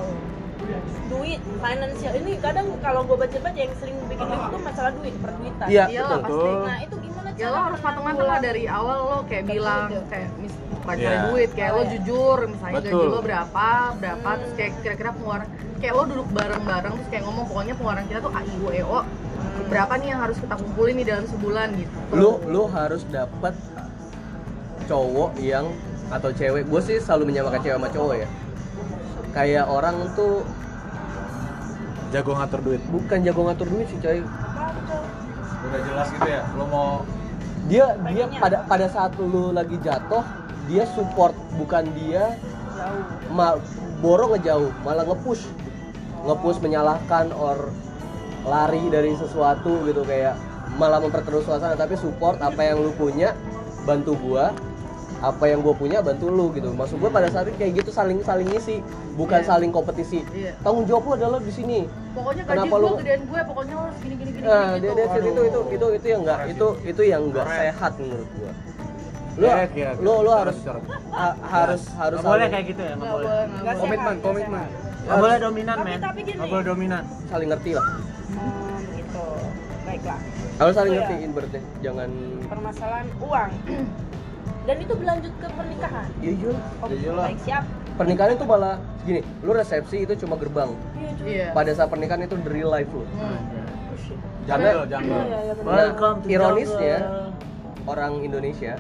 Speaker 5: duit, financial ini kadang kalau gue baca-baca yang sering bikin ribet tuh masalah duit, perduitan.
Speaker 1: Iya,
Speaker 3: Iyalah,
Speaker 1: betul.
Speaker 8: Betul.
Speaker 5: Nah itu gimana
Speaker 3: ya lo harus matang-matang lah dari awal lo kayak bilang kayak mis bukan cari
Speaker 8: Iya.
Speaker 3: duit kayak lo jujur misalnya gaji
Speaker 8: Betul.
Speaker 3: lo berapa berapa terus kayak kira-kira pengeluaran kayak lo duduk bareng-bareng terus kayak ngomong pokoknya pengeluaran kita tuh a i u e o berapa nih yang harus kita kumpulin di dalam sebulan gitu
Speaker 1: lu lu harus dapat cowok yang atau cewek gue sih selalu menyamakan cewek sama cowok ya kayak orang tuh
Speaker 8: Jago ngatur duit.
Speaker 1: bukan jago ngatur duit sih coy
Speaker 6: Udah jelas gitu ya. Lu mau
Speaker 1: dia dia pada pada saat lu lagi jatuh dia support bukan dia ma borong ngejauh malah ngepush ngepush menyalahkan or lari dari sesuatu gitu kayak malah memperkeruh suasana tapi support apa yang lu punya bantu gua apa yang gua punya bantu lu gitu maksud gua pada saat itu kayak gitu saling saling ngisi bukan
Speaker 3: Iya.
Speaker 1: saling kompetisi
Speaker 3: Iya.
Speaker 1: tanggung jawab lu adalah di sini
Speaker 3: pokoknya gaji
Speaker 1: Kenapa
Speaker 3: gue
Speaker 1: lu-
Speaker 3: gedean gue pokoknya lo harus gini gini gini,
Speaker 1: Nah,
Speaker 3: gini
Speaker 1: dia,
Speaker 3: gitu
Speaker 1: dia itu, itu itu itu itu yang enggak itu itu yang enggak sehat menurut gua. Lu
Speaker 8: Ya, oke,
Speaker 2: iya,
Speaker 8: oke.
Speaker 1: lu lu
Speaker 8: Bicara,
Speaker 1: harus
Speaker 8: bicara.
Speaker 1: ha- harus harus
Speaker 2: Nggak boleh
Speaker 1: saling,
Speaker 2: kayak gitu ya, nggak
Speaker 3: Nggak
Speaker 2: boleh.
Speaker 3: boleh, nggak boleh.
Speaker 7: komitmen komitmen
Speaker 2: Nggak boleh dominan,
Speaker 5: Tapi-
Speaker 2: men.
Speaker 5: tapi gini.
Speaker 2: Nggak boleh dominan.
Speaker 1: saling ngerti lah.
Speaker 5: Hmm, gitu. Baiklah.
Speaker 1: Harus saling
Speaker 5: Iya.
Speaker 1: ngertiin berarti jangan
Speaker 5: Permasalahan uang. (clears throat) Dan itu berlanjut ke pernikahan.
Speaker 1: iya iya.
Speaker 5: Oh,
Speaker 6: Ya iyalah.
Speaker 5: baik siap.
Speaker 1: Pernikahan itu malah gini, lu resepsi itu cuma gerbang.
Speaker 5: Iya, cuy.
Speaker 3: iya
Speaker 1: Pada saat pernikahan itu the real life lu.
Speaker 3: Hmm.
Speaker 6: jungle, jungle.
Speaker 5: Iya, iya, benar.
Speaker 1: kan?
Speaker 2: Welcome to
Speaker 1: ironisnya,
Speaker 2: jungle.
Speaker 1: Orang Indonesia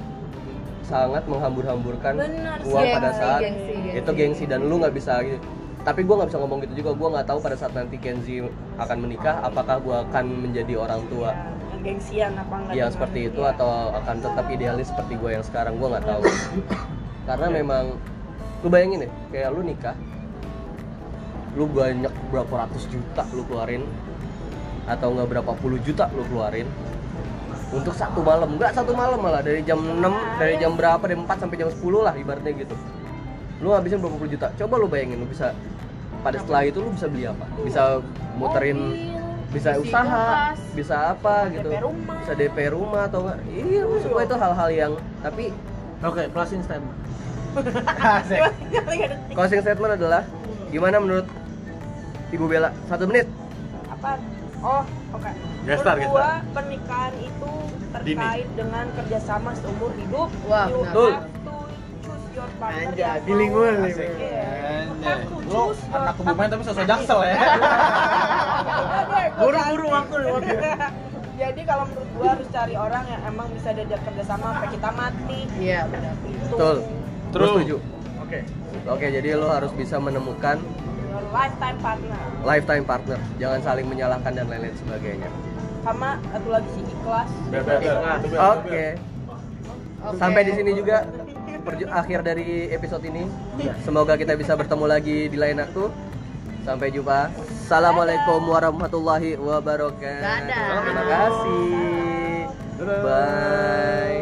Speaker 1: sangat menghambur-hamburkan
Speaker 5: Benar sih. iya,
Speaker 1: uang pada
Speaker 3: Gengsi,
Speaker 1: saat
Speaker 3: Iya, gengsi, gengsi.
Speaker 1: itu gengsi dan lu nggak bisa gitu tapi gue nggak bisa ngomong gitu juga gue nggak tahu pada saat nanti Kenzi akan menikah apakah gue akan menjadi orang tua
Speaker 5: Yang Iya, Gengsian apa enggak?
Speaker 1: yang
Speaker 5: dengan-
Speaker 1: seperti itu
Speaker 5: (laughs) iya.
Speaker 1: atau akan tetap idealis seperti gue yang sekarang gue nggak tahu karena memang lu bayangin deh kayak lu nikah lu banyak berapa ratus juta lu keluarin atau nggak berapa puluh juta lu keluarin untuk satu malam nggak satu malam malah dari jam 6 dari jam berapa dari 4 sampai jam 10 lah ibaratnya gitu lu habisin berapa puluh juta coba lu bayangin lu bisa pada setelah itu lu bisa beli apa bisa
Speaker 3: iya.
Speaker 1: muterin bisa
Speaker 3: Isi
Speaker 1: usaha
Speaker 3: kulkas.
Speaker 1: bisa apa gitu
Speaker 5: DP rumah.
Speaker 1: bisa DP rumah atau enggak iya maksud gua itu hal-hal yang tapi
Speaker 2: Oke, closing statement.
Speaker 6: Asik.
Speaker 5: Iya,
Speaker 1: closing statement adalah gimana menurut Ibu Bella satu menit
Speaker 5: apa oh oke
Speaker 8: Gestar,
Speaker 5: Menurut gua, pernikahan itu terkait dengan kerjasama seumur hidup
Speaker 3: Wah,
Speaker 5: you
Speaker 3: benar.
Speaker 5: have to choose your partner
Speaker 2: Anjay,
Speaker 5: yang mau-
Speaker 2: giling gue, giling
Speaker 5: Asik.
Speaker 2: gue.
Speaker 5: Iya.
Speaker 4: Anjay.
Speaker 5: Aku
Speaker 6: Lo
Speaker 5: cus,
Speaker 6: anak
Speaker 5: aku- (laughs)
Speaker 6: kebumen tapi sosok jaksel ya.
Speaker 5: Enggak, gue- gue-
Speaker 2: Buru-buru waktu, waktu.
Speaker 5: (laughs) Jadi kalau menurut gua harus cari orang yang emang bisa diajak kerjasama sampai kita mati.
Speaker 3: Iya, benar.
Speaker 5: Itu
Speaker 1: Betul. Terus
Speaker 4: True.
Speaker 1: setuju.
Speaker 6: Oke.
Speaker 1: Oke, jadi lo harus bisa menemukan
Speaker 5: your lifetime partner.
Speaker 1: lifetime partner. Jangan saling menyalahkan dan lain-lain sebagainya.
Speaker 5: Sama satu lagi si ikhlas.
Speaker 6: Bel, bel, bel.
Speaker 1: Oke.
Speaker 3: Oke.
Speaker 1: Sampai di sini juga perju- akhir dari episode ini.
Speaker 3: Iya.
Speaker 1: Semoga kita bisa bertemu lagi di lain waktu. Sampai jumpa. Assalamualaikum warahmatullahi wabarakatuh.
Speaker 3: Dadah.
Speaker 1: Terima kasih. Bye.